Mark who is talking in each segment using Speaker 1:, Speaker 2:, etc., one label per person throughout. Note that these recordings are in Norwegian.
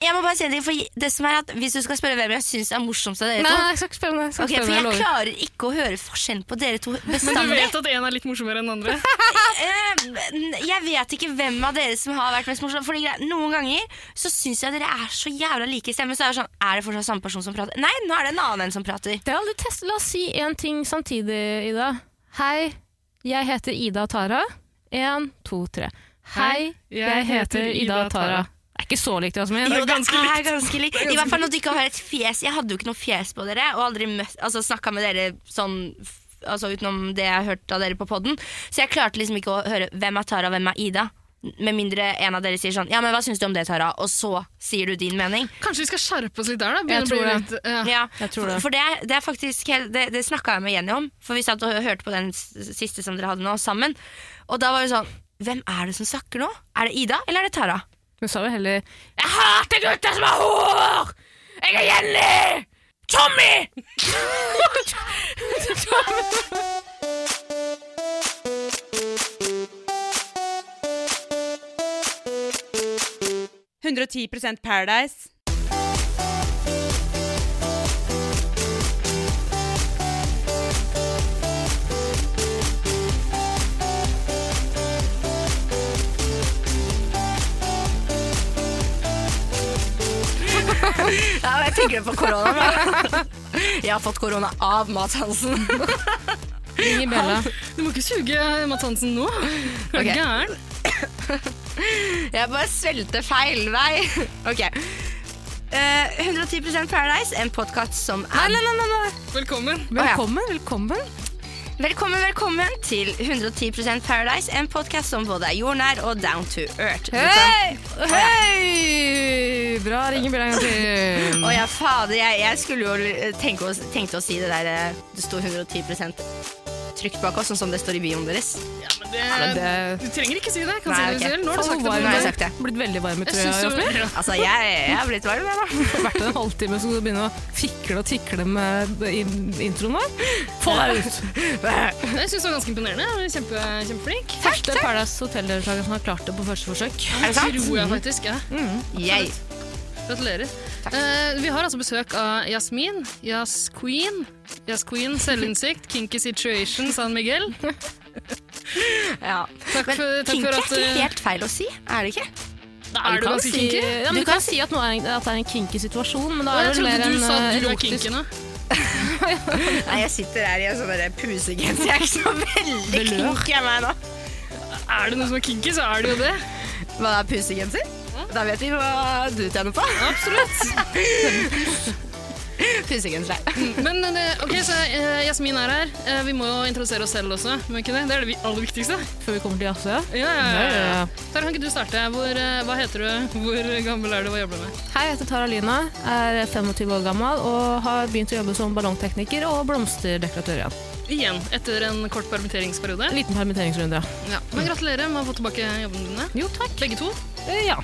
Speaker 1: bare si det, for det som er at Hvis du skal spørre hvem jeg syns er morsomst av dere
Speaker 2: Nei,
Speaker 1: to
Speaker 2: jeg skal ikke spørre om det. Jeg skal
Speaker 1: Ok, For
Speaker 2: ikke spørre om
Speaker 1: jeg
Speaker 2: det, jeg lover.
Speaker 1: klarer ikke å høre forskjellen på dere to
Speaker 3: Men du
Speaker 1: bestandig.
Speaker 3: vet at én er litt morsommere enn den andre?
Speaker 1: Eh, Jeg vet ikke hvem av dere som har vært mest morsom. Fordi greit, Noen ganger så syns jeg dere er så jævla like i stemmen. Så er det sånn Er det fortsatt samme person som prater? Nei, nå er det en annen enn som prater.
Speaker 2: Det har aldri testet. La oss si én ting samtidig, Ida. Hei, jeg heter Ida og Tara. Én, to, tre. Hei, jeg heter Ida og Tara. Det er ikke så likt, Jasmin.
Speaker 1: Jo, det
Speaker 3: ganske
Speaker 1: er
Speaker 3: likt.
Speaker 1: ganske likt. I hvert fall når du ikke har et fjes. Jeg hadde jo ikke noe fjes på dere, og aldri møtt, altså, snakka med dere sånn f- altså, utenom det jeg hørte av dere på poden. Så jeg klarte liksom ikke å høre hvem er Tara, hvem er Ida. Med mindre en av dere sier sånn Ja, men hva syns du om det, Tara? Og så sier du din mening.
Speaker 3: Kanskje vi skal skjerpe oss litt der, da?
Speaker 2: Jeg
Speaker 3: Begynne å
Speaker 2: tror
Speaker 3: bli
Speaker 2: det.
Speaker 3: litt, ja.
Speaker 1: Ja,
Speaker 2: Jeg tror det.
Speaker 1: For for det, er- det er faktisk helt- Det, det snakka jeg med Jenny om, for vi satt og hørte på den s- siste som dere hadde nå, sammen. Og da var det sånn Hvem er det som snakker nå? Er det Ida, eller er det Tara?
Speaker 2: Hun sa vel heller
Speaker 1: Jeg hater gutter som har hår! Jeg er Jenny! Tommy!
Speaker 4: Paradise.
Speaker 1: Ja, men jeg tenker det på korona. men- Jeg har fått korona av altså. Mads Hansen.
Speaker 2: Ring i bjella.
Speaker 3: Du må ikke suge Mads Hansen nå. Er du
Speaker 1: Ok.
Speaker 3: gæren?
Speaker 1: Jeg bare svelgte feil vei. Ok. Eh, 110 Paradise, en podkast som er
Speaker 3: Velkommen.
Speaker 2: Velkommen, velkommen.
Speaker 1: Velkommen, velkommen til 110 Paradise, en podkast som både er jordnær og down to earth.
Speaker 2: Hei! Hei! Bra, ring i bjella en gang til.
Speaker 1: Å ja, fader, jeg, jeg skulle jo eh, tenke å, tenkte å si det der eh, Det står 110 trygt bak oss, sånn som det står i bioen deres.
Speaker 3: Ja, men det,
Speaker 2: men det-
Speaker 3: Du trenger ikke si det. Kan
Speaker 1: Nei,
Speaker 3: si det
Speaker 1: ok.
Speaker 3: selv. Nå har du
Speaker 2: Faen, hvor
Speaker 3: sagt det.
Speaker 1: Nå
Speaker 2: varm
Speaker 1: har
Speaker 3: men-
Speaker 1: jeg sagt det.
Speaker 2: Blitt veldig varm i
Speaker 3: Jeg
Speaker 2: trøya,
Speaker 3: synes jo-
Speaker 2: Jasmin.
Speaker 3: Ja.
Speaker 1: Altså, jeg, jeg har blitt varm, jeg, da.
Speaker 2: vært der en halvtime, så skal du begynne å fikle og tikle med in- introen vår. Få deg ut!
Speaker 3: Jeg syns det var ganske imponerende. Du er Kjempe, kjempeflink.
Speaker 2: Første Paradise Hotel-deltaker som har klart det på første forsøk.
Speaker 1: Er det sant?
Speaker 3: Tror jeg faktisk. Ja.
Speaker 1: Jeg.
Speaker 3: Gratulerer. Eh, vi har altså besøk av Jasmin, Jas Queen, Jas Queen, selvinnsikt, Kinky Situation, San Miguel.
Speaker 1: Ja.
Speaker 3: Takk
Speaker 1: Men
Speaker 3: for, takk
Speaker 1: kinky
Speaker 3: for
Speaker 1: er
Speaker 3: at
Speaker 1: ikke
Speaker 3: eh,
Speaker 1: helt feil å si, er det ikke?
Speaker 3: Er du ganske kinky?
Speaker 2: Ja, men du kan si at, nå er, en- at det er en kinky situasjon, men da
Speaker 3: Å,
Speaker 2: er det
Speaker 3: Jeg
Speaker 2: vel mer
Speaker 3: trodde
Speaker 2: en
Speaker 3: du sa
Speaker 2: eh,
Speaker 3: at du var
Speaker 2: erotisk-
Speaker 3: kinky nå.
Speaker 1: Nei, jeg sitter her i en sånn der pusegenser. Jeg er ikke så veldig
Speaker 2: Velør.
Speaker 1: kinky av meg nå.
Speaker 3: Er det noe som er kinky, så er det jo det.
Speaker 1: Hva er pusegenser? Da vet vi hva du tjener på. Absolutt. Pusegenser.
Speaker 3: Men eh, ok, så eh, Jasmin er her. Eh, vi må jo introdusere oss selv også. Må vi ikke det? det er det vi- aller viktigste.
Speaker 2: Før vi kommer til jazz, ja.
Speaker 3: Ja, ja,
Speaker 2: Ja, ja, ja.
Speaker 3: Tara, kan ikke du starte? Hvor, eh, hva heter du? Hvor gammel er du? Hva jobber du med?
Speaker 2: Hei, jeg heter Tara Lina, er 25 år gammel og har begynt å jobbe som ballongtekniker og blomsterdekoratør igjen.
Speaker 3: Igjen, etter en kort permitteringsperiode.
Speaker 2: En liten permitteringsrunde, ja.
Speaker 3: Ja. Men gratulerer med å få tilbake jobbene dine.
Speaker 2: Jo, takk.
Speaker 3: Begge to.
Speaker 2: Eh, Ja,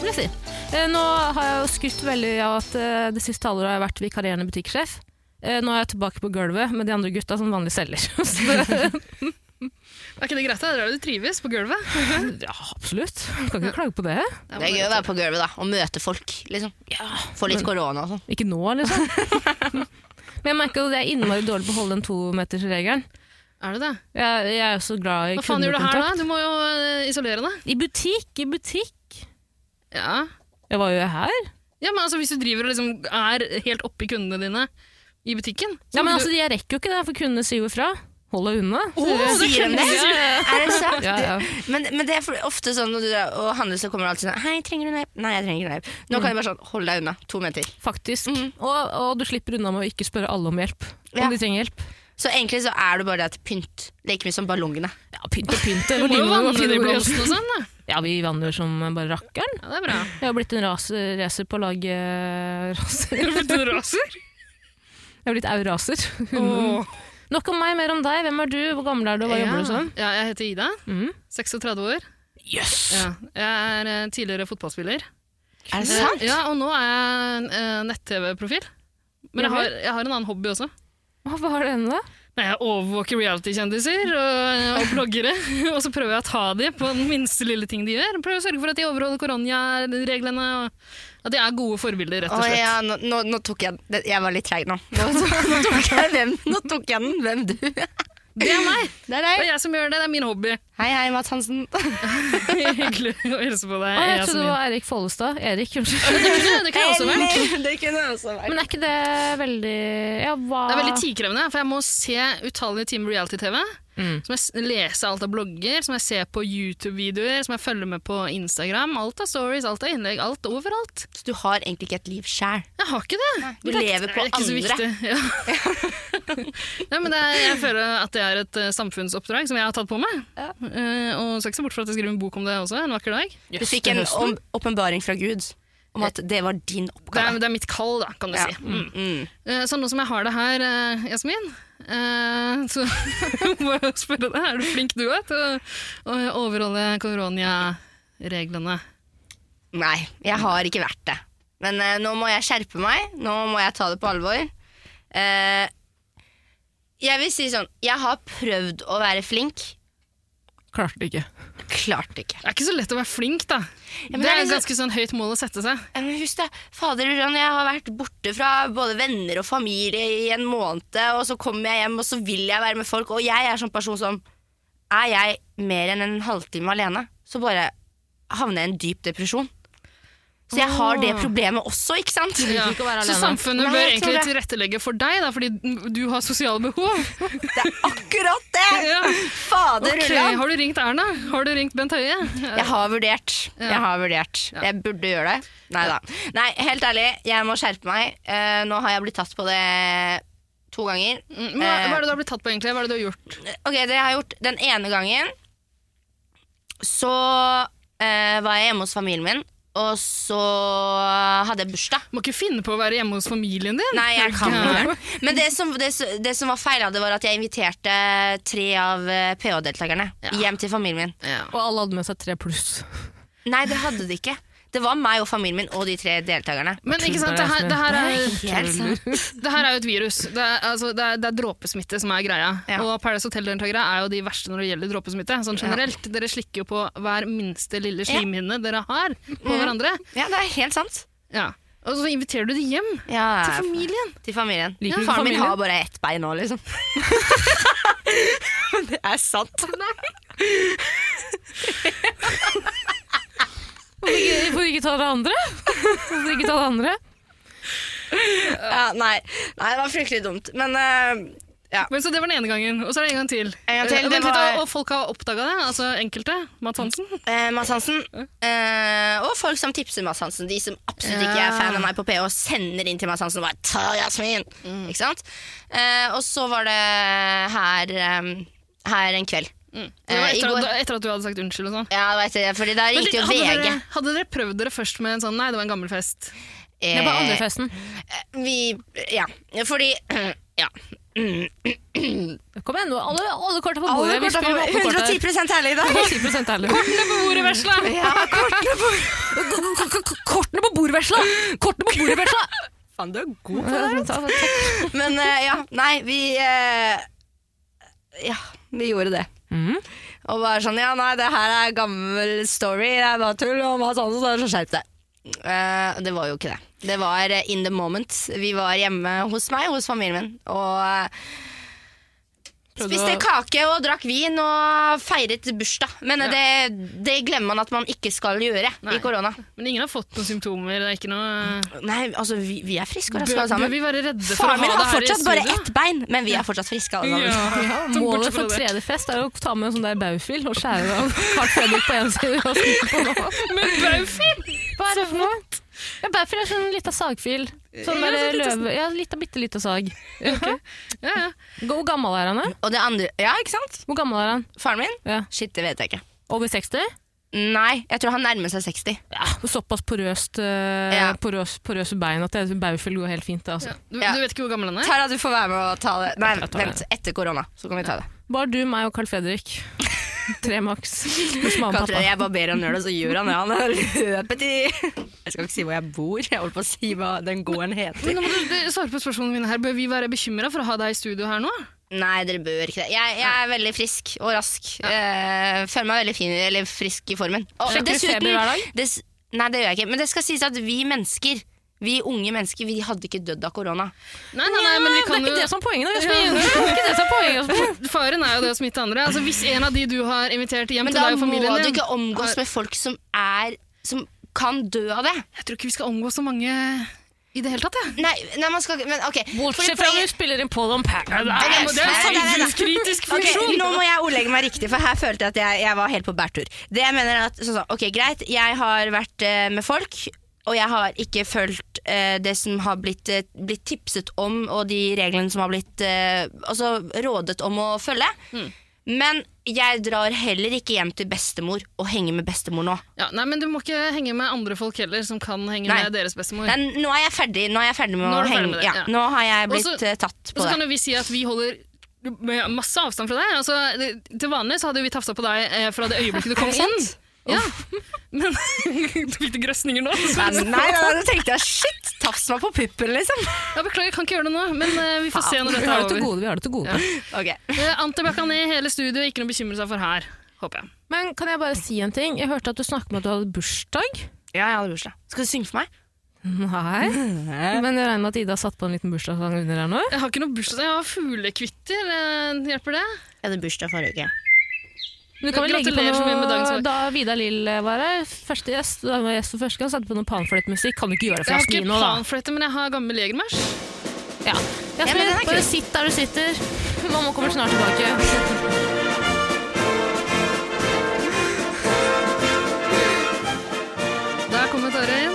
Speaker 2: vil jeg si. Eh, Nå har jeg jo skrytt veldig av at eh, det siste halvåret har jeg vært vikarierende butikksjef. Eh, Nå er jeg tilbake på gulvet med de andre gutta som vanlig selger. Så det-
Speaker 3: Er ikke det greit? da? Det er jo du trives på gulvet.
Speaker 2: ja, absolutt. Kan ikke klage på det.
Speaker 3: Ja,
Speaker 1: Det er
Speaker 3: men-
Speaker 1: gøy å være på gulvet da, og møte folk. liksom. Få litt korona og sånn.
Speaker 2: Ikke nå, liksom. Men jeg merker jo at jeg er innmari dårlig på å holde den tometersregelen.
Speaker 3: Er det det?
Speaker 2: Jeg, jeg er jo så glad i
Speaker 3: Hva faen gjør du her, da?
Speaker 2: kundekontakt.
Speaker 3: Du må jo eh, isolere deg.
Speaker 2: I butikk, i butikk.
Speaker 3: Ja.
Speaker 2: Jeg var jo her.
Speaker 3: ja, men altså Hvis du driver og liksom er helt oppi kundene dine i butikken så
Speaker 2: Ja, men
Speaker 3: må
Speaker 2: altså,
Speaker 3: du...
Speaker 2: Jeg rekker jo ikke det, for kundene sier jo ifra. Hold deg unna.
Speaker 3: Å, det
Speaker 1: Sier de det?
Speaker 3: kunne jeg si.
Speaker 1: Er det sant?
Speaker 2: Ja, ja.
Speaker 1: Men, men det er for- ofte sånn når du er og handler, så kommer det alltid sånn Hei, trenger du en hjelp? Nei, jeg trenger ikke en hjelp. Nå kan jeg bare sånn Hold deg unna. To meter.
Speaker 2: Faktisk. Og, og du slipper unna med å ikke spørre alle om hjelp. Om
Speaker 1: Ja.
Speaker 2: de trenger hjelp.
Speaker 1: Så egentlig så er du bare det at pynt. Like mye som ballongene.
Speaker 2: Ja, pynt og pynt.
Speaker 3: Du
Speaker 2: Eller
Speaker 3: må jo
Speaker 2: lignende,
Speaker 3: vanne
Speaker 2: hva
Speaker 3: de
Speaker 2: fine ord det
Speaker 3: blomstene og sånn, da.
Speaker 2: er. Ja, vi vanner som bare rakkeren.
Speaker 3: Ja, det er bra.
Speaker 2: Jeg har blitt en ras- racer på å lage raser.
Speaker 3: Har du blitt en raser?
Speaker 2: Jeg har blitt au-raser. Nok om meg, mer om deg. Hvem er du, hvor gammel er du, hva jobber du som?
Speaker 3: Ja, jeg heter Ida.
Speaker 2: Mm.
Speaker 3: 36 år.
Speaker 2: Yes!
Speaker 3: Ja. Jeg er eh, tidligere fotballspiller.
Speaker 1: Er det
Speaker 3: Eh,
Speaker 1: sant?
Speaker 3: Ja, Og nå er jeg eh, nett-TV-profil. Men jeg
Speaker 2: Ja vel.
Speaker 3: har, jeg har en annen hobby også.
Speaker 2: Hva var det ennå?
Speaker 3: Jeg overvåker reality-kjendiser og, og bloggere, og så prøver jeg å ta dem på den minste lille ting de gjør. Prøver å sørge for at de overholder koronareglene, og at de er gode forbilder, rett
Speaker 1: Å
Speaker 3: og slett.
Speaker 1: ja, nå, nå, nå tok jeg den. Jeg var litt treig nå. Nå, nå, tok jeg, hvem, nå tok jeg den. Hvem du?
Speaker 3: Det er meg!
Speaker 1: Det er
Speaker 3: Det
Speaker 1: deg.
Speaker 3: er jeg som gjør det, det er min hobby.
Speaker 1: Hei, hei, Mads Hansen.
Speaker 3: Hyggelig å hilse på deg.
Speaker 2: Å, jeg trodde
Speaker 3: Jasmin.
Speaker 2: det var Erik Follestad. Erik, unnskyld.
Speaker 3: Det kunne- Det kunne jeg også vært.
Speaker 1: Eller, Det kunne jeg også vært.
Speaker 2: Men er ikke det veldig ja, hva?
Speaker 3: Det er veldig tidkrevende, for jeg må se utallige timer reality-TV.
Speaker 2: Mm.
Speaker 3: Så må jeg s- lese alt av blogger, som jeg ser på YouTube-videoer, som jeg følger med på Instagram. Alt av stories, alt av innlegg, alt overalt.
Speaker 1: Så du har egentlig ikke et liv sjæl.
Speaker 3: Jeg har ikke det.
Speaker 1: Du
Speaker 3: Det er-
Speaker 1: lever på
Speaker 3: det er ikke så
Speaker 1: andre.
Speaker 3: viktig, Ja. ja, men det er, jeg føler at det er et eh, samfunnsoppdrag som jeg har tatt på meg.
Speaker 1: Ja.
Speaker 3: Eh, og skal ikke se bort fra at jeg skriver en bok om det også en vakker dag.
Speaker 1: Du fikk en om- åpenbaring fra Gud om at det var din
Speaker 3: Det er,
Speaker 1: oppgave.
Speaker 3: det er mitt kall, da, kan du
Speaker 1: Ja.
Speaker 3: si. Mm.
Speaker 1: Mm.
Speaker 3: Eh, Så nå som jeg har det her, eh, Jasmin, eh, så må jeg jo spørre deg, er du flink du òg til å- å overholde koronareglene?
Speaker 1: Nei, jeg har ikke vært det. Men eh, nå må jeg skjerpe meg. Nå må jeg ta det på alvor. Eh, jeg vil si sånn Jeg har prøvd å være flink.
Speaker 2: Klarte det ikke.
Speaker 1: Klarte ikke.
Speaker 3: Det er ikke så lett å være flink, da.
Speaker 1: men
Speaker 3: det
Speaker 1: det
Speaker 3: er
Speaker 1: er liksom
Speaker 3: et ganske sånn høyt mål å sette seg.
Speaker 1: Ja, Men husk det, fader Uran, jeg har vært borte fra både venner og familie i en måned, og så kommer jeg hjem, og så vil jeg være med folk, og jeg er sånn person som Er jeg mer enn en halvtime alene, så bare havner jeg i en dyp depresjon. Så jeg har det problemet også, ikke sant?
Speaker 3: Ja.
Speaker 2: ikke å være
Speaker 3: Så
Speaker 2: alene.
Speaker 3: samfunnet
Speaker 1: Nei,
Speaker 3: bør
Speaker 1: jeg tror
Speaker 3: egentlig tilrettelegge for deg, da, fordi du har sosiale behov.
Speaker 1: Det er akkurat det!
Speaker 3: Ja.
Speaker 1: Fader
Speaker 3: Ok,
Speaker 1: Ulland.
Speaker 3: Har du ringt Erna? Har du ringt Bent Høie? Eh,
Speaker 1: Jeg har vurdert. Jeg har vurdert. Jeg burde gjøre det. Nei da. Nei, helt ærlig, jeg må skjerpe meg. Eh, nå har jeg blitt tatt på det to ganger.
Speaker 3: mm, Hva, hva er det du har blitt tatt på, egentlig? Hva er det du har gjort?
Speaker 1: Ok, det jeg har gjort Den ene gangen Så eh, var jeg hjemme hos familien min Og så hadde jeg bursdag
Speaker 3: Må ikke finne på å være hjemme hos familien din.
Speaker 1: Nei, jeg kan ikke
Speaker 3: Ja.
Speaker 1: gjøre det. Men det som, det, som- det som var feil av det var at jeg inviterte Tre av eh, PH-deltakerne Hjem til familien min
Speaker 3: Ja.
Speaker 2: Og alle hadde med seg tre pluss.
Speaker 1: Nei, det hadde de ikke Det var meg og familien min og de tre deltakerne
Speaker 3: Men ikke sant, det her, det her er
Speaker 1: Helt sant
Speaker 3: Det her er jo et virus. Det er, altså, det er, det er dråpesmitte som er greia.
Speaker 1: Ja.
Speaker 3: Og Paradise Hotel-deltakere er jo de verste når det gjelder dråpesmitte. Sånn generelt, Dere slikker jo på hver minste lille slimhinne dere har på hverandre.
Speaker 1: Ja, det er helt sant
Speaker 3: Ja. Og så inviterer du de hjem
Speaker 1: ja,
Speaker 3: til familien.
Speaker 1: Til familien.
Speaker 2: Liker du
Speaker 1: Faren
Speaker 2: familien?
Speaker 1: min har bare ett bein nå, liksom. Men det er sant.
Speaker 2: Hvorfor ikke ta det andre? Hvorfor ikke ta det andre?
Speaker 1: Ja, nei. nei, det var fryktelig dumt. Men eh,
Speaker 3: Men så Det var den ene gangen. Og så er det en gang til.
Speaker 1: En gang til,
Speaker 3: Eh,
Speaker 1: det
Speaker 3: vent litt,
Speaker 1: var-
Speaker 3: og- Og folk har oppdaga det? Altså enkelte? Mads Hansen?
Speaker 1: eh, Mads Hansen, eh, og folk som tipser Mads Hansen, de som absolutt ikke er fan av meg på PH, sender inn til Mads Hansen og bare 'ta Jasmin'! Ikke sant? Eh, og så var det her, eh, her en kveld.
Speaker 3: Det var
Speaker 1: Eh, i
Speaker 3: etter,
Speaker 1: går-
Speaker 3: at, etter at du hadde sagt unnskyld og sånn.
Speaker 1: Ja, det var etter det, fordi der
Speaker 3: Men
Speaker 1: gikk det jo
Speaker 3: hadde,
Speaker 1: VG.
Speaker 3: dere, hadde dere prøvd dere først med en sånn Nei, det var en gammel fest.
Speaker 2: Det var
Speaker 1: Eh,
Speaker 2: andre festen.
Speaker 1: vi Ja, fordi Ja.
Speaker 2: Kom igjen, nå. Alle, alle korta på
Speaker 1: Alle
Speaker 2: bordet. Vi
Speaker 1: korta på
Speaker 2: spiller åpne kort her.
Speaker 1: 110 ærlig i dag.
Speaker 2: 110% ærlig.
Speaker 3: På bordet, vesla!
Speaker 1: Ja, kortene på
Speaker 2: Kortene på bordet, vesla! Kortene på bordet, vesla!
Speaker 1: Faen, du er god
Speaker 2: Takk.
Speaker 1: Men eh, ja, nei, vi eh, Ja, vi gjorde det.
Speaker 2: Mhm.
Speaker 1: Og bare sånn Ja, nei, det her er gammel story, det er bare tull, og Mads Hansen så skjerp deg. Eh, det var jo ikke det. Det var eh, in the moment. Vi var hjemme hos meg, hos familien min, og eh,
Speaker 2: Prøvde
Speaker 1: Spiste
Speaker 2: å-
Speaker 1: kake og drakk vin og feiret bursdag. Men eh, det, det glemmer man at man ikke skal gjøre
Speaker 3: Nei.
Speaker 1: i korona.
Speaker 3: Men ingen har fått noen symptomer. Det er ikke noe
Speaker 1: Nei, altså, vi, vi er friske og
Speaker 3: Bør,
Speaker 1: raske alle
Speaker 3: bør
Speaker 1: sammen.
Speaker 3: vi være redde for
Speaker 1: Faren
Speaker 3: å
Speaker 1: min
Speaker 3: ha det
Speaker 1: har
Speaker 3: her i
Speaker 1: fortsatt bare
Speaker 3: studio?
Speaker 1: ett bein, men vi er fortsatt friske alle sammen.
Speaker 3: Ja.
Speaker 2: Ja,
Speaker 3: Så
Speaker 2: målet
Speaker 3: bortsett fra
Speaker 2: for
Speaker 3: det.
Speaker 2: tredje fest er jo å ta med en sånn der baufil og skjære av Carl Fredrik på en side. Og snu på den andre.
Speaker 3: Men Baufil!
Speaker 2: Hva er det for noe? Ja, baufil er sånn lita sagfil. Sånn
Speaker 3: Ja,
Speaker 2: der
Speaker 3: sånn liten-
Speaker 2: løve... Ja, lita, bitte lita sag.
Speaker 3: Ja, ja.
Speaker 2: Hvor gammel er han? da?
Speaker 1: Og det andre Ja, ikke sant?
Speaker 2: Hvor gammel er han?
Speaker 1: Faren min?
Speaker 2: Ja.
Speaker 1: Shit, det vet jeg ikke.
Speaker 2: Over 60?
Speaker 1: Nei, jeg tror han nærmer seg 60.
Speaker 2: Ja, såpass porøst, eh,
Speaker 1: Ja.
Speaker 2: porøs, porøse bein at det- baufil går helt fint. det, Altså.
Speaker 3: Du,
Speaker 1: Ja.
Speaker 3: du vet ikke hvor gammel han er?
Speaker 1: Tara, du får være med og ta det. Nei,
Speaker 2: Jeg tar det.
Speaker 1: vent. Etter korona, så kan vi ta det.
Speaker 2: Bare du, meg og Carl Fredrik. Tre maks. Pluss mamma og
Speaker 1: Kan
Speaker 2: pappa.
Speaker 1: jeg bare ber han gjøre det, så gjør han det. Han har løpet i Jeg skal ikke si hvor jeg bor, jeg holdt på å si hva den gården heter.
Speaker 3: Men nå må du, du svare på spørsmålene mine her. Bør vi være bekymra for å ha deg i studio her nå?
Speaker 1: Nei, dere bør ikke det. Jeg, jeg er veldig frisk og rask. Eh, føler meg veldig fin, eller frisk i formen. Og
Speaker 2: Sjekker du feber hver dag?
Speaker 1: dess- nei, det gjør jeg ikke. Men det skal sies at vi mennesker, vi unge mennesker, vi hadde ikke dødd av korona.
Speaker 3: Nei, nei, nei, men vi kan
Speaker 2: det er ikke
Speaker 3: jo
Speaker 2: det som er poenget. da, Jasmin. Det er ikke det som er poenget. altså. Jasmin.
Speaker 3: Faren er jo det å smitte andre. Altså, hvis en av de du har invitert hjem
Speaker 1: Men
Speaker 3: til
Speaker 1: da
Speaker 3: deg og
Speaker 1: må
Speaker 3: familien
Speaker 1: du
Speaker 3: din
Speaker 1: ikke omgås med folk som er Som kan dø av det.
Speaker 3: Jeg tror ikke vi skal omgå så mange i det hele tatt, jeg.
Speaker 1: Nei, nei man skal ikke Men OK.
Speaker 2: Bortsett
Speaker 1: Fordi
Speaker 2: fra
Speaker 1: poenget-
Speaker 2: om du spiller inn Paul on
Speaker 1: er-
Speaker 2: Paradise.
Speaker 1: det er en
Speaker 3: kritisk
Speaker 1: Ok, nå må jeg ordlegge meg riktig, for her følte jeg at jeg, jeg var helt på bærtur. Det jeg mener er at, sånn, sånn, ok, greit, jeg har vært eh, med folk, og jeg har ikke følt eh, det som har blitt, eh, blitt tipset om, og de reglene som har blitt eh, altså, rådet om å følge.
Speaker 3: Hmm.
Speaker 1: Men jeg drar heller ikke hjem til bestemor og henger med bestemor nå.
Speaker 3: Ja, nei, men du må ikke henge med andre folk heller, som kan henge
Speaker 1: Nei.
Speaker 3: med deres bestemor.
Speaker 1: Nei, nå er jeg ferdig, nå er jeg ferdig med
Speaker 3: Nå er
Speaker 1: å
Speaker 3: du ferdig
Speaker 1: henge
Speaker 3: med det,
Speaker 1: ja.
Speaker 3: ja.
Speaker 1: Nå har jeg blitt
Speaker 3: Og så-
Speaker 1: eh, tatt
Speaker 3: Og
Speaker 1: på
Speaker 3: så
Speaker 1: det.
Speaker 3: kan jo vi si at vi holder med masse avstand fra deg. Altså, det- til vanlig så hadde vi tafsa på deg eh, fra det øyeblikket du kom inn. Ja. Men du fikk det grøsninger nå.
Speaker 1: Nei,
Speaker 3: Så.
Speaker 1: nei, nei, da tenkte jeg shit, tafs meg på puppen, liksom.
Speaker 3: Ja, beklager, jeg kan ikke gjøre det nå, men eh, vi får se når
Speaker 2: Vi
Speaker 3: dette
Speaker 2: har det
Speaker 3: er
Speaker 2: til
Speaker 3: over.
Speaker 2: gode. vi har det til gode.
Speaker 1: Ok.
Speaker 3: Eh, Antibac er ned i hele studio, ikke noe å bekymre seg for her, håper jeg.
Speaker 2: Men kan jeg bare si en ting? Jeg hørte at du snakket om at du hadde bursdag.
Speaker 1: Ja, jeg hadde bursdag. Skal du synge for meg?
Speaker 2: Nei. Men jeg regner med at Ida satt på en liten bursdagssang under her nå.
Speaker 3: Jeg har ikke noe bursdag, jeg har fuglekvitter. eh, Hjelper det?
Speaker 1: Jeg hadde bursdag forrige uke.
Speaker 2: Men du kan vel legge på
Speaker 3: Gratulerer så mye med dagens
Speaker 2: noe
Speaker 3: valg.
Speaker 2: da Vidar Lill var her. Første gjest, da var gjest for første gang, satte på noe panfløytemusikk. Kan du ikke gjøre det for
Speaker 3: Jeg har
Speaker 2: Jasmin
Speaker 3: ikke
Speaker 2: nå, da?
Speaker 3: panfløyte, men jeg har gammel jegermarsj.
Speaker 2: Ja.
Speaker 1: men
Speaker 2: Jasmin,
Speaker 1: den er kul.
Speaker 2: bare sitt der du sitter. Mamma kommer snart tilbake.
Speaker 3: Der kommer Tarjei.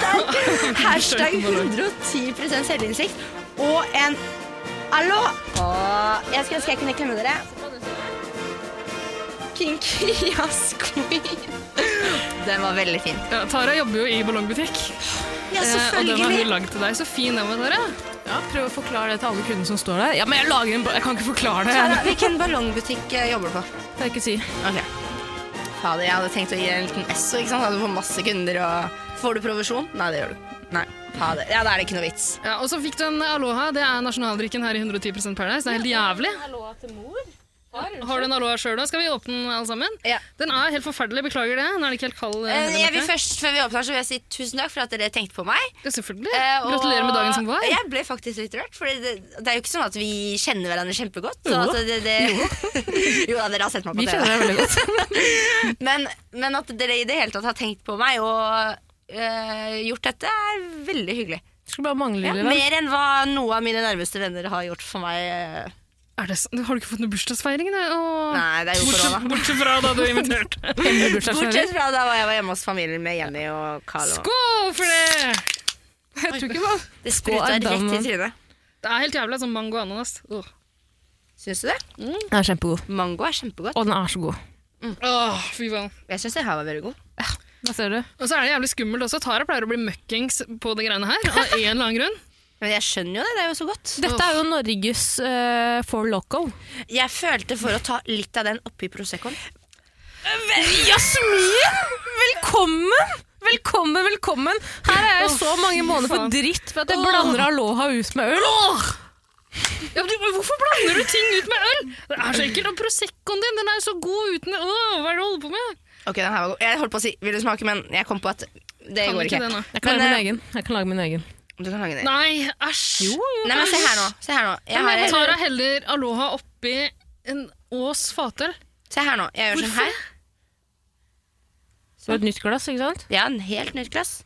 Speaker 1: Hashtag 110 selvinnsikt og en Hallo! Åh, Jeg skulle ønske jeg kunne klemme dere. Kinky jazz queen. Den var veldig fin.
Speaker 3: Ja, Tara jobber jo i ballongbutikk,
Speaker 1: Ja,
Speaker 3: eh, og den har hun lagd til deg. Så fin den var, Tara.
Speaker 2: Ja, prøv å forklare det til alle kundene som står der. Ja, men jeg lager en ba- Jeg kan ikke forklare det.
Speaker 1: Tara, Hvilken ballongbutikk eh, jobber du på?
Speaker 2: Det kan jeg ikke si.
Speaker 1: Ok. Fader, jeg hadde tenkt å gi deg en liten S, ikke sant? Hadde du fått masse kunder og Får du provisjon? Nei, det gjør du. Nei. Fader. Ja, da er det ikke noe vits.
Speaker 3: Ja, og så fikk du en aloha. Det er nasjonaldrikken her i 110 Paradise. Det er helt jævlig. Har du en aloha sjøl, da? Skal vi åpne den alle sammen?
Speaker 1: Ja.
Speaker 3: Den er helt forferdelig. Beklager det. Den er ikke helt kald.
Speaker 1: Eh,
Speaker 3: eh,
Speaker 1: Jeg
Speaker 3: Henriette.
Speaker 1: vil først, før vi åpner, så vil jeg si tusen takk for at dere tenkte på meg.
Speaker 3: Ja, selvfølgelig.
Speaker 1: Eh, og-
Speaker 3: Gratulerer med dagen som var.
Speaker 1: Jeg ble faktisk litt rørt, for det, det er jo ikke sånn at vi kjenner hverandre kjempegodt. Så
Speaker 2: Jo
Speaker 1: at
Speaker 2: da.
Speaker 1: det, det, jo da, dere har sett meg på
Speaker 2: Vi kjenner
Speaker 1: TV.
Speaker 2: deg veldig godt.
Speaker 1: Men, men at dere i det hele tatt har tenkt på meg og eh, gjort dette, er veldig hyggelig.
Speaker 2: Skulle bare mangle,
Speaker 1: Ja,
Speaker 2: lille venn.
Speaker 1: mer enn hva noe av mine nærmeste venner har gjort for meg. eh.
Speaker 3: Er det sant? Har du ikke fått noen bursdagsfeiring? Det? Åh.
Speaker 1: Nei, det er jo
Speaker 3: bortsett,
Speaker 1: korona.
Speaker 3: bortsett fra da du inviterte.
Speaker 2: Hemmelig bursdagsfeiring.
Speaker 1: Bortsett fra da jeg var hjemme hos familien med Jenny og Carl. Og
Speaker 3: Skål for det!
Speaker 2: Jeg tror ikke hva-
Speaker 1: det spruta
Speaker 2: Skål,
Speaker 1: rett i
Speaker 2: Adam.
Speaker 1: trynet.
Speaker 3: Det er helt jævlig. Sånn mango og ananas. Åh.
Speaker 1: Syns du det?
Speaker 2: Den er kjempegod.
Speaker 1: Mango er kjempegodt.
Speaker 2: Og den er så god.
Speaker 3: Åh, fy faen.
Speaker 1: Jeg syns det her var veldig god.
Speaker 2: Da ser du.
Speaker 3: Og så er det jævlig skummelt også. Tara pleier å bli møkkings på de greiene her. Av en eller annen grunn.
Speaker 1: Men jeg skjønner jo det, det er jo så godt.
Speaker 2: Dette er jo Norges uh, for loco.
Speaker 1: Jeg følte for å ta litt av den oppi Proseccoen.
Speaker 2: Jasmin! Velkommen! Velkommen, velkommen! Her er jeg
Speaker 3: Åh,
Speaker 2: så mange
Speaker 3: fy
Speaker 2: måneder for
Speaker 3: faen.
Speaker 2: dritt for at jeg
Speaker 3: Åh.
Speaker 2: blander aloha ut med øl.
Speaker 3: Ja, men du, hvorfor blander du ting ut med øl? Det er så ekkelt. Og Proseccoen din, den er jo så god uten Åh, hva er det du holder på med?
Speaker 1: Ok, den her var god. Jeg holdt på å si 'vil du smake', men jeg kom på at det
Speaker 3: Kan
Speaker 1: går
Speaker 3: ikke
Speaker 1: ikke.
Speaker 3: det nå.
Speaker 2: Jeg kan,
Speaker 1: Men, eh,
Speaker 2: lage min egen. jeg kan lage min egen.
Speaker 1: Du kan lage den. Nei,
Speaker 3: Nei, æsj.
Speaker 1: men se her nå. Se her nå. Jeg har,
Speaker 3: Jeg tar heller Aloha oppi en Ås fatøl.
Speaker 1: se her nå. Jeg gjør sånn her.
Speaker 2: Det var et nytt glass, ikke sant?
Speaker 1: Ja, en helt nytt glass.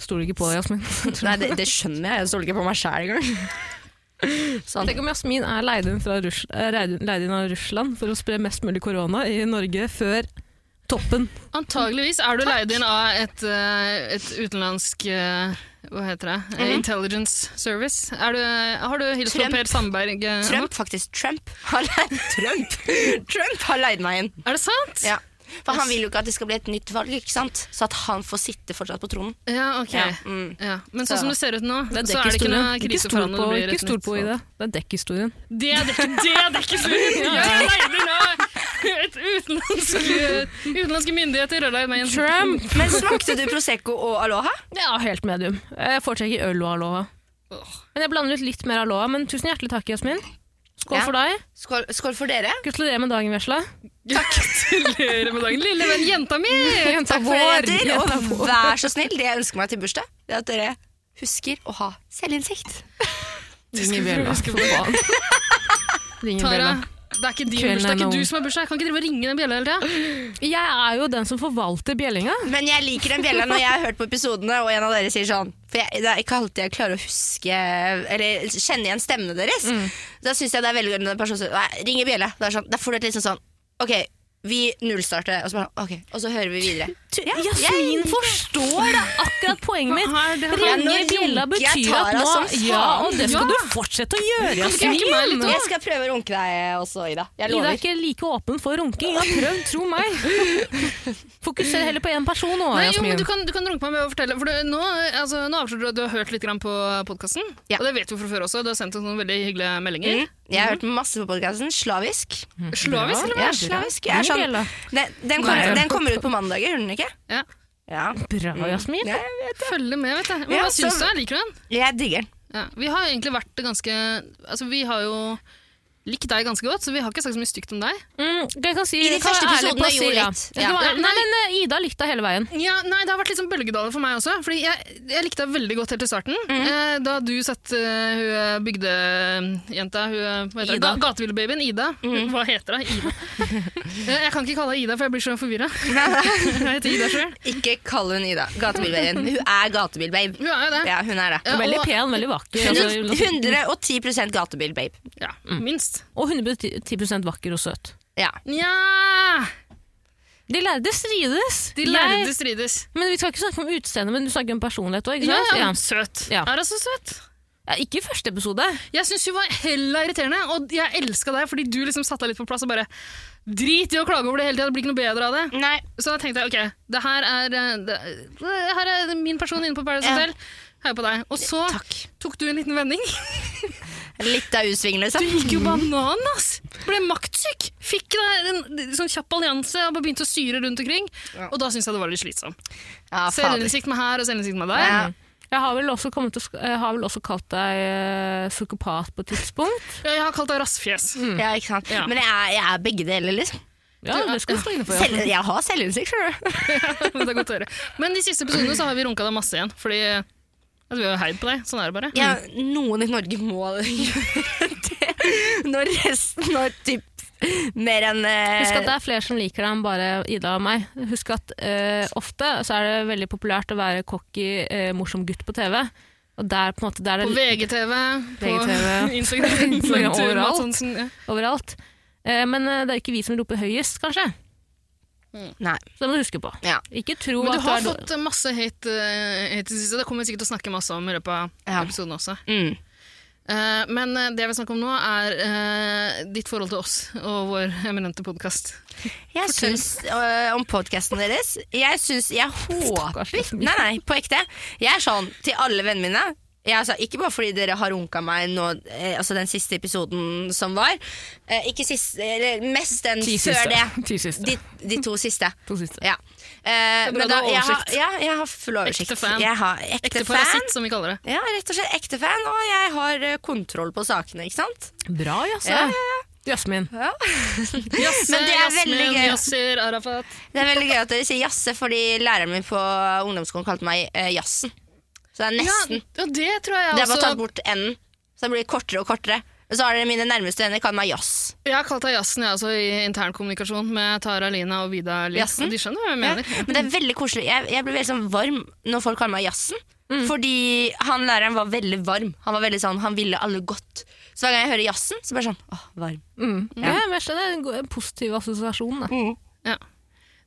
Speaker 2: Stoler ikke på Jasmin.
Speaker 1: Nei, det, det skjønner jeg. Jeg stoler ikke på meg sjæl engang. Sånn.
Speaker 2: Tenk om Jasmin er leid inn, fra Russ eh, leid leid inn av Russland for å spre mest mulig korona i Norge før toppen.
Speaker 3: Antageligvis er du leid inn av et, eh, et utenlandsk eh, hva heter det? Eh, Intelligence Service. Er du, har du hilst på
Speaker 1: Trump.
Speaker 3: Per Sandberg? eh,
Speaker 1: Trump, faktisk. Trump har leid, Trump. Trump har leid meg inn.
Speaker 3: Er det sant?
Speaker 1: Ja. For han vil jo ikke at det skal bli et nytt valg, ikke sant? så at han får sitte fortsatt på tronen.
Speaker 3: Ja, ok.
Speaker 1: Ja, mm.
Speaker 3: Ja. Men
Speaker 1: Så-
Speaker 3: sånn som det ser ut nå,
Speaker 2: Det er
Speaker 3: så er det
Speaker 2: dekkhistorien.
Speaker 3: ikke noe
Speaker 2: Ikke
Speaker 3: krise for
Speaker 2: stol
Speaker 3: han når
Speaker 2: på,
Speaker 3: det blir
Speaker 2: ikke
Speaker 3: et
Speaker 2: stol på
Speaker 3: nytt
Speaker 2: Ida. Det er dekkhistorien.
Speaker 3: Det er dekk- det er dekkhistorien! Jeg er leid inn av Et utenlandske, utenlandske myndigheter rølla i meg.
Speaker 2: Trump!
Speaker 1: Men smakte du Prosecco og Aloha?
Speaker 2: Ja, helt medium. Jeg foretrekker øl og aloha.
Speaker 3: Åh.
Speaker 2: Men jeg blander ut litt mer aloha. Men tusen hjertelig takk, Jasmin. Skål
Speaker 1: Ja.
Speaker 2: for deg.
Speaker 1: Skål, skål for dere.
Speaker 2: Gratulerer med dagen, vesla.
Speaker 3: Gratulerer med dagen, lille venn, jenta mi!
Speaker 2: Jenta
Speaker 1: Takk for dere,
Speaker 2: vår.
Speaker 1: jenter.
Speaker 2: Jenta
Speaker 1: Og
Speaker 2: vår.
Speaker 1: vær så snill, det jeg ønsker meg til bursdag, det er at dere husker å ha selvinnsikt.
Speaker 2: Ring i bjella, for faen. Ring i
Speaker 3: Tara,
Speaker 2: bjella.
Speaker 3: det er ikke din
Speaker 2: Kvelden
Speaker 3: bursdag, det
Speaker 2: er
Speaker 3: er
Speaker 2: nå.
Speaker 3: ikke du som har bursdag. Jeg kan ikke drive og ringe den bjella hele tida.
Speaker 2: Jeg er jo den som forvalter bjellinga.
Speaker 1: Men jeg liker den bjella når jeg har hørt på episodene, og en av dere sier sånn For jeg, det er ikke alltid jeg klarer å huske Eller kjenne igjen stemmene deres. Da syns jeg det er veldig gøy når en person sier Nei, ring i bjella. Da, er sånn, da får du et liksom sånn OK, vi nullstarter, og så, bare, ok, og så hører vi videre. Ja,
Speaker 2: Jasmin forstår det akkurat poenget mitt.
Speaker 3: Hva er det her?
Speaker 2: Ringe
Speaker 1: Nå
Speaker 2: bjella
Speaker 1: runker jeg
Speaker 2: betyr at
Speaker 1: Tara
Speaker 2: nå
Speaker 1: som faen.
Speaker 2: Ja, og det skal
Speaker 3: Ja.
Speaker 2: du fortsette å gjøre,
Speaker 3: ikke
Speaker 2: Jasmin.
Speaker 3: runke meg litt, da?
Speaker 1: Jeg skal prøve å runke deg også, Ida. Jeg
Speaker 2: Ida
Speaker 1: lover.
Speaker 2: er ikke like åpen for runking. Jeg har prøvd, tro meg. Fokuser heller på én person nå,
Speaker 3: Nei, jo, men
Speaker 2: Jasmin.
Speaker 3: du kan, du kan runke meg med å fortelle. For du, nå, altså, nå avslører du at du har hørt litt grann på podkasten.
Speaker 1: Ja.
Speaker 3: Og det vet vi fra før også. Du har sendt oss noen veldig hyggelige meldinger.
Speaker 1: Mm. Jeg har hørt masse på podkasten. Slavisk.
Speaker 3: Slavisk, eller?
Speaker 1: Ja, slavisk. Jeg er
Speaker 2: Ring i
Speaker 1: sånn,
Speaker 2: bjella.
Speaker 1: den, den,
Speaker 3: Nei.
Speaker 1: kommer, den kommer ut på mandager, gjør den ikke?
Speaker 3: Ja.
Speaker 1: Ja.
Speaker 3: Mm.
Speaker 2: Bra, Jasmin.
Speaker 1: Jeg, vet det.
Speaker 3: Følge med, vet du. Men
Speaker 1: Ja,
Speaker 3: hva syns
Speaker 1: så-
Speaker 3: du? Liker du den?
Speaker 1: jeg digger den.
Speaker 3: Ja. Vi har jo egentlig vært ganske Altså, vi har jo likt deg ganske godt, så vi har ikke sagt så mye stygt om deg.
Speaker 2: Mm, jeg kan si,
Speaker 1: I de
Speaker 2: jeg kan
Speaker 1: første
Speaker 2: være ærlig
Speaker 1: episodene
Speaker 2: på å si,
Speaker 1: gjorde
Speaker 2: ja.
Speaker 1: litt.
Speaker 2: Du
Speaker 1: Ja.
Speaker 2: var- Nei, men eh, Ida likte deg hele veien.
Speaker 3: Ja, nei, Det har vært litt sånn bølgedaler for meg også. Fordi Jeg, jeg likte deg veldig godt helt til starten. Eh, da du satt eh, hun bygdejenta hun, eh, hva heter det?
Speaker 2: Ida.
Speaker 3: Ga- Gatevillbabyen Ida. Hva heter hun? Ida. Eh, jeg kan ikke kalle henne Ida, for jeg blir så forvirra. jeg heter Ida sjøl.
Speaker 1: Ikke kall hun Ida. Gatebilbabyen. Hun er gatebilbabe.
Speaker 3: Hun er jo det.
Speaker 1: Ja, hun er det.
Speaker 3: Ja,
Speaker 2: Veldig
Speaker 3: og,
Speaker 2: pen, veldig vakker.
Speaker 1: Hun-
Speaker 2: altså,
Speaker 1: 110 gatebilbabe.
Speaker 3: ja, minst.
Speaker 2: Og 110 vakker og søt.
Speaker 1: Ja.
Speaker 3: Nja
Speaker 2: De lærde strides.
Speaker 3: De
Speaker 2: Jeg-
Speaker 3: lærde strides.
Speaker 2: Men Vi skal ikke snakke om utseende, men du snakker om personlighet òg.
Speaker 3: Ja,
Speaker 2: Ja,
Speaker 3: ja. Søt.
Speaker 2: Ja.
Speaker 3: Er hun så søt?
Speaker 2: ja, ikke i første episode.
Speaker 3: Jeg syns hun var hella irriterende, og jeg elska deg fordi du liksom satte deg litt på plass og bare Drit i å klage over det hele tida, det blir ikke noe bedre av det.
Speaker 1: Nei.
Speaker 3: Så da tenkte jeg ok, det her er, eh, det, det her er min person inne på Paradise
Speaker 1: Ja.
Speaker 3: Hotel. Her på deg. Og så
Speaker 1: Takk.
Speaker 3: tok du en liten vending.
Speaker 1: Litt av utsvingene,
Speaker 3: Du
Speaker 1: liksom.
Speaker 3: gikk jo banan, ass! Ble maktsyk. Fikk deg en sånn kjapp allianse og bare begynte å syre rundt omkring. Og da syns jeg det var litt slitsomt.
Speaker 1: Ja, fader.
Speaker 3: Selvinnsikt med her og selvinnsikt med der.
Speaker 1: Ja.
Speaker 2: Jeg har vel også, kommet til, å sk- jeg har vel også kalt deg eh, psykopat på et tidspunkt.
Speaker 3: Jeg har kalt deg rassfjes.
Speaker 1: Ja, ikke sant.
Speaker 3: Ja.
Speaker 1: Men jeg er, jeg er begge deler, liksom.
Speaker 2: Ja, det skal du stå inne for.
Speaker 1: Selv, jeg har selvinnsikt, skjønner du.
Speaker 3: Men det er godt å høre. Men de siste episodene så har vi runka deg masse igjen, fordi altså, vi har jo heid på deg. Sånn er det bare.
Speaker 1: Ja, noen i Norge må gjøre det. Når resten har typ mer enn eh,
Speaker 2: Husk at det er flere som liker deg enn bare Ida og meg. Husk at eh, ofte så er det veldig populært å være cocky, eh, morsom gutt på TV. Og der på en måte, der er
Speaker 3: På
Speaker 2: det
Speaker 3: VGTV, på
Speaker 2: VGTV.
Speaker 3: Instagram,
Speaker 2: Instagram,
Speaker 3: Tur, Mads
Speaker 2: overalt.
Speaker 3: Hansen, ja.
Speaker 2: overalt. Eh, men eh, det er ikke vi som roper høyest, kanskje.
Speaker 1: Nei.
Speaker 2: Så det må du huske på.
Speaker 1: Ja.
Speaker 2: Ikke tro
Speaker 3: Men
Speaker 2: at
Speaker 3: du har
Speaker 2: er-
Speaker 3: fått masse hate eh, hate i det siste. Det kommer vi sikkert til å snakke masse om i løpet av
Speaker 1: Ja.
Speaker 3: episoden også.
Speaker 1: Mm.
Speaker 3: Eh, men eh, det jeg vil snakke om nå, er eh, ditt forhold til oss og vår eminente podkast.
Speaker 1: Jeg
Speaker 3: Fortell.
Speaker 1: syns øh, om podkasten deres Jeg syns Jeg håper
Speaker 2: Stakkars Jasmin.
Speaker 1: Nei, nei, på ekte. Jeg er sånn til alle vennene mine. Jeg, altså, ikke bare fordi dere har runka meg nå, eh, altså den siste episoden som var. Eh, ikke sist, eller mest den
Speaker 2: Ti
Speaker 1: før
Speaker 2: siste.
Speaker 1: det.
Speaker 2: Ti siste.
Speaker 1: De, de to siste.
Speaker 2: To siste.
Speaker 1: Ja. Eh,
Speaker 3: er bra
Speaker 1: men
Speaker 3: du
Speaker 1: da,
Speaker 3: har
Speaker 1: jeg har,
Speaker 3: oversikt.
Speaker 1: ja, jeg har full oversikt.
Speaker 3: Ekte fan.
Speaker 1: Jeg har ekte,
Speaker 3: Ekte
Speaker 1: fan.
Speaker 3: parasitt, som vi kaller det.
Speaker 1: Ja, rett og slett ekte fan, og jeg har eh, kontroll på sakene, ikke sant?
Speaker 2: Bra, jaså.
Speaker 1: Ja, ja,
Speaker 2: Jasmin.
Speaker 1: Ja.
Speaker 3: Jasse,
Speaker 1: Men det er veldig
Speaker 3: Jasmin,
Speaker 1: gøy.
Speaker 3: Yasser, Arafat.
Speaker 1: Det er veldig gøy at dere sier jasse, fordi læreren min på ungdomsskolen kalte meg eh, jassen. Så det er
Speaker 3: Ja,
Speaker 1: nesten.
Speaker 3: ja, det tror jeg
Speaker 1: det er bare
Speaker 3: også.
Speaker 1: tatt bort enden. Så det blir kortere og kortere. Og så har dere mine nærmeste venner kalt meg jass.
Speaker 3: Jeg har kalt deg Jassen jeg også, i internkommunikasjon med Tara Lina og Vida Liv.
Speaker 1: Jassen?
Speaker 3: De skjønner hva jeg mener.
Speaker 1: Men det er veldig koselig. Jeg, jeg blir veldig sånn varm når folk kaller meg jassen. Fordi han læreren var veldig varm. Han var veldig sånn, han ville alle godt. Så hver gang jeg hører jassen, så bare sånn åh, varm.
Speaker 2: Mm. Ja. men jeg skjønner, det er en go- en positiv assosiasjon. Da.
Speaker 3: Ja.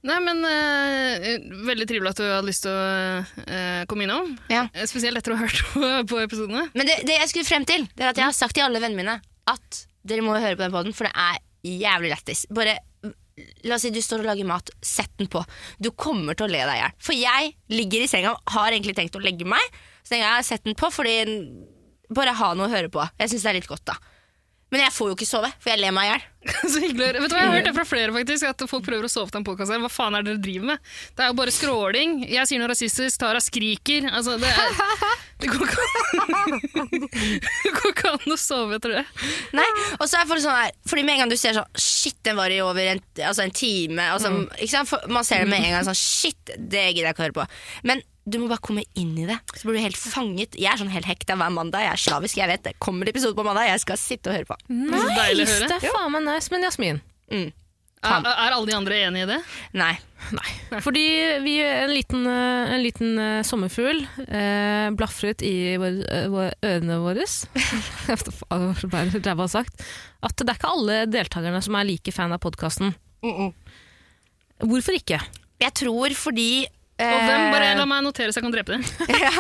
Speaker 3: Nei, men eh, Veldig trivelig at du hadde lyst til å eh, komme innom.
Speaker 1: Ja.
Speaker 3: Eh, Spesielt etter å ha hørt på, på episodene.
Speaker 1: Men det, det jeg skulle frem til, det er at jeg har sagt til alle vennene mine at dere må høre på den podden, for det er jævlig lættis. Bare mm, La oss si du står og lager mat, sett den på. Du kommer til å le deg i hjel. For jeg ligger i senga og har egentlig tenkt å legge meg, så tenker jeg jeg har sett den på fordi Bare ha noe å høre på. Jeg syns det er litt godt, da. Men jeg får jo ikke sove, for jeg ler meg i hjel.
Speaker 3: Så hyggelig å høre. Vet du hva, Jeg har hørt det fra flere, faktisk, at folk prøver å sove til en podkast her. Hva faen er det dere driver med? Det er jo bare skråling. Jeg sier noe rasistisk, Tara skriker. Altså, det, er, det går ikke Det går ikke an å sove etter det.
Speaker 1: Nei, og så er folk sånn her Fordi med en gang du ser sånn Shit, den var i over en, altså en time altså,
Speaker 3: Mm.
Speaker 1: ikke sant? For Man ser det med en gang sånn Shit, det gidder jeg ikke å høre på Men du må bare komme inn i det Så blir du helt fanget Jeg er sånn helt hekta hver mandag Jeg er slavisk, jeg vet det Kommer episode på mandag Jeg skal sitte og høre på
Speaker 2: Nice,
Speaker 3: Så deilig å høre.
Speaker 2: det er faen meg nice. Men Jasmin,
Speaker 1: mm.
Speaker 3: Er, er alle de andre enig i det?
Speaker 1: Nei
Speaker 2: nei. Fordi vi, en liten, eh, en liten eh, sommerfugl eh, blafret i vår, eh, vår, ørene våre. Bare ræva sagt. At det er ikke alle deltakerne som er like fan av podkasten. Hvorfor ikke?
Speaker 1: Jeg tror fordi
Speaker 3: Og hvem? Bare
Speaker 1: eh,
Speaker 3: la meg notere så jeg kan drepe det.
Speaker 1: ja,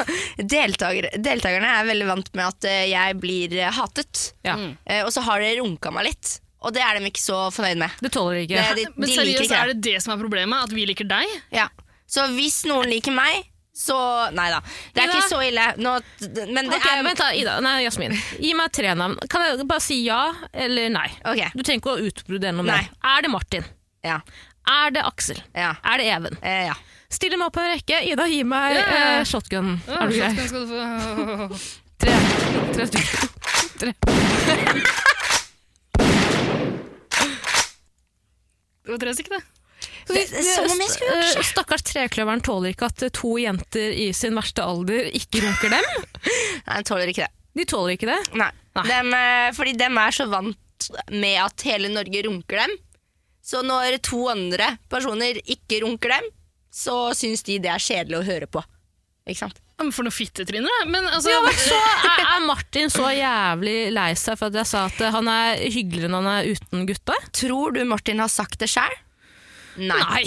Speaker 1: deltaker, Deltakerne er veldig vant med at eh, jeg blir eh, hatet
Speaker 2: Ja.
Speaker 3: Mm.
Speaker 1: Eh, Og så har det runka meg litt Og det er de ikke så fornøyd med
Speaker 2: Det tåler de ikke.
Speaker 1: Det- de- de
Speaker 3: Men
Speaker 1: liker ikke
Speaker 3: seriøst,
Speaker 1: det.
Speaker 3: er det det som er problemet? At vi liker deg?
Speaker 1: Ja. Så hvis noen liker meg, så Nei da. Det er
Speaker 2: Ida?
Speaker 1: ikke så ille. Nå, men det
Speaker 2: Ok,
Speaker 1: er
Speaker 2: Vent da, Ida. Nei, Jasmin. Gi meg tre navn. Kan jeg bare si ja eller nei?
Speaker 1: Ok.
Speaker 2: Du trenger ikke å utbrodere noe
Speaker 1: Nei.
Speaker 2: mer. Er det Martin?
Speaker 1: Ja.
Speaker 2: Er det Aksel?
Speaker 1: Ja.
Speaker 2: Er det Even?
Speaker 1: Eh, ja.
Speaker 2: Stille meg opp på en rekke. Ida, gi meg
Speaker 3: Ja, ja, ja.
Speaker 2: eh, shotgun.
Speaker 3: Å,
Speaker 2: Er du grei?
Speaker 3: shotgun skal du få.
Speaker 2: Tre. Tre stykker. Tre.
Speaker 3: Det var tre stykker, det.
Speaker 1: Det, det, er som om jeg skulle
Speaker 2: Eh, Stakkars trekløveren tåler ikke at to jenter i sin verste alder ikke runker dem.
Speaker 1: Nei, jeg tåler ikke det.
Speaker 2: De tåler ikke det.
Speaker 1: Nei. Dem, eh, fordi dem er så vant med at hele Norge runker dem. Så når to andre personer ikke runker dem, så syns de det er kjedelig å høre på. Ikke sant?
Speaker 3: Ja, men For noen fittetryner, da. Men altså,
Speaker 2: Ja, men så er, er Martin så jævlig lei seg for at jeg sa at han er hyggeligere når han er uten gutta?
Speaker 1: Tror du Martin har sagt det sjæl? Nei.
Speaker 2: Nei,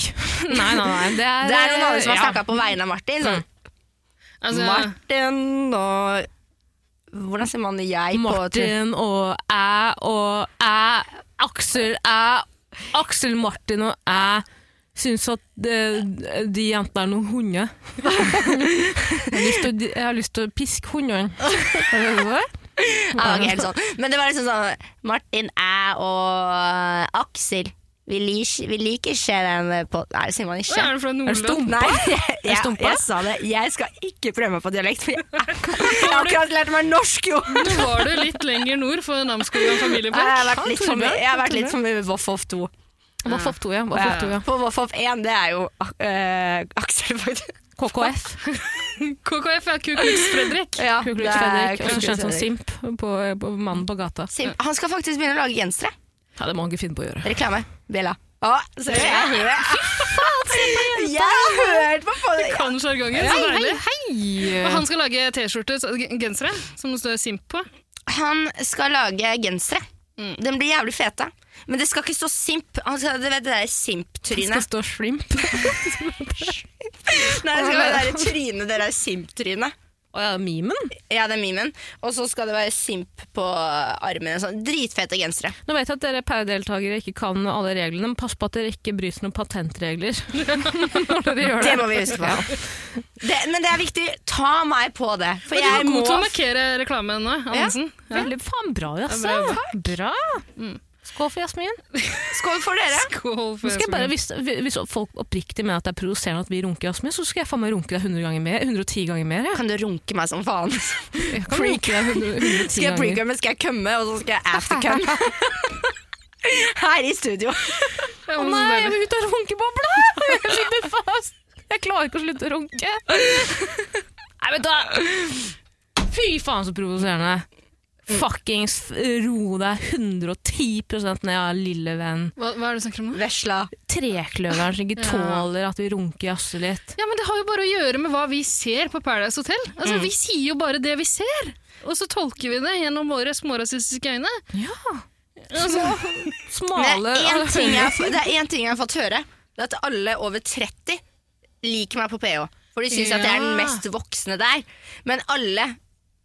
Speaker 2: nei, nei. nei. Det, er,
Speaker 1: Det er noen andre som har
Speaker 2: ja. Mm.
Speaker 1: snakka på vegne av Martin. Sånn.
Speaker 3: altså
Speaker 1: Martin og Hvordan sier man jeg på
Speaker 2: Martin og æ og æ. Aksel æ. Aksel, Martin og æ syns at de, de jentene er noen hunder. jeg, har lyst til, å- jeg har lyst til å piske hundene. Er det
Speaker 1: Ja,
Speaker 2: det?
Speaker 1: det var ikke helt sånn. Men det var liksom sånn Martin, jeg og Aksel. Vi, lik- vi liker ikke den på Nei, det sier man
Speaker 3: Hva
Speaker 1: ikke.
Speaker 3: er det fra
Speaker 2: Er det
Speaker 3: Nordland?
Speaker 2: stum?
Speaker 1: Nei, jeg,
Speaker 2: Er
Speaker 1: jeg,
Speaker 2: stumpa?
Speaker 1: sa det. Jeg skal ikke prøve meg på dialekt, for jeg, jeg har akkurat lært meg norsk, jo!
Speaker 3: Nå var du litt lenger nord for Namsskogan
Speaker 1: Jeg
Speaker 3: familiepark.
Speaker 1: har vært litt for mye, jeg har vært litt for mye Voff-Off 2.
Speaker 2: Voff-off 2, ja. Voff-off 2, ja.
Speaker 1: På Voff-Off 1, det er jo eh, Aksel, faktisk.
Speaker 2: KKF.
Speaker 3: KKF er Ku Klux Fredrik.
Speaker 1: Ja,
Speaker 2: Ku
Speaker 1: det
Speaker 2: Klux
Speaker 1: er
Speaker 2: Fredrik.
Speaker 1: Ku
Speaker 2: Også
Speaker 1: Klux
Speaker 2: kjent som
Speaker 1: Fredrik.
Speaker 2: Simp på, på Mannen på gata.
Speaker 1: Sim, han skal faktisk begynne å lage gensere.
Speaker 2: Ja, det må han ikke finne på å gjøre.
Speaker 1: Reklame. Bjella. Å, ser du? Jeg hører Jeg har hørt på folk!
Speaker 3: Kan sjargongen, så deilig. Og
Speaker 2: Hei!
Speaker 3: han skal lage T-skjorte, så- g- gensere, som det står Simp på.
Speaker 1: Han skal lage gensere.
Speaker 3: Mm.
Speaker 1: Den blir jævlig fete. Men det skal ikke stå simp. Han skal, det, det der
Speaker 2: Det skal
Speaker 1: simp-trynet.
Speaker 2: stå shrimp.
Speaker 1: Nei, det skal være det der trynet, det der simp-trynet.
Speaker 2: Å ja, memen?
Speaker 1: Ja, det er memen. Og så skal det være simp på armene. Sånn. Dritfete gensere.
Speaker 2: Nå vet jeg at dere pæredeltakere ikke kan alle reglene, men pass på at dere ikke bryter noen patentregler. når dere
Speaker 1: Det
Speaker 2: gjør det.
Speaker 1: må vi huske på. Det, men det er viktig. Ta meg på det. For
Speaker 3: Men du var
Speaker 1: jeg må
Speaker 3: god til å markere reklamen nå, Amundsen. Ja.
Speaker 2: Veldig faen bra, Jasse.
Speaker 3: Ja,
Speaker 2: Bra. Skål for Jasmin.
Speaker 1: Skål for dere.
Speaker 3: Skål Mm. for
Speaker 2: Nå skal jeg bare,
Speaker 3: Jasmin.
Speaker 2: hvis, hvis folk oppriktig mener at det er provoserende at vi runker Jasmin, så skal jeg faen meg runke deg 100 ganger mer. 110 ganger mer. jeg.
Speaker 1: Kan du runke meg som faen?
Speaker 2: Jeg kan runke deg 100, 110
Speaker 1: Skal jeg
Speaker 2: ganger.
Speaker 1: pre-cum, men skal jeg kømme, og så skal jeg aftercum. Her i studio.
Speaker 3: Ja,
Speaker 2: Å
Speaker 3: men så
Speaker 2: nei, jeg
Speaker 3: deilig.
Speaker 2: vil ut av runkebobla! Jeg sitter fast. Jeg klarer ikke å slutte å runke. Nei, vet du hva? Fy faen så provoserende. Fuckings ro deg 110 ned, ja, lille venn.
Speaker 3: Hva, hva er det du snakker om nå?
Speaker 1: Vesla.
Speaker 2: Trekløveren som ikke
Speaker 3: Ja.
Speaker 2: tåler at vi runker jasse litt.
Speaker 3: Ja, men Det har jo bare å gjøre med hva vi ser på Paradise Hotel. Altså, Vi sier jo bare det vi ser, og så tolker vi det gjennom våre smårasistiske øyne.
Speaker 2: Ja.
Speaker 3: Altså,
Speaker 1: Men
Speaker 2: Smale
Speaker 1: det er én ting, jeg har fått- det er én ting jeg har fått høre. Det er at alle over 30 liker meg på PH. For de syns at jeg er den
Speaker 3: Ja.
Speaker 1: mest voksne der. Men alle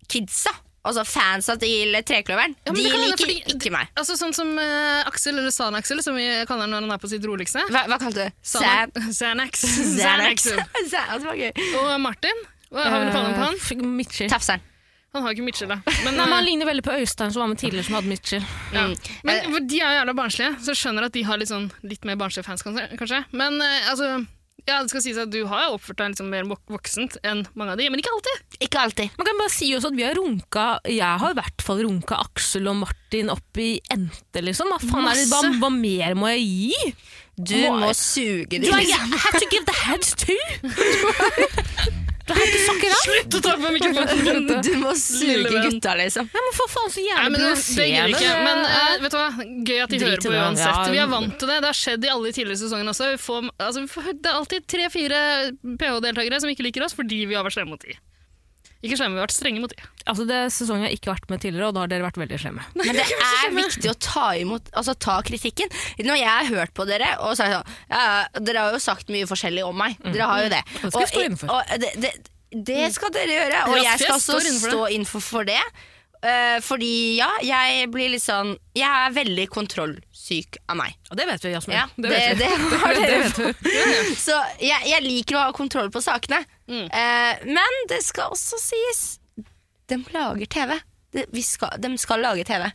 Speaker 1: kidsa, altså fansa til Trekløveren,
Speaker 3: Ja, men
Speaker 1: de
Speaker 3: det kan hende
Speaker 1: liker
Speaker 3: fordi-
Speaker 1: ikke meg.
Speaker 3: altså Sånn som eh, Aksel, eller San-Aksel, som vi kaller han når han er på sitt roligste.
Speaker 1: Hva, hva kalte du?
Speaker 3: San- Xanax.
Speaker 1: Xanax.
Speaker 3: Xanax.
Speaker 1: Xanax var gøy.
Speaker 3: Mm. Og Martin. Hva har vi noe kallenavn på han?
Speaker 2: Mitchell.
Speaker 1: Tafseren.
Speaker 3: Han har ikke Mitchell, da. Men,
Speaker 2: Eh. Nei, men Han ligner veldig på Øystein som var med tidligere, som hadde Mitchell.
Speaker 3: ja.
Speaker 1: Mm.
Speaker 3: men for de er jo jævla barnslige, så jeg skjønner at de har litt, sånn, litt mer barnslige fans, kanskje. kanskje. Men eh, altså, ja, det skal sies at du har jo oppført deg litt sånn mer vok- voksent enn mange av de, men ikke alltid.
Speaker 1: Ikke alltid.
Speaker 2: Man kan bare si også at vi har runka Jeg har i hvert fall runka Aksel og Martin opp i ente, liksom. Hva faen er det, hva,
Speaker 3: Masse.
Speaker 2: hva mer må jeg gi?
Speaker 1: Du må suge
Speaker 2: Do
Speaker 1: det.
Speaker 2: I have to give the heads too? Du har ikke sakker av?
Speaker 3: Slutt å ta på mikrofonen!
Speaker 1: Du må
Speaker 3: Lille
Speaker 1: suge
Speaker 3: venn.
Speaker 1: gutta, liksom.
Speaker 2: Nei, men for faen så
Speaker 3: Nei,
Speaker 2: jævlig
Speaker 3: men det, det gidder vi ikke. Men eh, vet du hva? Gøy at de
Speaker 2: Drit i
Speaker 3: hører på
Speaker 2: det, ja.
Speaker 3: uansett. Vi er vant til det. Det har skjedd i alle de tidligere sesongene også. Vi får, altså, vi får, det er alltid tre-fire PH-deltakere som ikke liker oss fordi vi har vært slemme mot de. Ikke slemme, vi har vært strenge mot de.
Speaker 2: Altså, det er sesongen jeg ikke har vært med tidligere, og da har dere vært veldig slemme.
Speaker 1: Men det er viktig å ta, imot, altså, ta kritikken. Når jeg har hørt på dere og sagt sånn ja, ja, Dere har jo sagt mye forskjellig om meg.
Speaker 2: Mm.
Speaker 1: Dere har jo det.
Speaker 2: Det skal jeg stå innenfor. Mm.
Speaker 1: og det, det, det skal dere gjøre, og
Speaker 3: Raffes
Speaker 1: jeg skal også
Speaker 3: står innenfor det.
Speaker 1: stå innenfor for det. Eh, fordi ja, jeg blir litt sånn Jeg er veldig kontrollsyk av meg.
Speaker 2: Og det vet vi, Jasmin.
Speaker 1: Ja,
Speaker 2: det vet vi.
Speaker 1: det har
Speaker 2: Det
Speaker 1: dere
Speaker 2: vet vi.
Speaker 1: Så jeg, jeg liker å ha kontroll på sakene. Eh, men det skal også sies De lager TV. De, vi skal, de skal lage TV.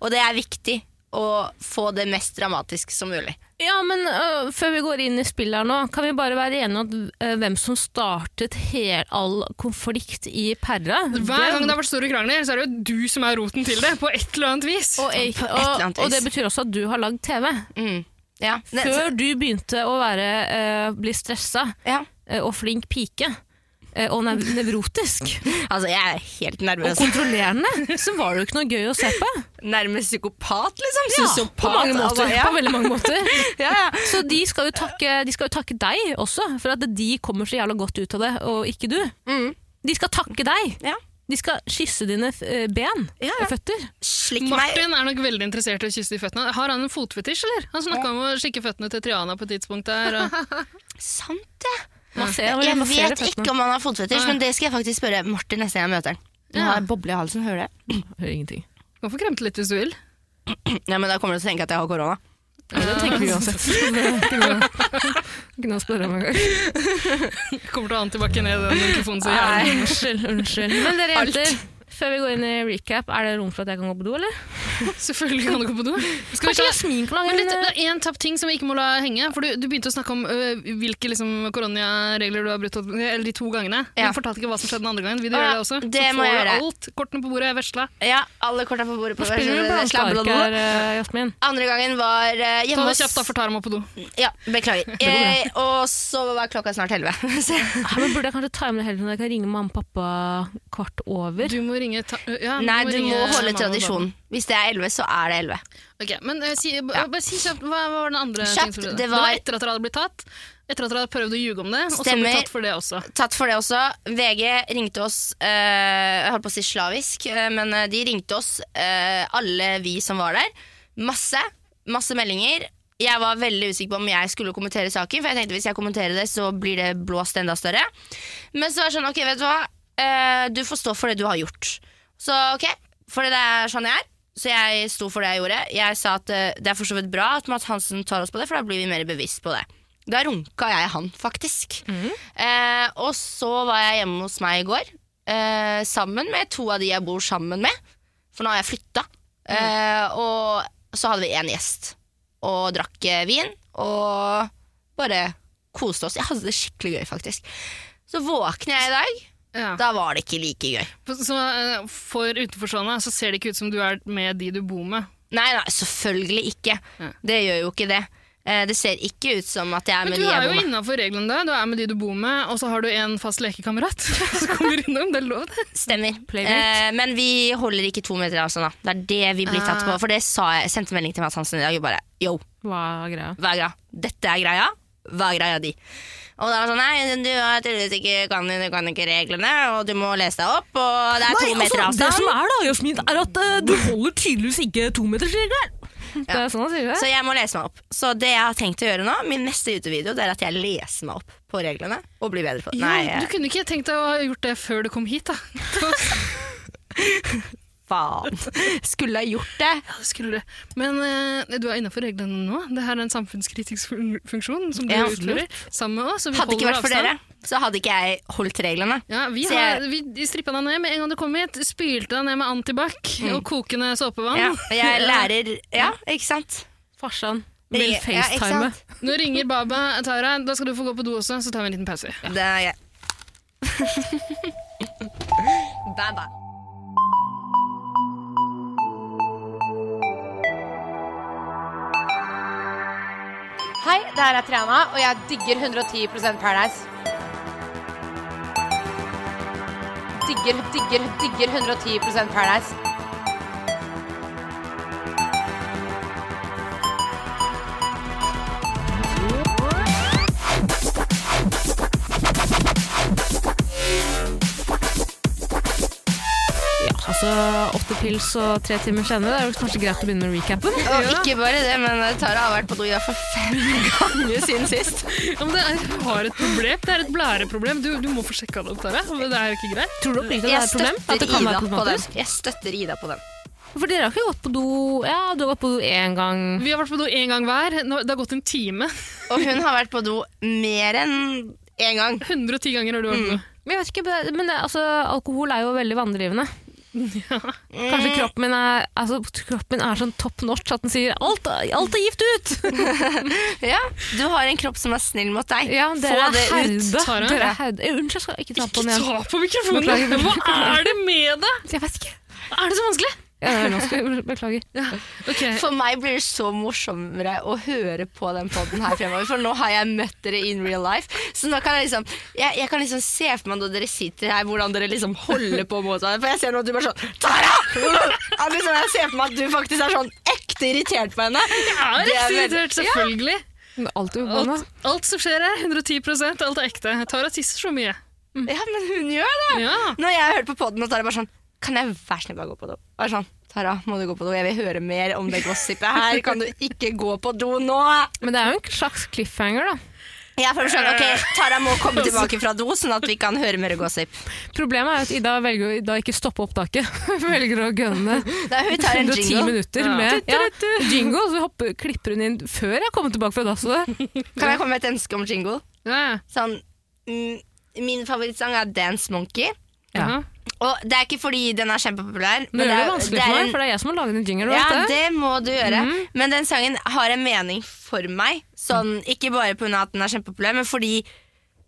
Speaker 1: Og det er viktig å få det mest dramatisk som mulig.
Speaker 2: Ja, men øh, før vi går inn i spillet her nå, kan vi bare være enige om at, øh, hvem som startet hel, all konflikt i Perra?
Speaker 3: Hver gang det har vært store krangler, så er det jo du som er roten til det, på et eller annet vis.
Speaker 2: og, jeg,
Speaker 1: På et eller
Speaker 2: og,
Speaker 1: annet
Speaker 2: og det
Speaker 1: vis.
Speaker 2: betyr også at du har lagd TV.
Speaker 1: Mm. Ja. Ne-
Speaker 2: Før du begynte å være, øh, bli stressa
Speaker 1: ja.
Speaker 2: øh, og flink pike øh, og nev nevrotisk
Speaker 1: Altså, jeg er helt
Speaker 2: og
Speaker 1: nervøs.
Speaker 2: kontrollerende, så var det jo ikke noe gøy å se på.
Speaker 1: Nærmest psykopat, liksom.
Speaker 2: på mange måter.
Speaker 1: Altså, ja.
Speaker 2: På veldig mange måter.
Speaker 1: Ja, ja.
Speaker 2: Så de skal, jo takke, de skal jo takke deg også, for at de kommer så jævla godt ut av det, og ikke du.
Speaker 1: Mm.
Speaker 2: De skal takke deg.
Speaker 1: Ja.
Speaker 2: De skal kysse dine eh, ben
Speaker 1: Ja, ja.
Speaker 2: og føtter.
Speaker 1: Slikk meg.
Speaker 3: Martin er nok veldig interessert i å kysse de føttene. Har han en fotfetisj, eller? Han snakka om å skikke føttene til Triana på et tidspunkt der. Og...
Speaker 1: Sant det.
Speaker 2: Masser,
Speaker 1: Jeg vet ikke om han har fotfetisj, men det skal jeg faktisk spørre Martin neste gang jeg møter han. Nå har jeg boble i halsen, hører du det?
Speaker 2: Hører ingenting.
Speaker 3: Du kan få kremte litt hvis du vil.
Speaker 1: Ja, men da kommer du til å tenke at jeg har korona.
Speaker 2: Ja, det tenker vi uansett. Kunne jeg spørre om en gang.
Speaker 3: Kommer til å ha han tilbake ned den mikrofonen så
Speaker 2: Nei,
Speaker 3: jævlig.
Speaker 2: unnskyld, unnskyld. Men dere jenter, før vi går inn i recap, er det rom for at jeg kan gå på do, eller?
Speaker 3: Selvfølgelig kan du gå på do. Skal vi
Speaker 2: Kanskje
Speaker 3: ta
Speaker 2: Jasmin kan
Speaker 3: Men
Speaker 2: lage
Speaker 3: litt,
Speaker 2: en
Speaker 3: det
Speaker 2: eh,
Speaker 3: er én tapt ting som vi ikke må la henge. For du, du begynte å snakke om ø, hvilke liksom, koronaregler du har brutt, eller de to gangene.
Speaker 1: Ja.
Speaker 3: Du fortalte ikke hva som skjedde den andre gangen. Vil du
Speaker 1: Å, ja.
Speaker 3: gjøre det også?
Speaker 1: Det
Speaker 3: Så
Speaker 1: må
Speaker 3: får
Speaker 1: jeg
Speaker 3: du
Speaker 1: gjøre.
Speaker 3: alt. Kortene på bordet, vesla.
Speaker 1: Ja, alle korta på bordet. på
Speaker 2: Spiller du blanke
Speaker 1: Slabbelodde.
Speaker 2: her, eh, Jasmin?
Speaker 1: Andre gangen var eh,
Speaker 3: Ta
Speaker 1: hjemme
Speaker 3: det kjapt, da, for Tara må på do.
Speaker 1: Ja, beklager. Eh, og så var klokka snart elleve. Så-
Speaker 2: Ja, men burde jeg kanskje ta med det heller når jeg kan ringe mamma og pappa kvart over?
Speaker 3: Du må ringe ta ø, ja,
Speaker 1: Nei, du må
Speaker 3: ringe
Speaker 1: holde
Speaker 3: mamma og
Speaker 1: tradisjonen. Hvis det er elleve, så er det elleve.
Speaker 3: pappa. Ok, men ø, si, b- Bare si kjapt, hva, hva var den andre
Speaker 1: Kjapt,
Speaker 3: tingen som skjedde?
Speaker 1: det
Speaker 3: Det
Speaker 1: var-
Speaker 3: var etter at dere hadde blitt tatt. Etter at dere hadde prøvd å ljuge om det, og så
Speaker 1: Stemmer.
Speaker 3: blitt tatt for det også.
Speaker 1: Tatt for det også. VG ringte oss eh, Jeg holdt på å si slavisk, eh, men eh, de ringte oss, eh, alle vi som var der. Masse. Masse meldinger. Jeg var veldig usikker på om jeg skulle kommentere saken, for jeg tenkte hvis jeg kommenterer det, så blir det blåst enda større. Men så var det sånn, ok, vet du hva? Eh, du får stå for det du har gjort. Så ok, for det er sånn jeg er. Så jeg sto for det jeg gjorde. Jeg sa at eh, det er for så vidt bra at Mads Hansen tar oss på det, for da blir vi mer bevisst på det. Da runka jeg han, faktisk.
Speaker 3: Mhm.
Speaker 1: Eh, og så var jeg hjemme hos meg i går, eh, sammen med to av de jeg bor sammen med. For nå har jeg flytta.
Speaker 3: Mhm.
Speaker 1: Eh, og så hadde vi én gjest, og drakk eh, vin, og bare koste oss. Jeg hadde det skikkelig gøy, faktisk. Så våkner jeg i dag,
Speaker 3: Ja.
Speaker 1: da var det ikke like gøy.
Speaker 3: For- Så, ø, for utenforstående så ser det ikke ut som du er med de du bor med.
Speaker 1: Nei, nei, selvfølgelig ikke.
Speaker 3: Ja.
Speaker 1: Det gjør jo ikke det. Eh, Det ser ikke ut som at jeg er
Speaker 3: Men
Speaker 1: med
Speaker 3: du
Speaker 1: de
Speaker 3: er
Speaker 1: jeg
Speaker 3: jo
Speaker 1: bor med.
Speaker 3: innafor reglene. da. Du er med de du bor med, og så har du en fast lekekamerat som kommer innom. Det er lov, det.
Speaker 1: Stemmer.
Speaker 2: Playmate.
Speaker 1: Eh, men vi holder ikke to meter avstand, da. Det er det vi blir tatt på. For det sa jeg, jeg sendte melding til Mads Hansen i dag. og Bare yo,
Speaker 2: Hva er greia?
Speaker 1: hva er greia? Dette er greia. Hva er greia di? Og da var det sånn, nei, du har tydeligvis ikke kan, du kan ikke reglene, og du må lese deg opp, og det er to meter
Speaker 2: altså, Det
Speaker 1: avstand.
Speaker 2: som er da, Jasmin, er at eh, du holder tydeligvis ikke tometersregelen. Det er sånn han sier
Speaker 1: Så
Speaker 2: det.
Speaker 1: jeg må lese meg opp. Så det jeg har tenkt å gjøre nå, min neste YouTube-video, det er at jeg leser meg opp på reglene og blir bedre på det. Nei,
Speaker 3: Ja, du
Speaker 1: eh,
Speaker 3: kunne ikke tenkt deg å ha gjort det før du kom hit, da. da
Speaker 1: faen. Skulle ha gjort det.
Speaker 3: skulle du. Men eh, du er innafor reglene nå. Det her er en samfunnskritisk fun- funksjon som du
Speaker 1: Ja,
Speaker 3: utfører sammen med oss. så vi
Speaker 1: Hadde ikke vært
Speaker 3: holder
Speaker 1: for
Speaker 3: avstand.
Speaker 1: dere. så hadde ikke jeg holdt reglene.
Speaker 3: Ja, vi,
Speaker 1: Så
Speaker 3: har,
Speaker 1: jeg-
Speaker 3: vi strippa deg ned med en gang du kom hit. Spylte deg ned med antibac og kokende såpevann.
Speaker 1: Mm. Ja, og jeg lærer Ja, ikke sant?
Speaker 2: Farsan
Speaker 1: Det-
Speaker 2: vil
Speaker 1: ja, ikke
Speaker 2: facetime.
Speaker 1: sant?
Speaker 3: Nå ringer Baba Tara. Da skal du få gå på do også, så tar vi en liten pause.
Speaker 1: Det er jeg. bye bye.
Speaker 5: Hei, det her er Triana, og jeg digger 110 Paradise. Digger, digger, digger 110 Paradise.
Speaker 2: Ja, altså åtte pils og tre timer senere, det er jo kanskje greit å begynne med recapen.
Speaker 1: Og ikke bare det, men Tara har vært på do i hvert fall fem ganger siden sist.
Speaker 3: Ja, men det er, jeg har et problem. Det er et blæreproblem. Du, du må få sjekka det opp, Tara. Men det er ikke greit.
Speaker 2: Tror du oppriktig
Speaker 1: Jeg
Speaker 2: at det er et problem? At det
Speaker 1: støtter Ida
Speaker 2: kan være
Speaker 1: på den.
Speaker 2: problematisk?
Speaker 1: Jeg støtter Ida på den.
Speaker 2: For dere har ikke gått på do Ja, du har gått på do én gang.
Speaker 3: Vi har vært på do én gang hver. Nå, det har gått en time.
Speaker 1: Og hun har vært på do mer enn én gang.
Speaker 3: 110 ganger har du vært på do.
Speaker 2: Men Jeg vet ikke, men det, altså, alkohol er jo veldig vanedrivende. Kanskje kroppen min er, altså, kroppen min er sånn top notch at den sier alt, alt er gift ut!
Speaker 1: Ja, Du har en kropp som er snill mot deg.
Speaker 2: Ja,
Speaker 1: Få
Speaker 2: dere er
Speaker 1: det ut.
Speaker 2: herde.
Speaker 3: Tara.
Speaker 2: Dere er herde. Eh, Unnskyld, jeg skal ikke ta på den
Speaker 3: Ikke
Speaker 2: igjen.
Speaker 3: ta på mikrofonen! Hva er det med deg?
Speaker 2: Jeg vet ikke.
Speaker 3: Er det så vanskelig?
Speaker 2: Ja, det er vanskelig. Beklager.
Speaker 3: Ok,
Speaker 1: For meg blir det så morsommere å høre på den podden her fremover, for nå har jeg møtt dere in real life. Så nå kan jeg liksom Jeg, jeg kan liksom se for meg når dere sitter her, hvordan dere liksom holder på mot hverandre. For jeg ser nå at du bare sånn Tara! Ja, liksom, jeg ser for meg at du faktisk er sånn ekte irritert på henne.
Speaker 3: Jeg
Speaker 1: Det er
Speaker 3: er ekte
Speaker 1: veldig-
Speaker 3: irritert, selvfølgelig.
Speaker 2: Men Alt er forbanna.
Speaker 3: Alt, alt som skjer her, 110 alt er ekte. Tara tisser så mye.
Speaker 1: Ja, men hun gjør det!
Speaker 3: Ja.
Speaker 1: Når jeg hører på podden, og Tara bare sånn Kan jeg være snill bare gå på do? Bare sånn Tara, må du gå på do? Jeg vil høre mer om det gossipet her. Kan du ikke gå på do nå?
Speaker 2: Men det er jo en slags cliffhanger, da.
Speaker 1: Jeg føler sånn, ok, Tara må komme tilbake fra do, sånn at vi kan høre mer gossip.
Speaker 2: Problemet er at Ida velger å da ikke stoppe opptaket. velger å gønne
Speaker 1: Da hun tar en
Speaker 2: 110
Speaker 1: jingle.
Speaker 2: minutter
Speaker 3: Ja.
Speaker 2: med ja, jingle, så hopper, klipper hun inn før jeg kommer tilbake fra dasset.
Speaker 1: Kan jeg komme med et ønske om jingle?
Speaker 3: Ja, ja.
Speaker 1: Sånn, mm, min favorittsang er Dance Monkey.
Speaker 2: Ja.
Speaker 3: Jaha.
Speaker 1: Og det er ikke fordi den er kjempepopulær.
Speaker 2: Nå gjør det
Speaker 1: er-
Speaker 2: vanskelig
Speaker 1: er
Speaker 2: for meg,
Speaker 1: en-
Speaker 2: for det er jeg som har laget en jingle. du
Speaker 1: ja,
Speaker 2: vet det.
Speaker 1: det må du gjøre. Men den sangen har en mening for meg. Sånn, ikke bare pga. at den er kjempepopulær, men fordi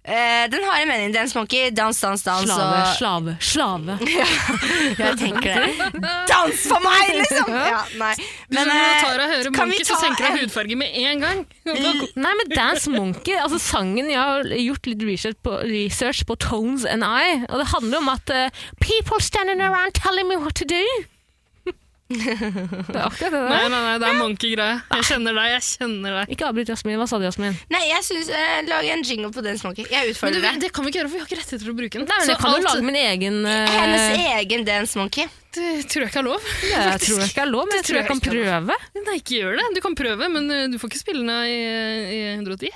Speaker 1: eh, den har en mening. Dance Monkey, dans, dans, dans.
Speaker 2: Slave,
Speaker 1: og-
Speaker 2: slave, slave.
Speaker 1: Jeg tenker det. Dans for meg, liksom! Ja, nei.
Speaker 3: Men,
Speaker 1: Men,
Speaker 3: når
Speaker 1: eh,
Speaker 3: Tara hører
Speaker 1: kan vi
Speaker 3: Monkey, så
Speaker 1: ta
Speaker 3: tenker hun
Speaker 1: en-
Speaker 3: hudfarge med en gang.
Speaker 2: Nei, men Dance Monkey, altså sangen Jeg har gjort litt research på, research på Tones and I, og det handler om at eh, People standing around telling me what to do. Det er akkurat det
Speaker 3: Nei,
Speaker 2: der.
Speaker 3: nei, nei, det er Monkey-greie. Jeg kjenner deg, jeg kjenner deg.
Speaker 2: Ikke avbryt Jasmin. Hva sa du, Jasmin?
Speaker 1: Nei, jeg syns eh, Lag en jingle på Dance Monkey. Jeg
Speaker 3: Men
Speaker 1: utfordrer
Speaker 3: du,
Speaker 1: deg.
Speaker 3: det kan vi ikke gjøre, for vi har ikke rettigheter til å bruke den.
Speaker 2: Nei, men
Speaker 3: Så
Speaker 2: jeg kan jo
Speaker 3: alt-
Speaker 2: lage min egen eh,
Speaker 1: Hennes egen Dance Monkey.
Speaker 3: Det tror jeg ikke er lov.
Speaker 2: Ja, jeg tror ikke det er lov, men jeg tror jeg
Speaker 3: tror jeg
Speaker 2: kan
Speaker 3: ikke
Speaker 2: prøve.
Speaker 3: Nei, ikke gjør det. Du kan prøve, men eh, du får ikke spille den i, i 110.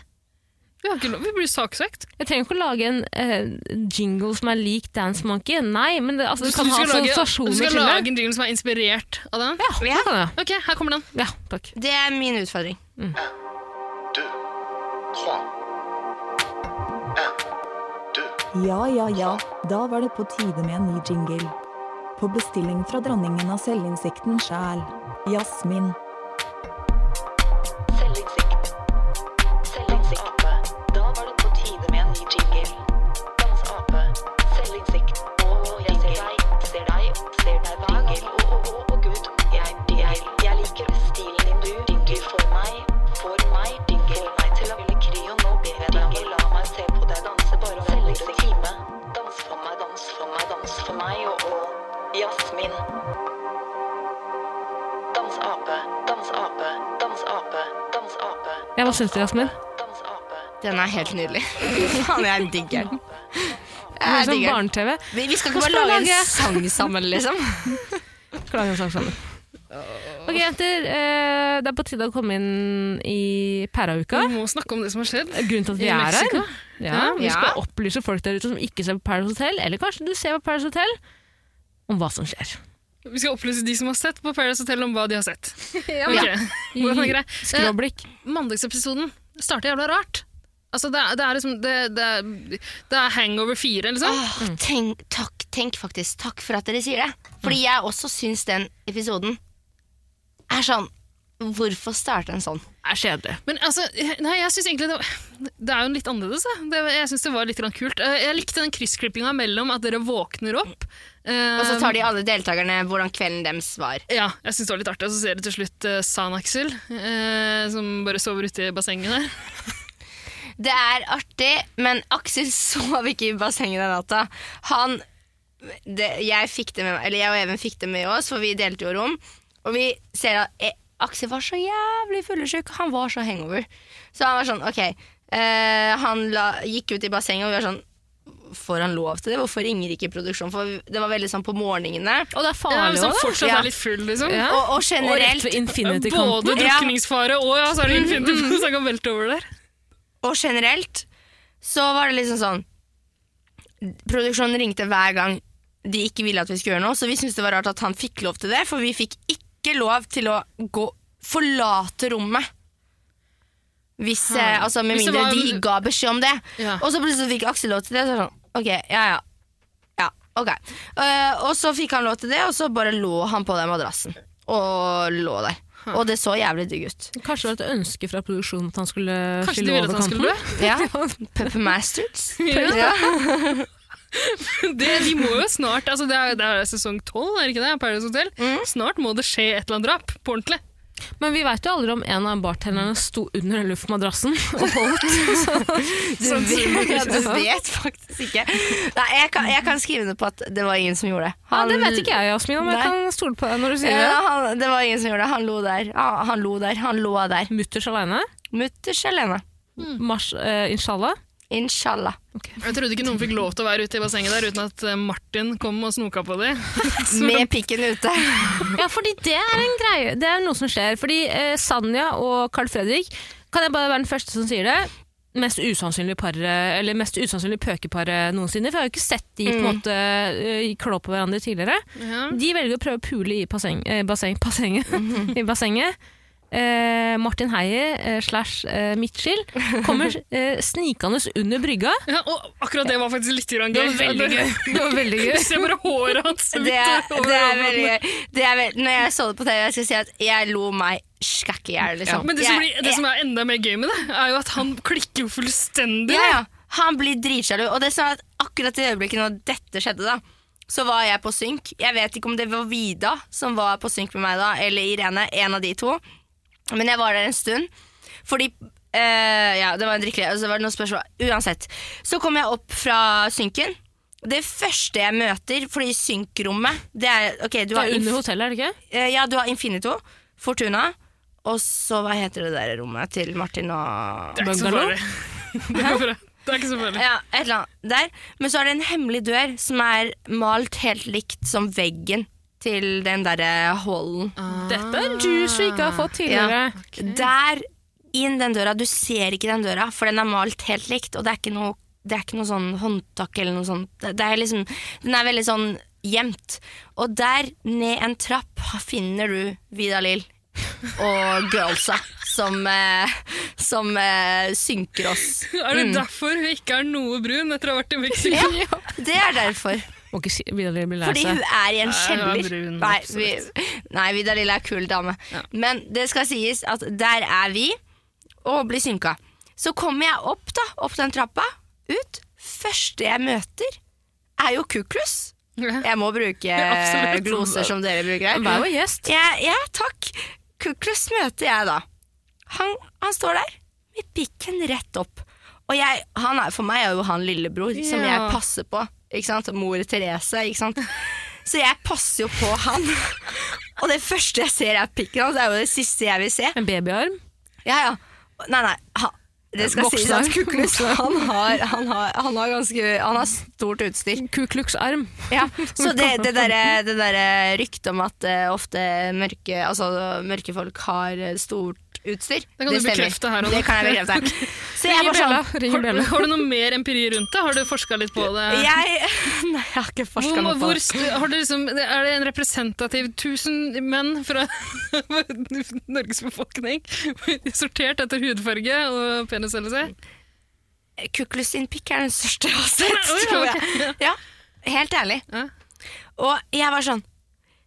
Speaker 3: Vi, har ikke lov. vi blir saksøkt.
Speaker 2: Jeg trenger ikke å lage en eh, jingle som er lik Dance Monkey. Nei, men det, altså, du kan ha
Speaker 3: du
Speaker 2: assosiasjoner
Speaker 3: skal
Speaker 2: til det.
Speaker 3: lage en jingle som er inspirert av den.
Speaker 2: Ja, det kan jeg.
Speaker 3: Ok, her kommer den.
Speaker 2: Ja, takk.
Speaker 1: Det er min utfordring.
Speaker 6: 2, 3, 1, 2.
Speaker 7: Ja, ja, ja, da var det på tide med en ny jingle. På bestilling fra dronningen av selvinnsikten sjæl, Jasmin.
Speaker 8: Selvinnsikt. Selvinnsikt. Da var det på tide med en ny jingle. Dans ape. Selvinnsikt. Å, jeg ser deg, ser deg, ser deg hver gang. Å, å, å, å, gud. Jeg, jeg, jeg liker stilen din, du. Dingle for meg, for meg. Dingle får meg til å ville kry, og nå ber jeg deg om å la meg se på deg danse bare om en time. Dans for meg, dans for meg, dans for meg, og å, Jasmin. Dans ape, dans ape, dans ape, dans ape.
Speaker 2: Ja, hva syns du, Jasmin?
Speaker 8: Dans ape.
Speaker 1: Den er helt nydelig. Faen, jeg digger den. Jeg
Speaker 2: Høres ut som
Speaker 1: digger den.
Speaker 2: barne-TV.
Speaker 1: Vi vi skal ikke bare
Speaker 2: sånn Hva skal vi
Speaker 1: lage
Speaker 2: lage?
Speaker 1: en sang sammen, liksom.
Speaker 2: Skal lage en sang sammen. Ok, jenter. eh, det er på tide å komme inn i pærauka.
Speaker 3: Vi må snakke om det som har skjedd.
Speaker 2: Grunnen til at vi
Speaker 3: Mm. I
Speaker 2: er her.
Speaker 3: Mexico?
Speaker 2: Ja, vi
Speaker 1: Ja.
Speaker 2: skal opplyse folk der ute som ikke ser på Paradise Hotel, eller kanskje du ser på Paradise Hotel, om hva som skjer.
Speaker 3: Vi skal opplyse de som har sett på Paradise Hotel, om hva de har sett. Ok,
Speaker 2: Ja.
Speaker 3: hvordan er det? Eh,
Speaker 2: Skråblikk.
Speaker 3: Mandagsepisoden starter jævla rart. Altså, det, er- det er liksom Det, det, er- det er Hangover 4,
Speaker 2: Ah,
Speaker 3: liksom.
Speaker 1: Åh, Ah,
Speaker 2: mm.
Speaker 1: tenk, takk, tenk faktisk. Takk for at dere sier det. Fordi
Speaker 2: Mm.
Speaker 1: jeg også syns den episoden er sånn Hvorfor starte en sånn?
Speaker 2: er kjedelig.
Speaker 3: Men altså, jeg- nei, jeg synes egentlig det, var- det er jo litt annerledes. da. Det, jeg synes det var litt grann kult. Eh, Jeg likte den kryssklippinga mellom at dere våkner opp eh,
Speaker 1: Og så tar
Speaker 2: Um.
Speaker 1: de alle deltakerne hvordan kvelden deres var.
Speaker 3: Ja, jeg synes det var litt artig. Og så ser du til slutt eh, Sanaxel, eh, som bare sover ute i bassenget der.
Speaker 1: Det er artig, men Aksel sov ikke i bassenget den natta. Han det, Jeg fikk det med meg, eller jeg og Even fikk det med oss, for vi delte jo rom. Og vi ser at eh, Aksel var så jævlig fyllesyk. Han var så hangover. Så han var sånn, OK. eh, han la, gikk ut i bassenget, og vi var sånn Får han lov til det? Hvorfor ringer ikke produksjonen? For det var veldig sånn på morgenene.
Speaker 2: Og det er
Speaker 3: Ja, men
Speaker 2: farlig
Speaker 3: som
Speaker 2: òg, da.
Speaker 3: fortsatt
Speaker 1: Ja.
Speaker 3: er litt full, liksom.
Speaker 2: Ja.
Speaker 1: Og, og
Speaker 2: Og rett
Speaker 1: generelt
Speaker 2: ved Infinity-kanten.
Speaker 3: Både drukningsfare og ja, så er det
Speaker 1: Mm.
Speaker 3: Infinity Pool som kan velte over der.
Speaker 1: Og generelt så var det liksom sånn Produksjonen ringte hver gang de ikke ville at vi skulle gjøre noe, så vi syntes det var rart at han fikk lov til det, for vi fikk ikke lov til å gå forlate rommet. Hvis, eh, altså Med
Speaker 3: Hvis det
Speaker 1: mindre
Speaker 3: var-
Speaker 1: de ga beskjed om det.
Speaker 3: Ja.
Speaker 1: Og så plutselig fikk Aksel lov til det. Så var det sånn, ok, ja, ja. ja ok. Eh, og så fikk han lov til det, og så bare lå han på den madrassen. Og lå der. Og det så jævlig digg ut.
Speaker 2: Kanskje det var et ønske fra produksjonen at han skulle
Speaker 3: Kanskje de
Speaker 2: skylle
Speaker 3: ville at
Speaker 2: over
Speaker 3: han
Speaker 2: kanten?
Speaker 3: skulle dø?
Speaker 1: Ja. Pepper Masters. Ja.
Speaker 3: Det, de må jo snart, altså det er, det er sesong 12, er det ikke det? Paradise Hotel.
Speaker 1: Mm.
Speaker 3: Snart må det skje et eller annet drap, på ordentlig.
Speaker 2: Men vi veit jo aldri om en av bartenderne sto under den luftmadrassen og holdt. Så,
Speaker 1: Du vet, ja, Sånn du vet faktisk ikke. Nei, jeg kan, jeg kan skrive under på at det var ingen som gjorde det.
Speaker 2: ja, det vet ikke jeg, Jasmin, om jeg
Speaker 1: Nei.
Speaker 2: kan stole på deg når du sier
Speaker 1: Ja,
Speaker 2: det.
Speaker 1: han, det var ingen som gjorde det. Han lo der. Ah, Han lo der. Han lå der.
Speaker 2: Mutters aleine.
Speaker 1: Mutters alene.
Speaker 2: Mars, eh, inshallah.
Speaker 1: Inshallah.
Speaker 3: Jeg trodde ikke noen fikk lov til å være ute i bassenget der uten at eh, Martin kom og snoka på dem.
Speaker 1: Med pikken ute.
Speaker 2: Ja, fordi det er en greie. Det er noe som skjer. Fordi eh, Sanja og Carl Fredrik kan jeg bare være den første som sier det. Mest usannsynlige paret, eller mest usannsynlige pøkeparet noensinne. For jeg har jo ikke sett de på en måte eh, klå på hverandre tidligere.
Speaker 3: Ja.
Speaker 2: De velger å prøve å pule i basseng, eh, basseng, bassenget. I bassenget. Eh, Martin Heier eh, slash eh, Mitchell kommer eh, snikende under brygga.
Speaker 3: Ja, og akkurat det var faktisk litt grann gøy.
Speaker 2: Det var veldig gøy.
Speaker 3: Du ser bare håret hans ut
Speaker 1: Det er,
Speaker 3: over
Speaker 1: det er
Speaker 3: øynene.
Speaker 1: veldig gøy. Det er veld- Når jeg så det på TV, jeg skal si at jeg lo meg skækk i hjel.
Speaker 3: Ja,
Speaker 1: Liksom.
Speaker 3: men det som,
Speaker 1: Jeg-
Speaker 3: blir, det som er enda mer gøy med det, er jo at han klikker jo fullstendig.
Speaker 1: Ja, ja. Han blir dritsjalu. Og det er sånn at akkurat i øyeblikket når dette skjedde, da, så var jeg på synk. Jeg vet ikke om det var Vida som var på synk med meg da, eller Irene. En av de to. Men jeg var der en stund. Fordi eh, Ja, det var en drikkelig, og så var det noen spørsmål. Uansett. Så kom jeg opp fra synken. Det første jeg møter, fordi synkrommet Det er, ok, du
Speaker 2: Det
Speaker 1: har
Speaker 2: er under
Speaker 1: inf-
Speaker 2: hotellet, er det ikke?
Speaker 1: Eh, Ja, du har Infinito, Fortuna, og så hva heter det der rommet til Martin og
Speaker 3: Det er ikke så
Speaker 2: Bungalow?
Speaker 3: farlig. Det er bare- det er ikke så farlig.
Speaker 1: Ja, et eller annet der. Men så er det en hemmelig dør som er malt helt likt som veggen til den derre hallen.
Speaker 2: Ah, Dette er juice vi ikke har fått tidligere.
Speaker 1: Ja. Der, inn den døra. Du ser ikke den døra, for den er malt helt likt, og det er ikke noe, det er ikke noe sånn håndtak eller noe sånt. Det, det er liksom, den er veldig sånn gjemt. Og der, ned en trapp, finner du Vida Lill. Og girlsa som, eh, som eh, synker oss.
Speaker 3: Er
Speaker 2: Mm.
Speaker 3: det derfor hun ikke er noe brun etter å ha vært i Mexico?
Speaker 1: Ja, det er derfor.
Speaker 2: Må ikke si, blir blir lei
Speaker 1: Fordi
Speaker 2: seg.
Speaker 1: hun er i en
Speaker 3: hun er
Speaker 1: kjeller.
Speaker 3: brun,
Speaker 1: Nei, vi,
Speaker 3: absolutt.
Speaker 1: nei Vidar Lille er kul dame. Men det skal sies at der er vi, og blir synka. Så kommer jeg opp da, opp den trappa, ut. Første jeg møter, er jo Kuklus.
Speaker 3: Ja.
Speaker 1: Jeg må bruke eh,
Speaker 3: absolutt.
Speaker 1: gloser som dere bruker
Speaker 2: Hun er
Speaker 1: her.
Speaker 2: jo gjest.
Speaker 1: Ja, ja takk. Kuklus møter jeg da. Han, han står der med pikken rett opp. Og jeg, han er, for meg er jo han lillebror som
Speaker 3: Ja.
Speaker 1: jeg passer på. Ikke sant? Mor Therese, ikke sant. Så jeg passer jo på han. Og det første jeg ser er pikken hans, det er jo det siste jeg vil se.
Speaker 2: En babyarm.
Speaker 1: Ja, ja. Nei, nei. Ha, det skal
Speaker 2: Voksne.
Speaker 1: sies at Kuklus han har, han, har, han, har ganske, han har stort utstyr.
Speaker 2: Ku Klux arm.
Speaker 1: Ja, så det, det derre det derre ryktet om at eh, ofte mørke, altså, mørke folk har eh, stort utstyr,
Speaker 3: Det kan du bekrefte her og nå.
Speaker 1: Det kan jeg bekrefte. Så jeg
Speaker 2: Ring
Speaker 1: var sånn
Speaker 2: Bella. Ring
Speaker 3: Har,
Speaker 2: Bella.
Speaker 3: har du noe mer empiri rundt det? Har du forska litt på det?
Speaker 1: jeg, Nei, jeg har ikke forska
Speaker 3: Eh, Hvor,
Speaker 1: noe på
Speaker 3: hvor,
Speaker 1: det.
Speaker 3: har du liksom, er det en representativ 1000 menn fra Norges befolkning sortert etter hudfarge og penisstørrelse?
Speaker 1: Kuklus sin pikk er den største jeg har sett, tror jeg. Ja, helt ærlig.
Speaker 3: Ja.
Speaker 1: Og jeg var sånn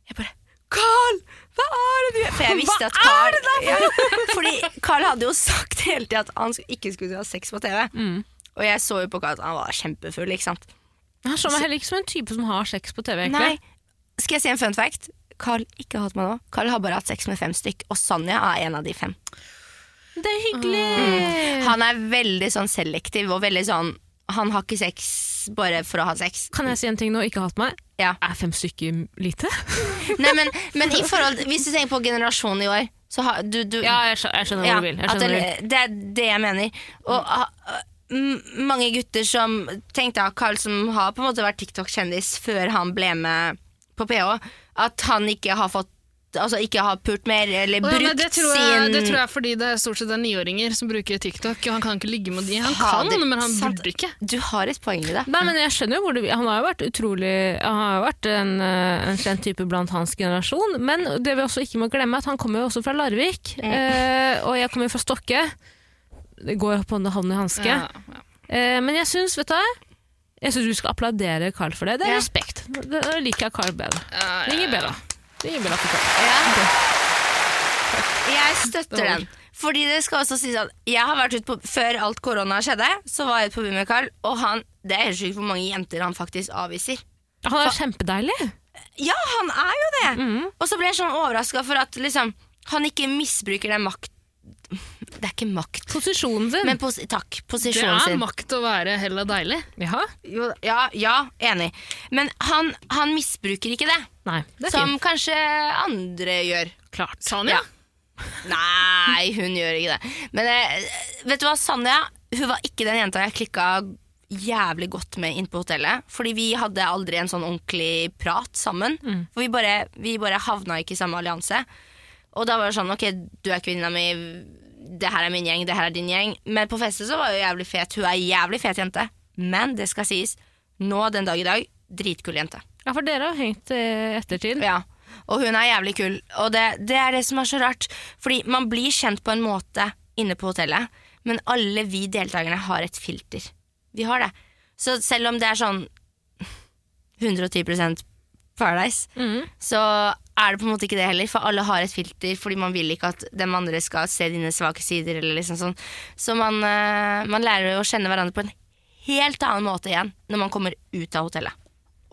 Speaker 1: Jeg bare Carl! Hva er det du gjør? For jeg visste at Carl ja, Fordi Carl hadde jo sagt hele tida at han sk- ikke skulle ha sex på TV.
Speaker 3: Mm.
Speaker 1: Og jeg så jo på Carl at han var kjempefull, ikke sant.
Speaker 2: Han slår meg heller ikke som en type som har sex på TV. egentlig.
Speaker 1: Nei, skal jeg si en fun fact? Carl ikke har hatt meg nå. Carl har bare hatt sex med fem stykk, og Sanja er en av de fem.
Speaker 2: Det er hyggelig! Mm.
Speaker 3: Mm.
Speaker 1: Han er veldig sånn selektiv og veldig sånn Han har ikke sex bare for å ha sex.
Speaker 2: Kan jeg si en ting nå? Ikke hatt meg.
Speaker 1: Ja.
Speaker 2: Er fem stykker lite?
Speaker 1: Nei, men, men i forhold, hvis du tenker på generasjonen i år, så har du, du
Speaker 2: jeg skjønner,
Speaker 1: Ja, at det, det er det jeg mener. Og
Speaker 3: Mm.
Speaker 1: ah, ah, m- mange gutter som Tenk da, Carl som har på en måte vært TikTok-kjendis før han ble med på PH, at han ikke har fått Altså ikke har pult mer, eller
Speaker 3: Å, ja,
Speaker 1: brukt
Speaker 3: nei, det, tror jeg,
Speaker 1: sin
Speaker 3: det tror jeg er fordi det er stort sett det er niåringer som bruker TikTok. Og han kan ikke ligge med de. Han
Speaker 1: Ha
Speaker 3: kan,
Speaker 1: det-
Speaker 3: men han
Speaker 1: sant.
Speaker 3: burde ikke.
Speaker 1: Du har et poeng i det.
Speaker 2: Nei, men jeg skjønner jo hvor du vil. Han har jo vært utrolig Han har jo vært en, eh, en kjent type blant hans generasjon. Men det vi også ikke må glemme, er at han kommer jo også fra Larvik. eh, og jeg kommer jo fra Stokke. Det går jo på hånd i hanske.
Speaker 3: Ja, ja.
Speaker 2: Eh, men jeg syns, vet du hva? Jeg syns du skal applaudere Carl for det. Det er
Speaker 1: Ja.
Speaker 2: respekt. Da da liker jeg Carl bedre.
Speaker 3: Ja, ja,
Speaker 2: Det gir bedre. Det gir bedre for Carl.
Speaker 1: Jeg støtter den. Fordi det skal også sies at jeg har vært ute på Før alt korona skjedde, så var jeg ute på byen med Carl, og han Det er helt sjukt hvor mange jenter han faktisk avviser.
Speaker 2: Han er kjempedeilig.
Speaker 1: Ja, han er jo det! Og så ble jeg sånn overraska for at liksom, han ikke misbruker den makt... Det er ikke makt,
Speaker 2: Posisjonen sin.
Speaker 1: men pos takk,
Speaker 3: Det
Speaker 1: posisjonen
Speaker 3: er
Speaker 1: sin.
Speaker 3: makt å være hella deilig.
Speaker 2: ja.
Speaker 1: Jo, ja, ja, enig. Men han, han misbruker ikke det,
Speaker 2: Nei, det er
Speaker 1: som
Speaker 2: fint.
Speaker 1: kanskje andre gjør.
Speaker 2: Klart.
Speaker 3: Tanja?
Speaker 1: Nei, hun gjør ikke det. Men eh, vet du hva, Sanja hun var ikke den jenta jeg klikka jævlig godt med inn på hotellet. Fordi vi hadde aldri en sånn ordentlig prat sammen. For vi bare, vi bare havna ikke i samme allianse. Og da var det sånn, ok, du er kvinna mi, det her er min gjeng, det her er din gjeng. Men på festet så var hun jævlig fet. Hun er ei jævlig fet jente. Men det skal sies, nå den dag i dag, dritkul jente.
Speaker 2: Ja, for dere har hengt i ettertid.
Speaker 1: Ja, og hun er jævlig kul. Og det, det er det som er så rart. Fordi man blir kjent på en måte inne på hotellet, men alle vi deltakerne har et filter. Vi har det. Så selv om det er sånn 110 Paradise, så er det på en måte ikke det heller. For alle har et filter, fordi man vil ikke at dem andre skal se dine svake sider. Eller liksom sånn. Så man, eh, man lærer jo å kjenne hverandre på en helt annen måte igjen når man kommer ut av hotellet.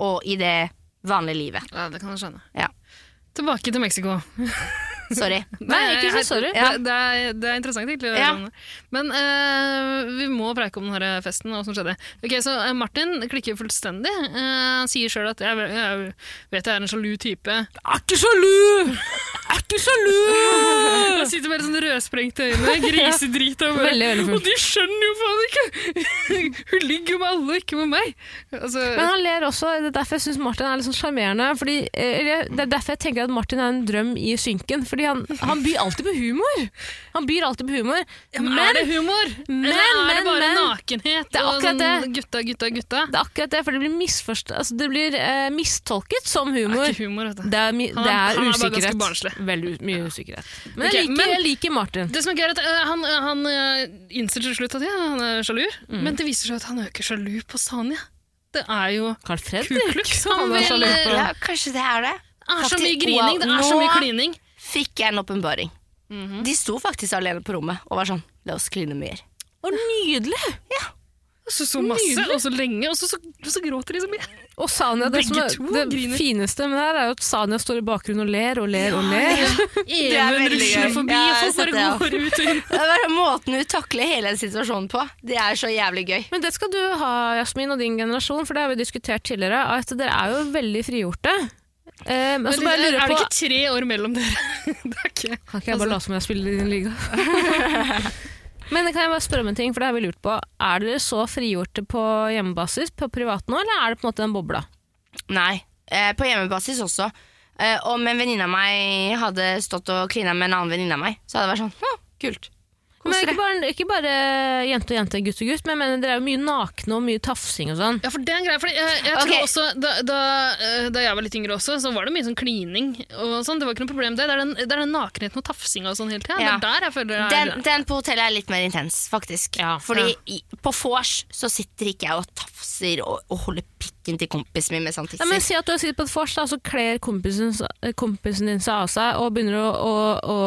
Speaker 1: Og i det vanlige livet.
Speaker 3: Ja, det kan jeg skjønne.
Speaker 1: Ja.
Speaker 3: Tilbake til Mexico.
Speaker 1: Sorry.
Speaker 2: Nei, ikke så sorry.
Speaker 3: Det, det, er, det er interessant, egentlig. å høre
Speaker 1: Ja.
Speaker 3: om det. Men eh, vi må preike om denne festen og hva som skjedde. Ok, Så eh, Martin klikker fullstendig. Eh, Han sier sjøl at jeg, jeg vet jeg er en sjalu type.
Speaker 2: Er ikke sjalu! Er ikke sjalu!
Speaker 3: Han sitter med litt sånn rødsprengte øyne, grisedrit og bare
Speaker 2: Veldig, veldig full.
Speaker 3: Og de skjønner jo faen ikke! Hun ligger med alle, ikke med meg! Altså,
Speaker 2: Men han ler også, det er derfor jeg syns Martin er litt sånn sjarmerende. fordi, eh, eller, Det er derfor jeg tenker at Martin er en drøm i synken. Fordi han, han byr alltid på humor! Han byr alltid på humor.
Speaker 3: men,
Speaker 2: men
Speaker 3: er det humor?
Speaker 2: men,
Speaker 3: Eller er det
Speaker 2: men,
Speaker 3: bare
Speaker 2: men.
Speaker 3: nakenhet
Speaker 2: Det er
Speaker 3: og
Speaker 2: akkurat
Speaker 3: sånn gutta, gutta, gutta?
Speaker 2: det er akkurat det, for det blir, misforst- altså, det blir eh, mistolket som humor.
Speaker 3: Det er ikke humor, vet du.
Speaker 2: Det er, mi
Speaker 3: Han-
Speaker 2: det
Speaker 3: han
Speaker 2: er
Speaker 3: er bare ganske
Speaker 2: usikkerhet.
Speaker 3: barnslig.
Speaker 2: Veldig u- mye usikkerhet. Men,
Speaker 3: Ok,
Speaker 2: jeg, liker,
Speaker 3: men-
Speaker 2: jeg liker Martin.
Speaker 3: Det som er gøy er at øh, Han, øh, han øh, innser til slutt at ja, han er sjalu, men det viser seg at han er jo ikke sjalu på Sanja. Det er jo
Speaker 2: Carl
Speaker 3: Ku
Speaker 2: Fredrik.
Speaker 3: Klux
Speaker 2: Han
Speaker 3: han
Speaker 2: er
Speaker 3: vil
Speaker 2: sjalu på.
Speaker 3: Det
Speaker 1: Ja, kanskje det er det.
Speaker 3: er så mye
Speaker 1: Faktisk-
Speaker 3: grining, det er så
Speaker 1: Wow,
Speaker 3: mye
Speaker 1: nå
Speaker 3: klining.
Speaker 1: Fikk jeg en åpenbaring. De sto faktisk alene på rommet og var sånn La oss kline mer.
Speaker 2: Og nydelig!
Speaker 3: Og så så masse,
Speaker 2: Nydelig.
Speaker 3: og så lenge, og så, så, og så gråter de så mye.
Speaker 2: Og Sanja, det, som
Speaker 3: Begge
Speaker 2: er,
Speaker 3: to griner.
Speaker 2: det fineste med det her, er jo at Sanja står i bakgrunnen og ler og ler og ler.
Speaker 1: er
Speaker 3: Even
Speaker 1: veldig
Speaker 3: rusler
Speaker 1: gøy.
Speaker 3: forbi,
Speaker 1: Ja,
Speaker 3: og
Speaker 1: jeg
Speaker 3: folk
Speaker 1: har
Speaker 3: bare
Speaker 1: sett
Speaker 3: går ut og inn.
Speaker 1: Det er bare Måten hun takler hele den situasjonen på, det er så jævlig gøy.
Speaker 2: Men det skal du ha, Jasmin og din generasjon, for det har vi diskutert tidligere, at dere er jo veldig frigjorte. Eh, men så
Speaker 3: Men
Speaker 2: bare
Speaker 3: er
Speaker 2: lurer jeg
Speaker 3: det
Speaker 2: på
Speaker 3: ikke tre år mellom dere? Det er ikke
Speaker 2: Kan ikke jeg bare
Speaker 1: Altså-
Speaker 2: late som jeg spiller i din liga? men kan jeg bare spørre om en ting, for det har vi lurt på. Er dere så frigjorte på hjemmebasis på privat nå, eller er det på en måte den bobla?
Speaker 1: Nei. Eh, på hjemmebasis også. Eh, om en venninne av meg hadde stått og klina med en annen venninne av meg, så hadde det vært sånn Å, kult.
Speaker 2: Men ikke bare, ikke bare jente og jente, gutt og gutt, men jeg mener, dere er jo mye nakne og mye tafsing og sånn.
Speaker 3: Ja, for det er en greie, fordi jeg, jeg
Speaker 1: Ok.
Speaker 3: tror også, da, da, eh, da jeg var litt yngre også, så var det mye sånn klining og sånn. Det var ikke noe problem med det. Det er den, det er den nakenheten og tafsinga og sånn hele tida.
Speaker 1: Ja.
Speaker 3: Det er der jeg føler det er
Speaker 1: Den, den på hotellet er litt mer intens, faktisk.
Speaker 2: Ja.
Speaker 1: Fordi i- på vors så sitter ikke jeg og tafser og, og holder pikken til kompisen min mens han tisser.
Speaker 2: Ja, men Si at du har sittet på et vors, da, så kler kompisen, kompisen din seg av seg og begynner å, å, å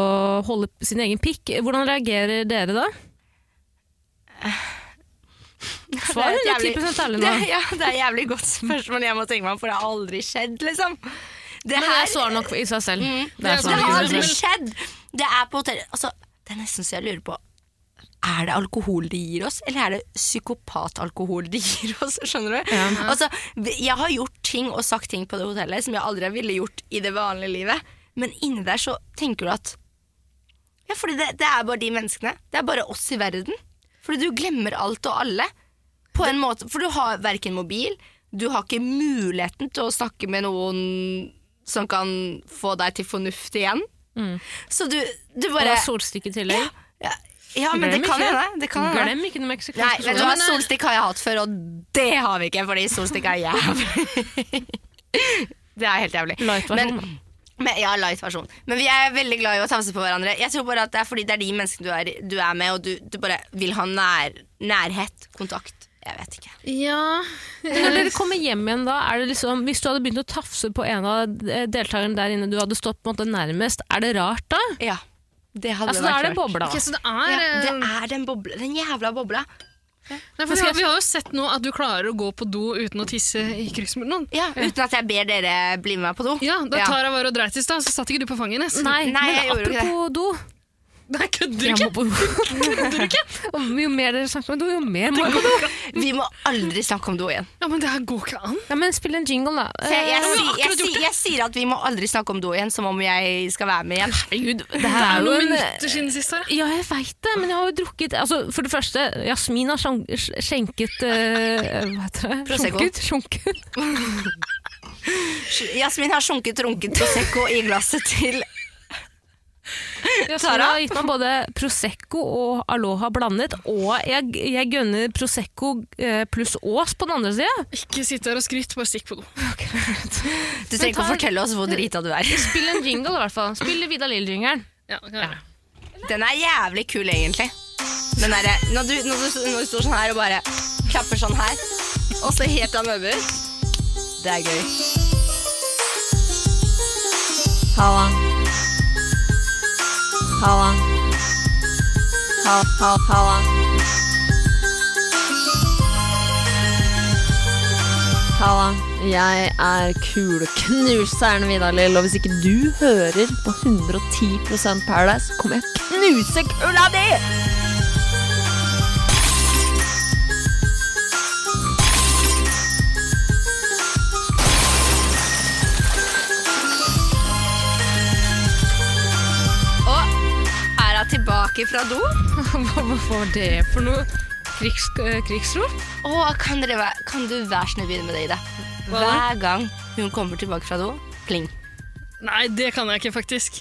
Speaker 2: holde sin egen pikk. Hvordan reagerer dere da?
Speaker 1: Eh.
Speaker 2: Svar
Speaker 1: Det er et
Speaker 2: 110 ærlig
Speaker 1: det,
Speaker 2: nå.
Speaker 1: er- ja, det er jævlig godt spørsmål jeg må tenke meg om, for det har aldri skjedd, liksom. Det
Speaker 2: Men det
Speaker 1: her Mm.
Speaker 2: er svar nok i seg selv. Det
Speaker 3: Det er
Speaker 2: er svar
Speaker 1: Det
Speaker 2: nok
Speaker 1: har
Speaker 2: i
Speaker 1: aldri
Speaker 2: seg selv.
Speaker 1: skjedd! Det er på hotellet altså, Det er nesten så jeg lurer på Er det alkohol de gir oss, eller er det psykopatalkohol de gir oss? Skjønner du? Altså, jeg har gjort ting og sagt ting på det hotellet som jeg aldri ville gjort i det vanlige livet, men inni der så tenker du at Ja, fordi det, det er bare de menneskene. Det er bare oss i verden. Fordi du glemmer alt og alle. På en måte, for du har verken mobil, du har ikke muligheten til å snakke med noen som kan få deg til fornuft igjen. Så du, du
Speaker 2: Mm. Og det
Speaker 1: bare
Speaker 2: er solstikk i tillegg.
Speaker 1: ja, ja, men det
Speaker 2: Glem
Speaker 1: kan
Speaker 2: ikke.
Speaker 1: hende. Det kan hende.
Speaker 2: Glem ikke den
Speaker 1: Nei, eh,
Speaker 2: meksikanske
Speaker 1: vet du
Speaker 2: solen.
Speaker 1: hva, solstikk har jeg hatt før, og det har vi ikke, fordi solstikk er jævlig. det er helt jævlig.
Speaker 2: Light-versjonen,
Speaker 1: Men- Men, ja, light versjon. Men vi er veldig glad i å tafse på hverandre. Jeg tror bare at Det er fordi det er de menneskene du er, du er med, og du, du bare vil ha nær, nærhet, kontakt. Jeg vet ikke.
Speaker 3: Ja,
Speaker 2: Når dere kommer hjem igjen da, er det liksom, hvis du hadde begynt å tafse på en av eh, deltakerne der inne du hadde stått på en måte nærmest, er det rart da?
Speaker 1: Ja, det hadde
Speaker 2: Altså, da er det
Speaker 1: vært
Speaker 2: bobla.
Speaker 3: ok, så det er,
Speaker 1: Ja,
Speaker 3: eh,
Speaker 1: det er den, bobla, den jævla bobla.
Speaker 3: Nei, for vi, har, vi har jo sett nå at du klarer å gå på do uten å tisse i kryss med noen.
Speaker 1: Ja, uten at jeg ber dere bli med meg på do.
Speaker 3: Ja, da Tara var og dreit i stad, så satt ikke du på fanget hennes.
Speaker 2: Nei,
Speaker 1: Nei, jeg
Speaker 2: men
Speaker 1: gjorde ikke
Speaker 2: apropos do.
Speaker 3: Nei, kødder
Speaker 2: Jeg må
Speaker 3: ikke!
Speaker 2: på do. Og jo mer dere snakker om do, jo mer må jeg på do.
Speaker 1: Vi må aldri snakke om do igjen.
Speaker 3: Ja, men det her går ikke an.
Speaker 2: Ja, men spill en jingle da.
Speaker 1: Se, jeg,
Speaker 2: Eh,
Speaker 1: sier- jeg, sier- jeg sier at vi må aldri snakke om do igjen, som om jeg skal være med igjen.
Speaker 2: Herregud, det her
Speaker 3: Det
Speaker 2: er
Speaker 3: er
Speaker 2: jo
Speaker 3: noen
Speaker 2: en...
Speaker 3: minutter siden sist her.
Speaker 2: Ja, jeg veit det, men jeg har jo drukket altså, For det første, Jasmin har skjen- skjenket eh, Hva heter det?
Speaker 1: Prosecco.
Speaker 2: Sjunket, sjunket.
Speaker 1: Jasmin har sunket runket Prosecco i glasset til
Speaker 2: Jasmin har gitt meg både Prosecco og Aloha blandet, og jeg, jeg gønner Prosecco eh, pluss Ås på den andre sida.
Speaker 3: Ikke sitt der og skryt, bare stikk på do.
Speaker 1: Du trenger ikke å
Speaker 2: tar-
Speaker 1: fortelle oss hvor drita du er.
Speaker 2: Spill en jingle, i hvert fall. Spill Vidar Lill-jingelen.
Speaker 3: Ja, kan jeg gjøre.
Speaker 1: Den er jævlig kul, egentlig. Den derre- når, du, når, du, når du står sånn her og bare klapper sånn her, og så helt av møbel. Det er gøy. Halla. Halla. Ha, ha, halla.
Speaker 9: Halla, jeg er kuleknuseren Vidar-Lill, og hvis ikke du hører på 110 Paradise, kommer jeg til å knuse kula di!
Speaker 1: Er hun tilbake fra do?
Speaker 2: Hva var det for noe? Krigs, eh, krigsrop?
Speaker 1: Å, kan, dere, væ- kan du være snill begynne med det, Ida? Hver gang hun kommer tilbake fra do, pling.
Speaker 3: Nei, det kan jeg ikke, faktisk.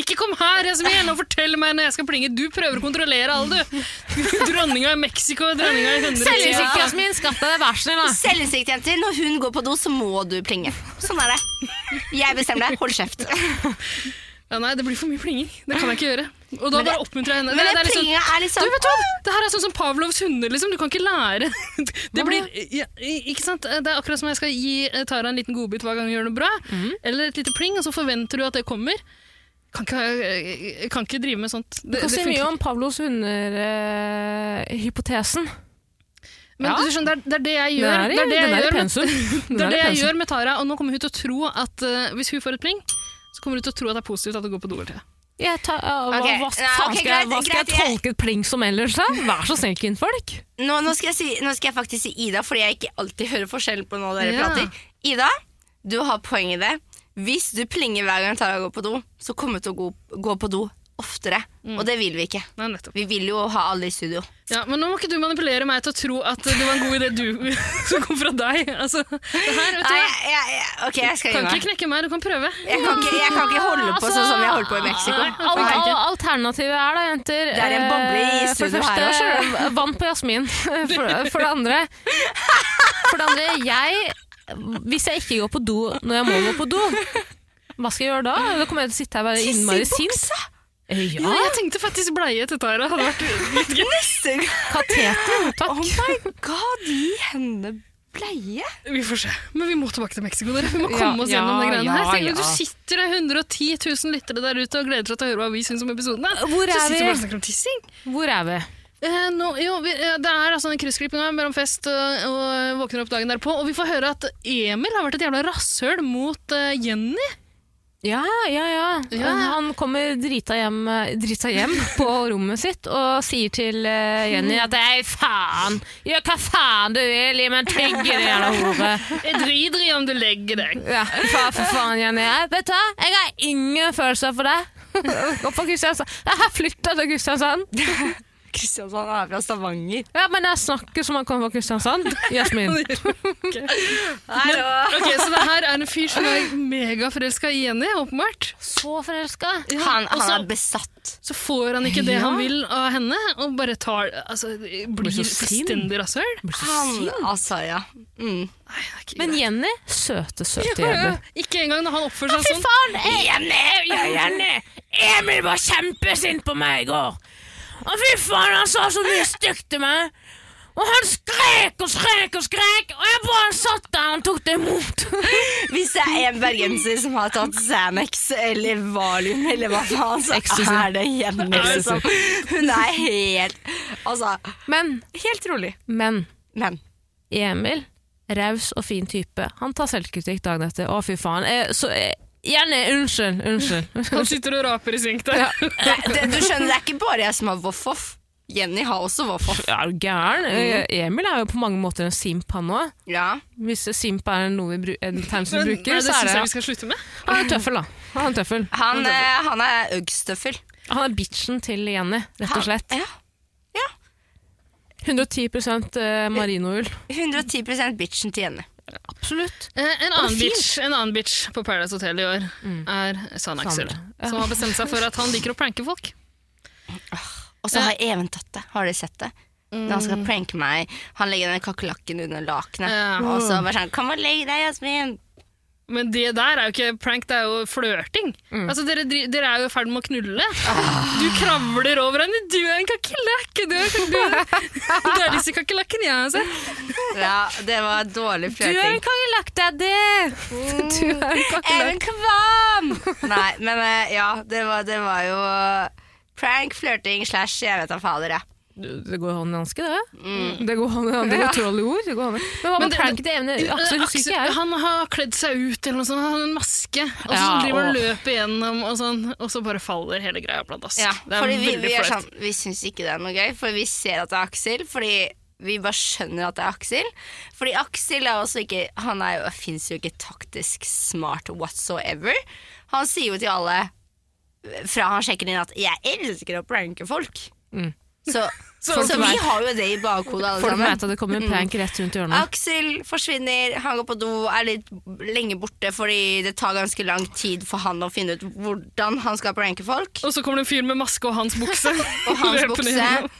Speaker 3: Ikke kom her, Jasmin, og fortell meg når jeg skal plinge. Du prøver å kontrollere alle, du. Dronninga i Mexico, dronninga i 100
Speaker 2: Selvinnsikt,
Speaker 3: Ja.
Speaker 2: Jasmin. Skaff deg det, vær snill. da.
Speaker 1: Selvinnsikt, jenter. Når hun går på do, så må du plinge. Sånn er det. Jeg bestemmer det. Hold kjeft.
Speaker 3: Ja, nei, det blir for mye plinging. Det kan jeg ikke gjøre. Og da bare oppmuntrer jeg henne.
Speaker 1: Men
Speaker 3: Det,
Speaker 1: det
Speaker 3: er liksom,
Speaker 1: plinga er
Speaker 3: du
Speaker 1: liksom
Speaker 3: vet hva? Det her er sånn som Pavlovs hunder, liksom. Du kan ikke lære. Det blir ja, Ikke sant? Eh, Det er akkurat som jeg skal gi eh, Tara en liten godbit hver gang hun gjør noe bra,
Speaker 2: Mhm.
Speaker 3: eller et lite pling, og så forventer du at det kommer. Kan ikke, eh, kan ikke drive med sånt.
Speaker 2: Du
Speaker 3: Det,
Speaker 2: kan
Speaker 3: det
Speaker 2: si
Speaker 3: funker
Speaker 2: mye om Pavlos eh, hunder-hypotesen.
Speaker 3: Men
Speaker 2: Ja.
Speaker 3: du skjønner, det, er, det er det jeg gjør. Det er det jeg, gjør, med,
Speaker 2: pensum.
Speaker 3: det er det jeg gjør med Tara, og nå kommer hun til å tro at eh, hvis hun får et pling, så kommer hun til å tro at det er positivt at det går på do hele tida.
Speaker 2: Jeg tar, ja, hva,
Speaker 1: Ok,
Speaker 2: hva
Speaker 1: nei,
Speaker 2: faen
Speaker 1: ok,
Speaker 2: skal, jeg, hva
Speaker 1: greit,
Speaker 2: skal jeg
Speaker 1: greit, jeg-
Speaker 2: tolke et pling som ellers, da? Vær så snill, kvinnfolk.
Speaker 1: nå, nå, skal jeg si, nå skal jeg faktisk si Ida, fordi jeg ikke alltid hører forskjell på når dere
Speaker 3: Ja.
Speaker 1: prater. Ida, du har poeng i det. Hvis du plinger hver gang Tara går på do, så kommer hun til å gå, gå på do oftere.
Speaker 3: Mm.
Speaker 1: Og det vil vi ikke.
Speaker 3: Nei, nettopp.
Speaker 1: Vi vil jo ha alle i studio.
Speaker 3: Ja, men nå må ikke du manipulere meg til å tro at det var en god idé du som kom fra deg. Altså, det her, vet du
Speaker 1: Nei,
Speaker 3: hva?
Speaker 1: jeg, jeg, jeg, ok, jeg skal
Speaker 3: Du kan
Speaker 1: gi meg.
Speaker 3: ikke knekke meg, du kan prøve.
Speaker 1: Jeg kan ikke, jeg kan ikke holde på sånn som jeg holdt på i Mexico.
Speaker 3: altså, Nei,
Speaker 2: Al al alternativet er da, jenter
Speaker 1: Det er en boble i
Speaker 2: eh, For det
Speaker 1: studio her
Speaker 2: første, eh,
Speaker 1: også,
Speaker 2: vann på jasmin. For, for det andre For det andre, jeg Hvis jeg ikke går på do når jeg må gå på do, hva skal jeg gjøre da? Da kommer jeg til å sitte her og være innmari sint. Eh,
Speaker 3: Ja,
Speaker 2: Ja,
Speaker 3: jeg tenkte faktisk bleie til dette her. Det hadde vært litt gøy.
Speaker 1: Neste gang.
Speaker 2: kateter,
Speaker 1: Oh
Speaker 2: takk.
Speaker 1: my god, gi henne bleie.
Speaker 3: Vi får se. Men vi må tilbake til Mexico, dere. Vi må komme oss
Speaker 2: ja,
Speaker 3: gjennom de greiene
Speaker 2: ja,
Speaker 3: her. Tenk, at
Speaker 2: ja.
Speaker 3: Du sitter der 110 000 lyttere der ute og gleder seg til å høre hva vi syns om episoden. her.
Speaker 2: Hvor
Speaker 3: Så
Speaker 2: er
Speaker 3: sitter
Speaker 2: vi?
Speaker 3: bare og snakker om tissing.
Speaker 2: Hvor er vi?
Speaker 3: Eh, nå, jo, vi, eh, det er altså den kryssklippinga mellom fest og, og våkner opp dagen derpå. Og vi får høre at Emil har vært et jævla rasshøl mot eh, Jenny.
Speaker 2: Ja, ja, ja.
Speaker 3: Ja.
Speaker 2: Han kommer drita hjem, eh, drita hjem på rommet sitt og sier til eh, Jenny at «Ei, faen! Gjør hva faen du vil, gi meg en trigger, din jævla hore!»
Speaker 3: Jeg driter i om du legger deg.
Speaker 2: Ja, faen for faen, Jenny. Jeg, vet du hva? Jeg har ingen følelser for deg. Og på Kristiansand. Jeg har flytta til Kristiansand.
Speaker 1: Kristiansand er fra Stavanger.
Speaker 2: Ja, men jeg snakker som han kommer fra Kristiansand. Jasmin.
Speaker 3: Ok, Så det her er en fyr som er megaforelska i Jenny, åpenbart.
Speaker 2: Så forelska.
Speaker 1: Han,
Speaker 3: og
Speaker 1: han
Speaker 3: så-
Speaker 1: er besatt.
Speaker 3: Så får han ikke det han vil av henne, og bare tar altså, Blir
Speaker 2: så sint.
Speaker 3: fullstendig rasshøl. Nei,
Speaker 1: Han, altså, ja. Mm.
Speaker 3: det er ikke
Speaker 2: Men
Speaker 3: greit.
Speaker 2: Jenny, søte, søte
Speaker 3: Ja, ja.
Speaker 2: Jenny.
Speaker 3: Ikke engang når han oppfører seg sånn.
Speaker 2: faen! Jenny, ja, Jenny! Emil var kjempesint på meg i går. Og fy faen, han sa så mye stygt til meg. Og han skrek og skrek og skrek, og jeg bare satt der og tok det imot.
Speaker 1: Hvis det er en bergenser som har tatt Xanax eller Valium eller hva faen, så er det Jenny. Liksom. Hun er helt Altså,
Speaker 2: Men,
Speaker 1: helt rolig.
Speaker 2: men.
Speaker 1: Men
Speaker 2: Emil, raus og fin type. Han tar selvkritikk dagen etter. Å, fy faen. Eh, så, eh, Jenny, unnskyld, unnskyld.
Speaker 3: Han sitter og raper i sink der.
Speaker 1: det, det, du skjønner, det er ikke bare jeg som har voff-voff. Jenny har også voff-voff.
Speaker 2: Er du gæren? Eh, Emil er jo på mange måter en simp, han òg.
Speaker 1: Ja.
Speaker 2: Hvis simp er noe vi bru en term som
Speaker 3: Men,
Speaker 2: vi
Speaker 3: nei,
Speaker 2: bruker,
Speaker 3: det
Speaker 2: så er
Speaker 3: syns jeg vi
Speaker 2: det
Speaker 3: skal slutte med.
Speaker 2: Han er en tøffel, da. Han er, en tøffel.
Speaker 1: Han, eh, han er uggstøffel.
Speaker 2: Han er bitchen til Jenny, rett og slett.
Speaker 1: Ja.
Speaker 2: 110 eh, marinoull.
Speaker 1: 110 bitchen til Jenny.
Speaker 2: Absolutt.
Speaker 3: Eh, en, annen
Speaker 2: fin.
Speaker 3: bitch, en annen bitch på Paradise Hotel i år er San Axel.
Speaker 2: Sandra.
Speaker 3: Som har bestemt seg for at han liker å pranke folk.
Speaker 1: Og så har Even tatt det. Har dere sett det? Når han skal pranke meg, han legger den kakerlakken under lakenet.
Speaker 3: Ja.
Speaker 1: Og så bare sånn 'Kom og legg deg, Jasmin'.
Speaker 3: Men det der er jo ikke prank, det er jo flørting. Altså, dere, dri- dere er jo i ferd med å knulle. Du kravler over henne. Du er en kakerlakk! Du er en kakerlakk. Du er disse kakerlakkene jeg altså. har sett.
Speaker 1: Ja, det var dårlig
Speaker 2: Du er en
Speaker 1: flørting.
Speaker 2: kakerlakk, daddy! Du er en kakerlakk.
Speaker 1: Even Kvam! Nei, men eh, ja, det var, det var jo prank, flørting slash jeg vet da fader, jeg.
Speaker 2: Det går hånd i hanske, det. Det går hånd i hanske, det er utrolig ord. Det går hånd i. Men hva
Speaker 3: Men
Speaker 2: med
Speaker 3: det-
Speaker 2: pranket til Emil? Aksel husker ikke jeg.
Speaker 3: han har kledd seg ut eller noe sånt, han har en maske, og så sånn
Speaker 2: Ja,
Speaker 3: driver han og
Speaker 2: åh.
Speaker 3: løper gjennom, og, sånn, og så bare faller hele greia pladask.
Speaker 1: Ja,
Speaker 3: det er
Speaker 1: fordi vi, vi,
Speaker 3: veldig
Speaker 1: er
Speaker 3: flaut.
Speaker 1: sånn, vi syns ikke det er noe gøy, for vi ser at det er Aksel. Fordi vi bare skjønner at det er Aksel. Fordi Aksel er også ikke Han er jo, fins jo ikke taktisk smart whatsoever. Han sier jo til alle, fra han sjekker inn, at 'jeg elsker å pranke folk'.
Speaker 3: Mm.
Speaker 1: Så, så,
Speaker 2: Folk
Speaker 1: vi
Speaker 2: vet-
Speaker 1: har jo det i bakhodet, alle
Speaker 2: Folk
Speaker 1: sammen.
Speaker 2: vet at det kommer en prank rett rundt hjørnet.
Speaker 1: Aksel forsvinner, han går på do, er litt lenge borte fordi det tar ganske lang tid for han å finne ut hvordan han skal pranke folk.
Speaker 3: Og så kommer det en fyr med maske og hans bukse.
Speaker 1: Og hans
Speaker 3: Løper ned
Speaker 1: bukse
Speaker 3: gjennom.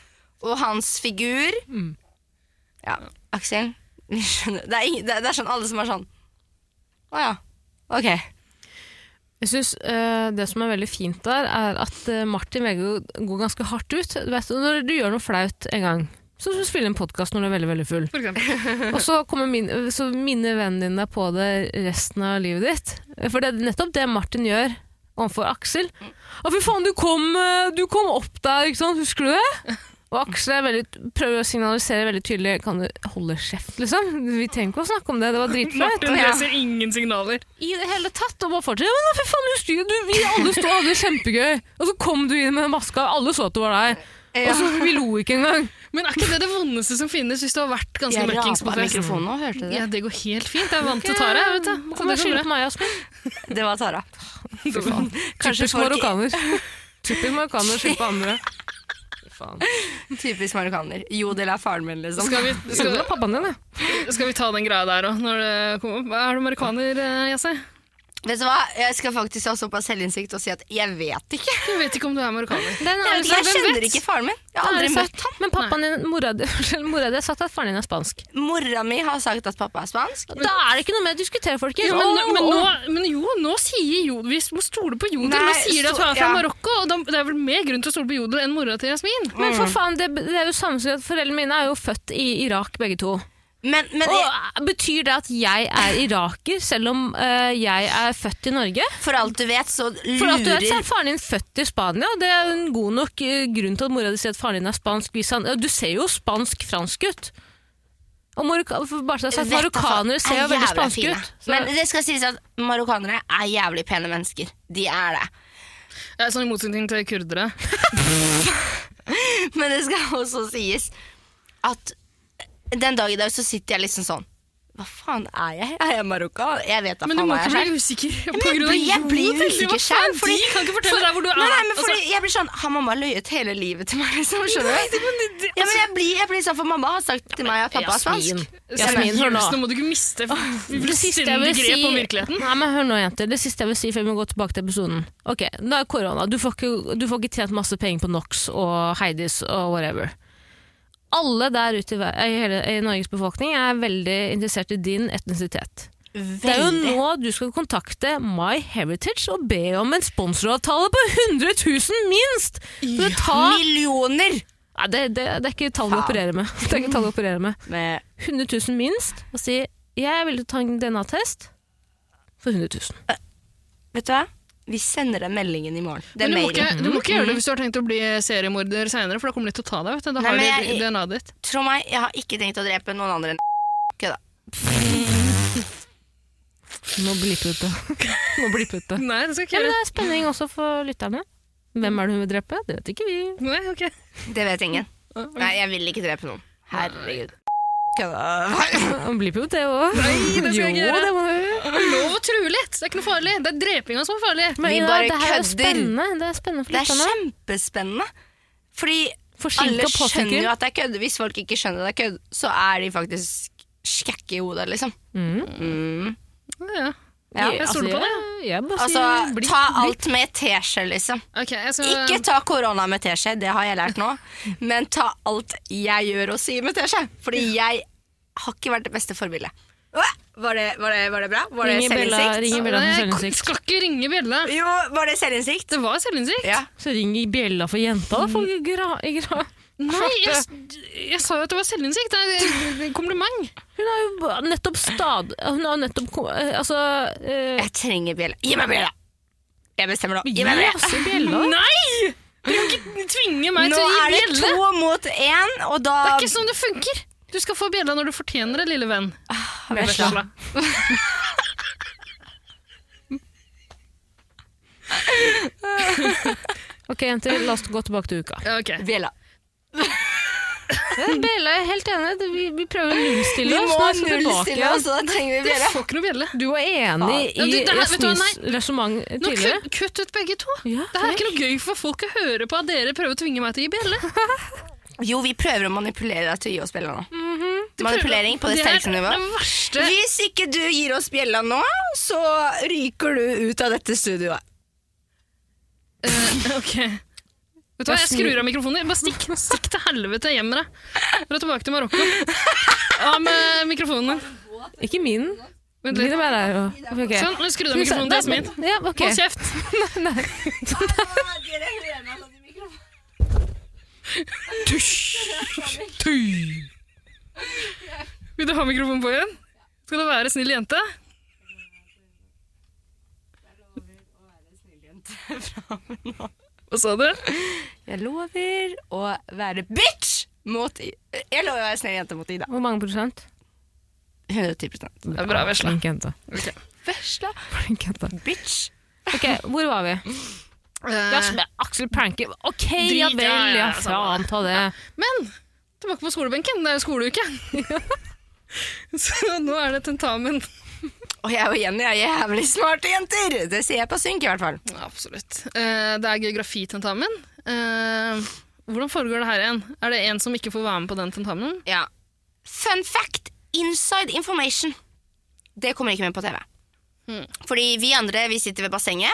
Speaker 1: og hans figur. Ja, Aksel. vi skjønner. Det er, ingen, det, er, det er sånn alle som er sånn Å ja. Ok.
Speaker 2: Jeg synes eh, Det som er veldig fint der, er at eh, Martin Vego går ganske hardt ut. Du vet, når du gjør noe flaut en gang, så skal du spille en podkast når du er veldig veldig full.
Speaker 3: For eksempel.
Speaker 2: Og så, kommer min, så minner vennen din deg på det resten av livet ditt. For det er nettopp det Martin gjør overfor Aksel. Å, fy faen, du kom, eh, du kom opp der, ikke sant? Husker du det? Og Aksel er veldig, prøver å signalisere veldig tydelig Kan du holde kjeft, liksom? Vi trenger ikke å snakke om det, det var dritflaut.
Speaker 3: Martin
Speaker 2: Ja.
Speaker 3: leser ingen signaler.
Speaker 2: I det hele tatt. Og bare fortsetter. Men fy faen, husker du, vi alle sto og hadde det kjempegøy. Og så kom du inn med den maska, alle så at det var deg. Og så vi lo ikke engang.
Speaker 3: Men er ikke det det vondeste som finnes hvis du har vært ganske
Speaker 1: Jeg
Speaker 3: møkkings på
Speaker 1: rapa
Speaker 3: fest?
Speaker 1: mikrofonen nå, hørte du det?
Speaker 3: Ja, det går helt fint. Jeg er vant til Tara. jeg, Vet du. Så
Speaker 2: Kom og
Speaker 3: det går
Speaker 2: skyld
Speaker 3: bra.
Speaker 2: på meg, Jasmin.
Speaker 1: Det var Tara.
Speaker 2: Fy faen.
Speaker 1: Kanskje
Speaker 2: Typisk
Speaker 1: folk-
Speaker 2: marokkaner. Typisk marokkaner å skylde på andre. Faen.
Speaker 1: Typisk marokkaner. Jo, det er faren min, liksom.
Speaker 3: Skal vi,
Speaker 2: Skylder
Speaker 3: skal,
Speaker 2: på pappaen din, jeg.
Speaker 3: skal vi ta den greia der òg, når det kommer opp? Er du marokkaner, eh, Jesse?
Speaker 1: Vet du hva? Jeg skal faktisk ha såpass selvinnsikt og si at jeg vet ikke.
Speaker 3: Du vet ikke om du er marokkaner.
Speaker 2: Den
Speaker 1: Jeg,
Speaker 2: er
Speaker 1: vet
Speaker 2: jo
Speaker 1: ikke,
Speaker 2: så-
Speaker 1: jeg
Speaker 2: hvem
Speaker 1: kjenner
Speaker 2: vet?
Speaker 1: ikke faren min. Jeg har
Speaker 2: Den er
Speaker 1: aldri
Speaker 2: jo så-
Speaker 1: møtt han.
Speaker 2: Men pappaen din, mora di mora di har sagt at faren din er spansk.
Speaker 1: Mora mi har sagt at pappa er spansk.
Speaker 2: Da er det ikke noe mer å diskutere, folkens.
Speaker 3: Jo, men,
Speaker 2: Åh,
Speaker 3: men, nå,
Speaker 2: åh.
Speaker 3: men jo, nå sier Jodel Vi må stole på Jodel.
Speaker 1: Nei,
Speaker 3: nå sier de at hun er fra
Speaker 1: så- ja.
Speaker 3: Marokko, og da, det er vel mer grunn til å stole på Jodel enn mora til Jasmin.
Speaker 2: Men for faen, det, det er jo samme som at foreldrene mine er jo født i Irak, begge to.
Speaker 1: Men, men jeg,
Speaker 2: Og Betyr det at jeg er iraker, selv om eh, jeg er født i Norge?
Speaker 1: for alt du vet, så
Speaker 2: For alt du vet, så
Speaker 1: lurer
Speaker 2: er faren din født i Spania, og det er jo en god nok eh, grunn til at mora di sier at faren din er spansk. Hvis han, ja, du ser jo spansk-fransk ut. Og marokka, for bare så jeg har sagt,
Speaker 1: Vet du,
Speaker 2: marokkanere
Speaker 1: faen,
Speaker 2: ser jo
Speaker 1: er
Speaker 2: veldig
Speaker 1: jævla
Speaker 2: spanske
Speaker 1: fine.
Speaker 2: ut. Så,
Speaker 1: Men det skal sies at marokkanere er jævlig pene mennesker. De er det.
Speaker 3: Ja, Sånn i motsetning til kurdere.
Speaker 1: Men det skal også sies at den dag i dag så sitter jeg liksom sånn Hva faen er jeg? Er jeg marokkaner? Jeg vet da
Speaker 3: Men du
Speaker 1: faen
Speaker 3: må
Speaker 1: hva
Speaker 3: ikke
Speaker 1: jeg er.
Speaker 3: bli usikker
Speaker 1: men
Speaker 3: på
Speaker 1: jeg
Speaker 3: grunn av
Speaker 1: blir- jeg blir jo
Speaker 3: Jodel.
Speaker 1: usikker
Speaker 3: Hva faen,
Speaker 1: selv, fordi-
Speaker 3: De kan ikke fortelle deg hvor du er.
Speaker 1: Nei, nei, men fordi
Speaker 3: Altså,
Speaker 1: jeg blir sånn Har mamma løyet hele livet til meg, liksom? Skjønner du? Ja,
Speaker 3: altså-
Speaker 1: men jeg blir, jeg blir sånn, for mamma har sagt til meg at pappa er
Speaker 2: Jasmin.
Speaker 1: spansk.
Speaker 2: Jasmin, hør nå.
Speaker 3: Jules, nå må du ikke miste
Speaker 2: Det siste jeg vil
Speaker 3: fullstendig
Speaker 2: si
Speaker 3: grep om virkeligheten.
Speaker 2: Nei, men hør nå, jenter. Det siste jeg vil si før vi går tilbake til episoden. Ok, Nå er korona. Du får, ikke, du får ikke tjent masse penger på Nox og Heidis og whatever. Alle der ute i, ver- i, hele, i Norges befolkning er veldig interessert i din etnisitet. Det er jo nå du skal kontakte MyHeritage og be om en sponsoravtale på 100 000, minst! For å ta
Speaker 1: Millioner!
Speaker 2: Nei, det, det, det er ikke tall vi opererer med. Det er ikke tall vi opererer med.
Speaker 1: Med
Speaker 2: 100 000 minst og si jeg vil ta en DNA-test for 100 000.
Speaker 1: Vet du hva? Vi sender deg meldingen i morgen. Den
Speaker 3: Men du må, ikke,
Speaker 1: mailen.
Speaker 3: du må ikke gjøre det hvis du har tenkt å bli seriemorder seinere, for da kommer de til å ta deg. vet du. Da
Speaker 1: Nei,
Speaker 3: har
Speaker 1: men
Speaker 3: de
Speaker 1: jeg-
Speaker 3: DNA-et ditt.
Speaker 1: Tro meg, jeg har ikke tenkt å drepe noen andre enn Kødda.
Speaker 2: Nå blippet det. Nå blippet det.
Speaker 3: Nei, det skal
Speaker 2: Ja,
Speaker 3: jeg ikke
Speaker 2: men det
Speaker 3: gjøre.
Speaker 2: er spenning også for lytterne. Hvem er det hun vil drepe? Det vet ikke vi.
Speaker 3: Nei, ok.
Speaker 1: Det vet ingen. Nei, jeg vil ikke drepe noen. Herregud. Kødda.
Speaker 2: Hun blipper jo det òg.
Speaker 3: Nei, det skal jeg ikke gjøre.
Speaker 2: Jo, det må hun gjøre.
Speaker 3: Det er lov å true litt! Det er ikke noe farlig. Det er drepinga som er farlig.
Speaker 2: Men
Speaker 1: Vi
Speaker 2: Ida,
Speaker 1: bare
Speaker 2: det her er jo
Speaker 1: kødder.
Speaker 2: spennende. Det er spennende for
Speaker 1: Det er
Speaker 2: lytterne.
Speaker 1: kjempespennende. Fordi
Speaker 2: Forsinka
Speaker 1: alle skjønner jo
Speaker 2: påskekur.
Speaker 1: at det er kødd. Hvis folk ikke skjønner det er kødd, så er de faktisk skjekke i hodet, liksom.
Speaker 2: Mm.
Speaker 1: Mm.
Speaker 3: Ja, ja.
Speaker 1: Ja.
Speaker 3: Jeg
Speaker 2: Altså,
Speaker 3: stoler på det.
Speaker 2: jeg- Jeg bare
Speaker 1: Altså,
Speaker 2: sier blipp.
Speaker 1: ta alt med teskje, liksom.
Speaker 3: Ok, jeg skal...
Speaker 1: Ikke ta korona med teskje, det har jeg lært nå. Men ta alt jeg gjør og sier med teskje. Fordi jeg har ikke vært det beste forbildet. Åh, Var det, var det, var det bra? Var det
Speaker 2: Ring i bjella-
Speaker 1: selvinnsikt?
Speaker 2: ring i bjella for
Speaker 3: Nei, Jeg
Speaker 2: selvinnsikt.
Speaker 3: skal ikke ringe bjella.
Speaker 1: Jo, var det selvinnsikt?
Speaker 3: Det var selvinnsikt.
Speaker 1: Ja.
Speaker 2: Så ring i bjella for jenta, da. For gra, gra.
Speaker 3: Nei, jeg, jeg sa jo at det var selvinnsikt. Det er et kompliment.
Speaker 2: Hun har jo ba- nettopp stad... Hun har jo nettopp ko- eh, Altså eh,
Speaker 1: Jeg trenger bjella. Gi meg bjella! Jeg bestemmer nå.
Speaker 2: Gi
Speaker 1: Gi meg bjella!
Speaker 2: oss i bjella.
Speaker 3: Nei! Du kan ikke tvinge meg
Speaker 1: Nå
Speaker 3: til å gi
Speaker 1: er det
Speaker 3: bjelle.
Speaker 1: to mot én, og da
Speaker 3: Det er ikke sånn det funker. Du skal få bjella når du fortjener det, lille venn. Med
Speaker 1: vesla.
Speaker 3: vesla.
Speaker 2: Ok, jenter, la oss gå tilbake til uka.
Speaker 3: Ja, ok.
Speaker 1: Bjella.
Speaker 2: Bella, jeg er helt enig. Det- Vi, vi prøver å
Speaker 1: Vi
Speaker 2: nullstille oss.
Speaker 1: må
Speaker 2: nå er vi tilbake
Speaker 1: nullstille
Speaker 2: igjen.
Speaker 1: oss, og da trenger vi
Speaker 3: Du
Speaker 1: bjella.
Speaker 3: får ikke noe bjelle.
Speaker 2: Du var enig
Speaker 3: Ja,
Speaker 2: i
Speaker 3: du, det her- vet du hva,
Speaker 2: Jasmins resonnement
Speaker 3: Nå
Speaker 2: tidligere.
Speaker 3: kutt, kutt ut begge to.
Speaker 2: Ja,
Speaker 3: Det her er ikke noe gøy for folk å høre på at dere prøver å tvinge meg til å gi bjelle.
Speaker 1: Jo, vi prøver å manipulere deg til å gi oss bjella nå. Manipulering på Mhm. det
Speaker 3: er
Speaker 1: sterkeste nivå.
Speaker 3: Det verste.
Speaker 1: Hvis ikke du gir oss bjella nå, så ryker du ut av dette studioet.
Speaker 3: Eh, ok. Vet du hva, jeg skrur av mikrofonen. Bare stikk, stikk til helvete hjem med deg. Dra tilbake til Marokko. Av med mikrofonen din.
Speaker 2: Ikke min.
Speaker 3: Vent
Speaker 2: Min
Speaker 3: litt.
Speaker 2: er der, jo. Ok.
Speaker 3: Sånn, nå skrudde jeg av mikrofonen til Jasmin.
Speaker 2: Ja, ok.
Speaker 3: Hold kjeft. Vil du ha mikrofonen på igjen? Skal du være snill jente? Hva sa du?
Speaker 1: Jeg lover å være bitch mot I- Jeg lover å være snill jente mot Ida.
Speaker 2: Hvor mange prosent?
Speaker 1: 110
Speaker 3: Det er bra, vesla.
Speaker 2: Flink jente.
Speaker 1: Vesla.
Speaker 2: Flink jente.
Speaker 1: Bitch.
Speaker 2: Ok, hvor var vi? Jasmin, Aksel pranker. Ok, ja
Speaker 3: Eh. Drit, ja,
Speaker 2: vel,
Speaker 3: ja,
Speaker 2: ja
Speaker 3: samme
Speaker 2: faen ta det.
Speaker 3: Men tilbake på skolebenken. Det er jo skoleuke. Så nå er det tentamen.
Speaker 1: Og jeg og Jenny er jævlig smarte jenter! Det sier jeg på synk, i hvert fall.
Speaker 3: Ja, absolutt. Eh, det er geografitentamen. Eh, hvordan foregår det her igjen? Er det en som ikke får være med på den tentamenen?
Speaker 1: Ja. Fun fact, inside information. Det kommer ikke med på TV.
Speaker 3: Hmm.
Speaker 1: Fordi vi andre, vi sitter ved bassenget.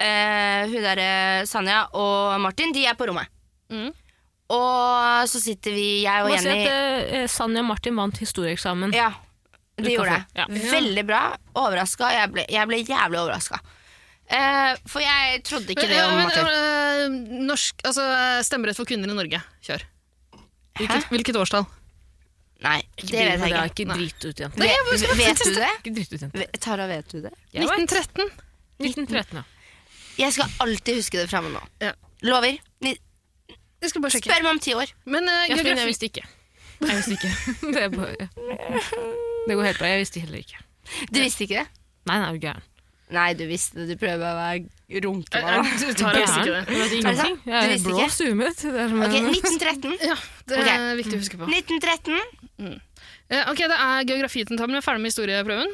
Speaker 1: Eh, hun derre Sanja og Martin, de er på rommet.
Speaker 3: Mm.
Speaker 1: Og så sitter vi, jeg og
Speaker 2: Må si
Speaker 1: Jenny
Speaker 2: at eh, Sanja og Martin vant historieeksamen.
Speaker 1: Ja, de
Speaker 2: Utenfor,
Speaker 1: gjorde det.
Speaker 2: ja.
Speaker 1: Veldig bra. Overraska. Jeg, ble- jeg ble jævlig overraska. Eh, for jeg trodde ikke det
Speaker 3: Ja,
Speaker 1: om
Speaker 3: men,
Speaker 1: Martin.
Speaker 3: eh, norsk, altså, stemmerett for kvinner i Norge. Kjør. Hvilket,
Speaker 1: Hæ?
Speaker 3: hvilket årstall?
Speaker 1: Nei, det vet jeg ikke.
Speaker 2: ikke drit ut, jenter.
Speaker 3: Nei, jeg bare
Speaker 1: Vet,
Speaker 3: skal
Speaker 1: vet du det?
Speaker 2: Ikke drit ut, jenter.
Speaker 1: Ve- Tara, vet du det?
Speaker 2: Jeg vet.
Speaker 3: 1913.
Speaker 2: 1913, ja.
Speaker 1: Jeg skal alltid huske det framme nå.
Speaker 3: Ja.
Speaker 1: Lover. Ni-
Speaker 3: Jeg skal bare sjekke.
Speaker 1: Spør meg om ti år.
Speaker 3: Men eh,
Speaker 2: Jeg, jeg
Speaker 3: geografi
Speaker 2: visste ikke. Jeg visste ikke. Det, er bare, det går helt bra. Jeg visste heller ikke.
Speaker 1: Du visste ikke det?
Speaker 2: Nei, nei, er du gæren.
Speaker 1: Nei, du visste det. Du prøver å være
Speaker 3: Eh,
Speaker 1: runkeball.
Speaker 3: eh, du tar visste ikke det.
Speaker 2: Jeg vet
Speaker 1: Er det
Speaker 2: ingenting.
Speaker 1: sant? Du
Speaker 2: Jeg er
Speaker 1: visste
Speaker 2: blå
Speaker 1: ikke?
Speaker 2: og stumet. Det er som
Speaker 1: Ok,
Speaker 2: en-
Speaker 1: 1913.
Speaker 3: Ja, det er
Speaker 1: Ok.
Speaker 3: viktig å huske på.
Speaker 1: 1913.
Speaker 3: Eh, ok, Det er geografitentamen. Vi er ferdig med historieprøven.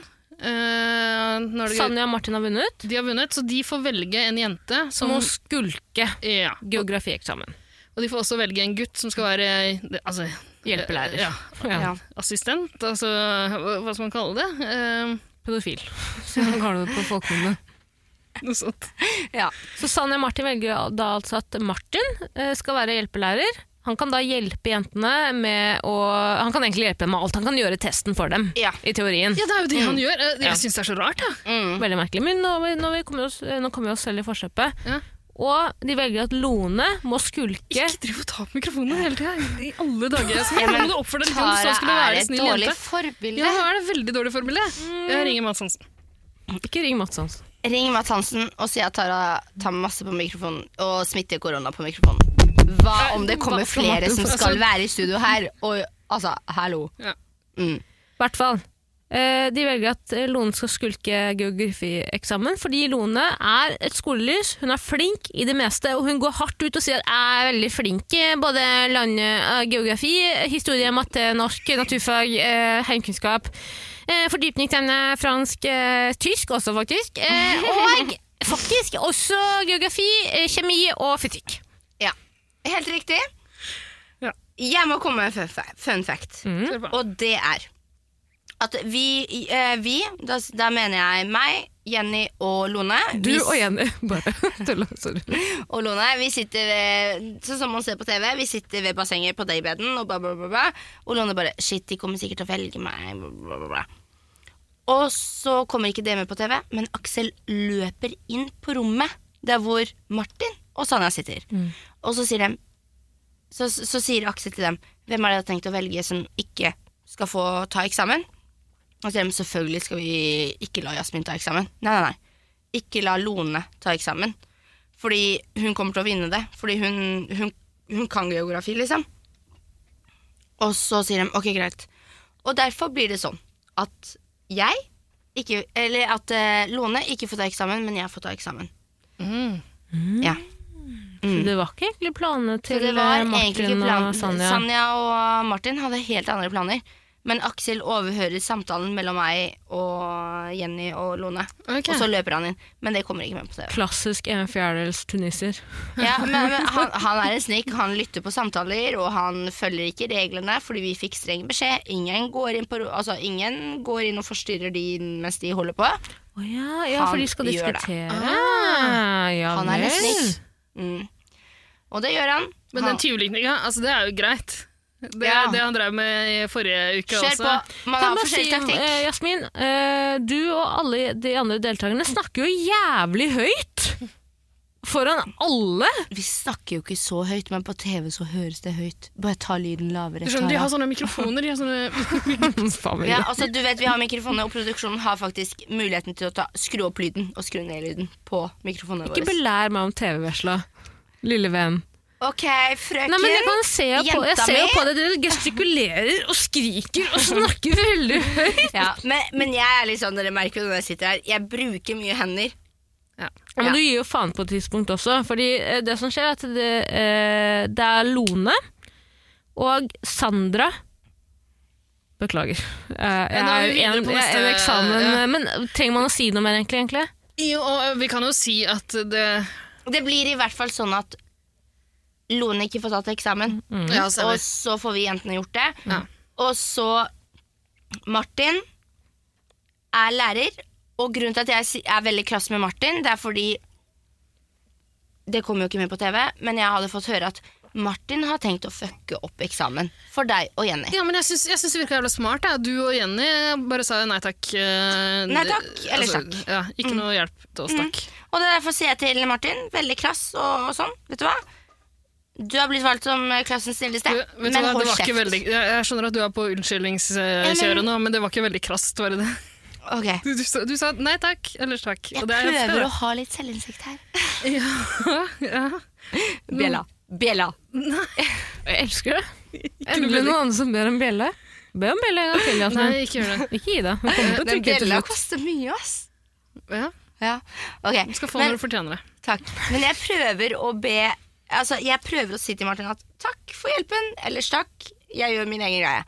Speaker 3: Eh, nå er det
Speaker 2: Sanja og Martin har vunnet.
Speaker 3: De har vunnet, så de får velge en jente som
Speaker 2: Som å skulke
Speaker 3: ja.
Speaker 2: geografieksamen.
Speaker 3: Og de får også velge en gutt som skal være det- altså,
Speaker 2: Hjelpelærer.
Speaker 3: Ja,
Speaker 2: Ja.
Speaker 1: Ja.
Speaker 3: assistent, altså hva hva skal man kalle det? Eh,
Speaker 2: Pedofil. Så man kaller det på folkemunne.
Speaker 3: noe sånt.
Speaker 2: Så Sanja og Martin velger da altså at Martin eh, skal være hjelpelærer. Han kan da hjelpe jentene med å Han kan egentlig hjelpe dem med alt. Han kan gjøre testen for dem,
Speaker 1: Ja.
Speaker 2: i teorien.
Speaker 3: Ja, det er jo det han gjør. Eh, Jeg
Speaker 2: Ja.
Speaker 3: syns det er så rart, jeg.
Speaker 1: Mm.
Speaker 2: Veldig merkelig. Men nå, nå, vi kommer oss, nå kommer vi oss selv i forkjøpet.
Speaker 3: Ja.
Speaker 2: Og de velger at Lone må skulke.
Speaker 3: Ikke driv og ta på mikrofonen hele tida. I alle dager. Jeg
Speaker 1: Ja,
Speaker 3: skal
Speaker 1: men
Speaker 3: må du oppføre deg litt om du så skulle
Speaker 1: Tara er
Speaker 3: være
Speaker 1: et
Speaker 3: snill
Speaker 1: dårlig
Speaker 3: jente.
Speaker 1: forbilde.
Speaker 3: Ja, nå er det veldig dårlig forbilde. Jeg ringer Mads Hansen.
Speaker 2: Ikke ring Mats Hansen.
Speaker 1: Ring Matt Hansen og si at Tara tar masse på mikrofonen og smitter korona på mikrofonen. Hva om det kommer flere som skal være i studio her? Og altså, hallo.
Speaker 3: Ja.
Speaker 1: Mm.
Speaker 2: I hvert fall. Eh, De velger at eh, Lone skal skulke geografieksamen, fordi Lone er et skolelys. Hun er flink i det meste, og hun går hardt ut og sier at jeg er veldig flink i både land, eh, geografi, historie, matte, norsk, naturfag, eh, heimkunnskap, eh, fordypning til emne fransk, eh, tysk også, faktisk, eh, og faktisk også geografi, eh, kjemi og fysikk.
Speaker 1: Ja. Helt riktig.
Speaker 3: Ja. Mm.
Speaker 1: Jeg må komme med en fun fa- fun fact.
Speaker 3: Kjør på.
Speaker 1: Og det er at vi, eh, vi da, da mener jeg meg, Jenny og Lone
Speaker 2: Du
Speaker 1: vi,
Speaker 2: og Jenny, bare tulla, sorry.
Speaker 1: og Lone, vi sitter ved, Sånn som man ser på TV, vi sitter ved bassenget på daybeden, og, bla, bla, bla, bla, og Lone bare Shit, de kommer sikkert til å velge meg. Bla, bla, bla, bla. Og så kommer ikke det med på TV, men Aksel løper inn på rommet der hvor Martin og Sanja sitter. Og så sier, dem, så, så sier Aksel til dem Hvem er det jeg har tenkt å velge som ikke skal få ta eksamen? Og så sier de selvfølgelig skal vi ikke la Jasmin ta eksamen. Nei, nei, nei. Ikke la Lone ta eksamen. Fordi hun kommer til å vinne det. Fordi hun, hun, hun kan geografi, liksom. Og så sier de ok, greit. Og derfor blir det sånn at jeg ikke Eller at eh, Lone ikke får ta eksamen, men jeg får ta eksamen. Mm. Ja.
Speaker 2: Så det var ikke egentlig
Speaker 1: Mm.
Speaker 2: planene
Speaker 1: Så
Speaker 2: til
Speaker 1: det var
Speaker 2: eh,
Speaker 1: egentlig ikke
Speaker 2: Martin
Speaker 1: planen.
Speaker 2: og Sanja.
Speaker 1: Sanja og Martin hadde helt andre planer. Men Aksel overhører samtalen mellom meg og Jenny og Lone.
Speaker 3: Ok.
Speaker 1: Og så løper han inn. Men det kommer ikke med på TV.
Speaker 2: Klassisk en fjerdedels tuniser.
Speaker 1: Ja, men, men han, han er en snik. Han lytter på samtaler, og han følger ikke reglene fordi vi fikk streng beskjed. Ingen går inn, på, ro- altså, ingen går inn og forstyrrer de mens de holder på.
Speaker 2: Å ja, ja,
Speaker 1: Han
Speaker 2: for de skal
Speaker 1: gjør det.
Speaker 2: diskutere. Ah, ja,
Speaker 1: Han er en
Speaker 2: vel.
Speaker 1: snik. Mm. Og det gjør han.
Speaker 3: Men den
Speaker 1: han
Speaker 3: tyvligninga, altså, det er jo greit. Det
Speaker 1: Ja.
Speaker 3: er det han drev med i forrige uke
Speaker 1: kjør
Speaker 3: også.
Speaker 1: på. Man
Speaker 2: Kan
Speaker 1: har
Speaker 2: bare si,
Speaker 1: forskjellig taktikk.
Speaker 2: eh, Jasmin, eh, du og alle de andre deltakerne snakker jo jævlig høyt foran alle.
Speaker 1: eh, Vi snakker jo ikke så høyt, men på TV så høres det høyt. Bare ta lyden lavere.
Speaker 3: Du skjønner, de
Speaker 1: Tara.
Speaker 3: har sånn- sånne mikrofoner. De har sånne
Speaker 2: Faen, men-
Speaker 1: ja, altså, du vet, vi har mikrofoner, og produksjonen har faktisk muligheten til å ta, skru opp lyden og skru ned lyden på mikrofonene
Speaker 2: Ikke
Speaker 1: våre.
Speaker 2: belær meg om TV-vesla, lille venn.
Speaker 1: Ok, frøken.
Speaker 2: Nei, men jeg, kan se jo på, jeg
Speaker 1: jenta
Speaker 2: ser jo
Speaker 1: mi.
Speaker 2: på det, dere gestikulerer og skriker og snakker veldig høyt.
Speaker 1: Ja, men, men jeg er litt sånn, dere merker jo når jeg sitter her, jeg bruker mye hender.
Speaker 2: Ja, men du gir jo faen på et tidspunkt også. Fordi eh, det som skjer, er at det, eh, det er Lone og Sandra Beklager. Eh, Jeg
Speaker 3: Men da er
Speaker 2: er jo
Speaker 3: vi videre
Speaker 2: en,
Speaker 3: på
Speaker 2: jeg er en
Speaker 3: neste-
Speaker 2: eksamen,
Speaker 3: ja.
Speaker 2: men trenger man å si noe mer egentlig? egentlig?
Speaker 3: Jo, og vi kan jo si at det
Speaker 1: Det blir i hvert fall sånn at Lone ikke får tatt eksamen,
Speaker 3: Ja,
Speaker 1: og
Speaker 3: stemmer.
Speaker 1: så får vi jentene gjort det.
Speaker 3: Ja.
Speaker 1: Og så Martin er lærer, og grunnen til at jeg si- er veldig krass med Martin, det er fordi Det kommer jo ikke med på TV, men jeg hadde fått høre at Martin har tenkt å fucke opp eksamen for deg og Jenny.
Speaker 3: Ja, men jeg syns, jeg syns det virka jævla smart. Da. Du og Jenny bare sa nei takk. eh, altså,
Speaker 1: Nei takk, eller takk. Mm.
Speaker 3: Ja, ikke noe hjelp til oss, takk.
Speaker 1: Og det er derfor sier jeg til Martin, veldig krass og, og sånn, vet du hva? Du har blitt valgt som eh, klassens snilleste,
Speaker 3: Du, vet du
Speaker 1: men
Speaker 3: hva, det
Speaker 1: hold
Speaker 3: var
Speaker 1: kjeft.
Speaker 3: ikke veldig, jeg, jeg skjønner at du er på
Speaker 1: Ja,
Speaker 3: unnskyldningskjøret
Speaker 1: men-
Speaker 3: nå, men det var ikke veldig krast, var det det?
Speaker 1: Ok.
Speaker 3: Du, du, sa- du sa nei takk, ellers takk.
Speaker 1: Jeg
Speaker 3: Og det er helt
Speaker 1: prøver
Speaker 3: det.
Speaker 1: å ha litt selvinnsikt her.
Speaker 3: ja.
Speaker 1: Bjella. Bjella.
Speaker 2: Jeg elsker det. Endelig noen andre som ber om bjelle. Be om bjelle en gang til, Jasmin.
Speaker 3: Nei, ikke gjør det.
Speaker 2: Ikke Ida. Hun kommer til å
Speaker 1: Den
Speaker 2: trykke til
Speaker 1: bjella
Speaker 2: slutt.
Speaker 1: koster mye, ass.
Speaker 3: Ja,
Speaker 1: Ja, ok.
Speaker 3: du skal få
Speaker 1: Men,
Speaker 3: når du fortjener det.
Speaker 1: takk. Men jeg prøver å be Altså, jeg prøver å si til Martin at takk for hjelpen, ellers takk. Jeg gjør min egen greie.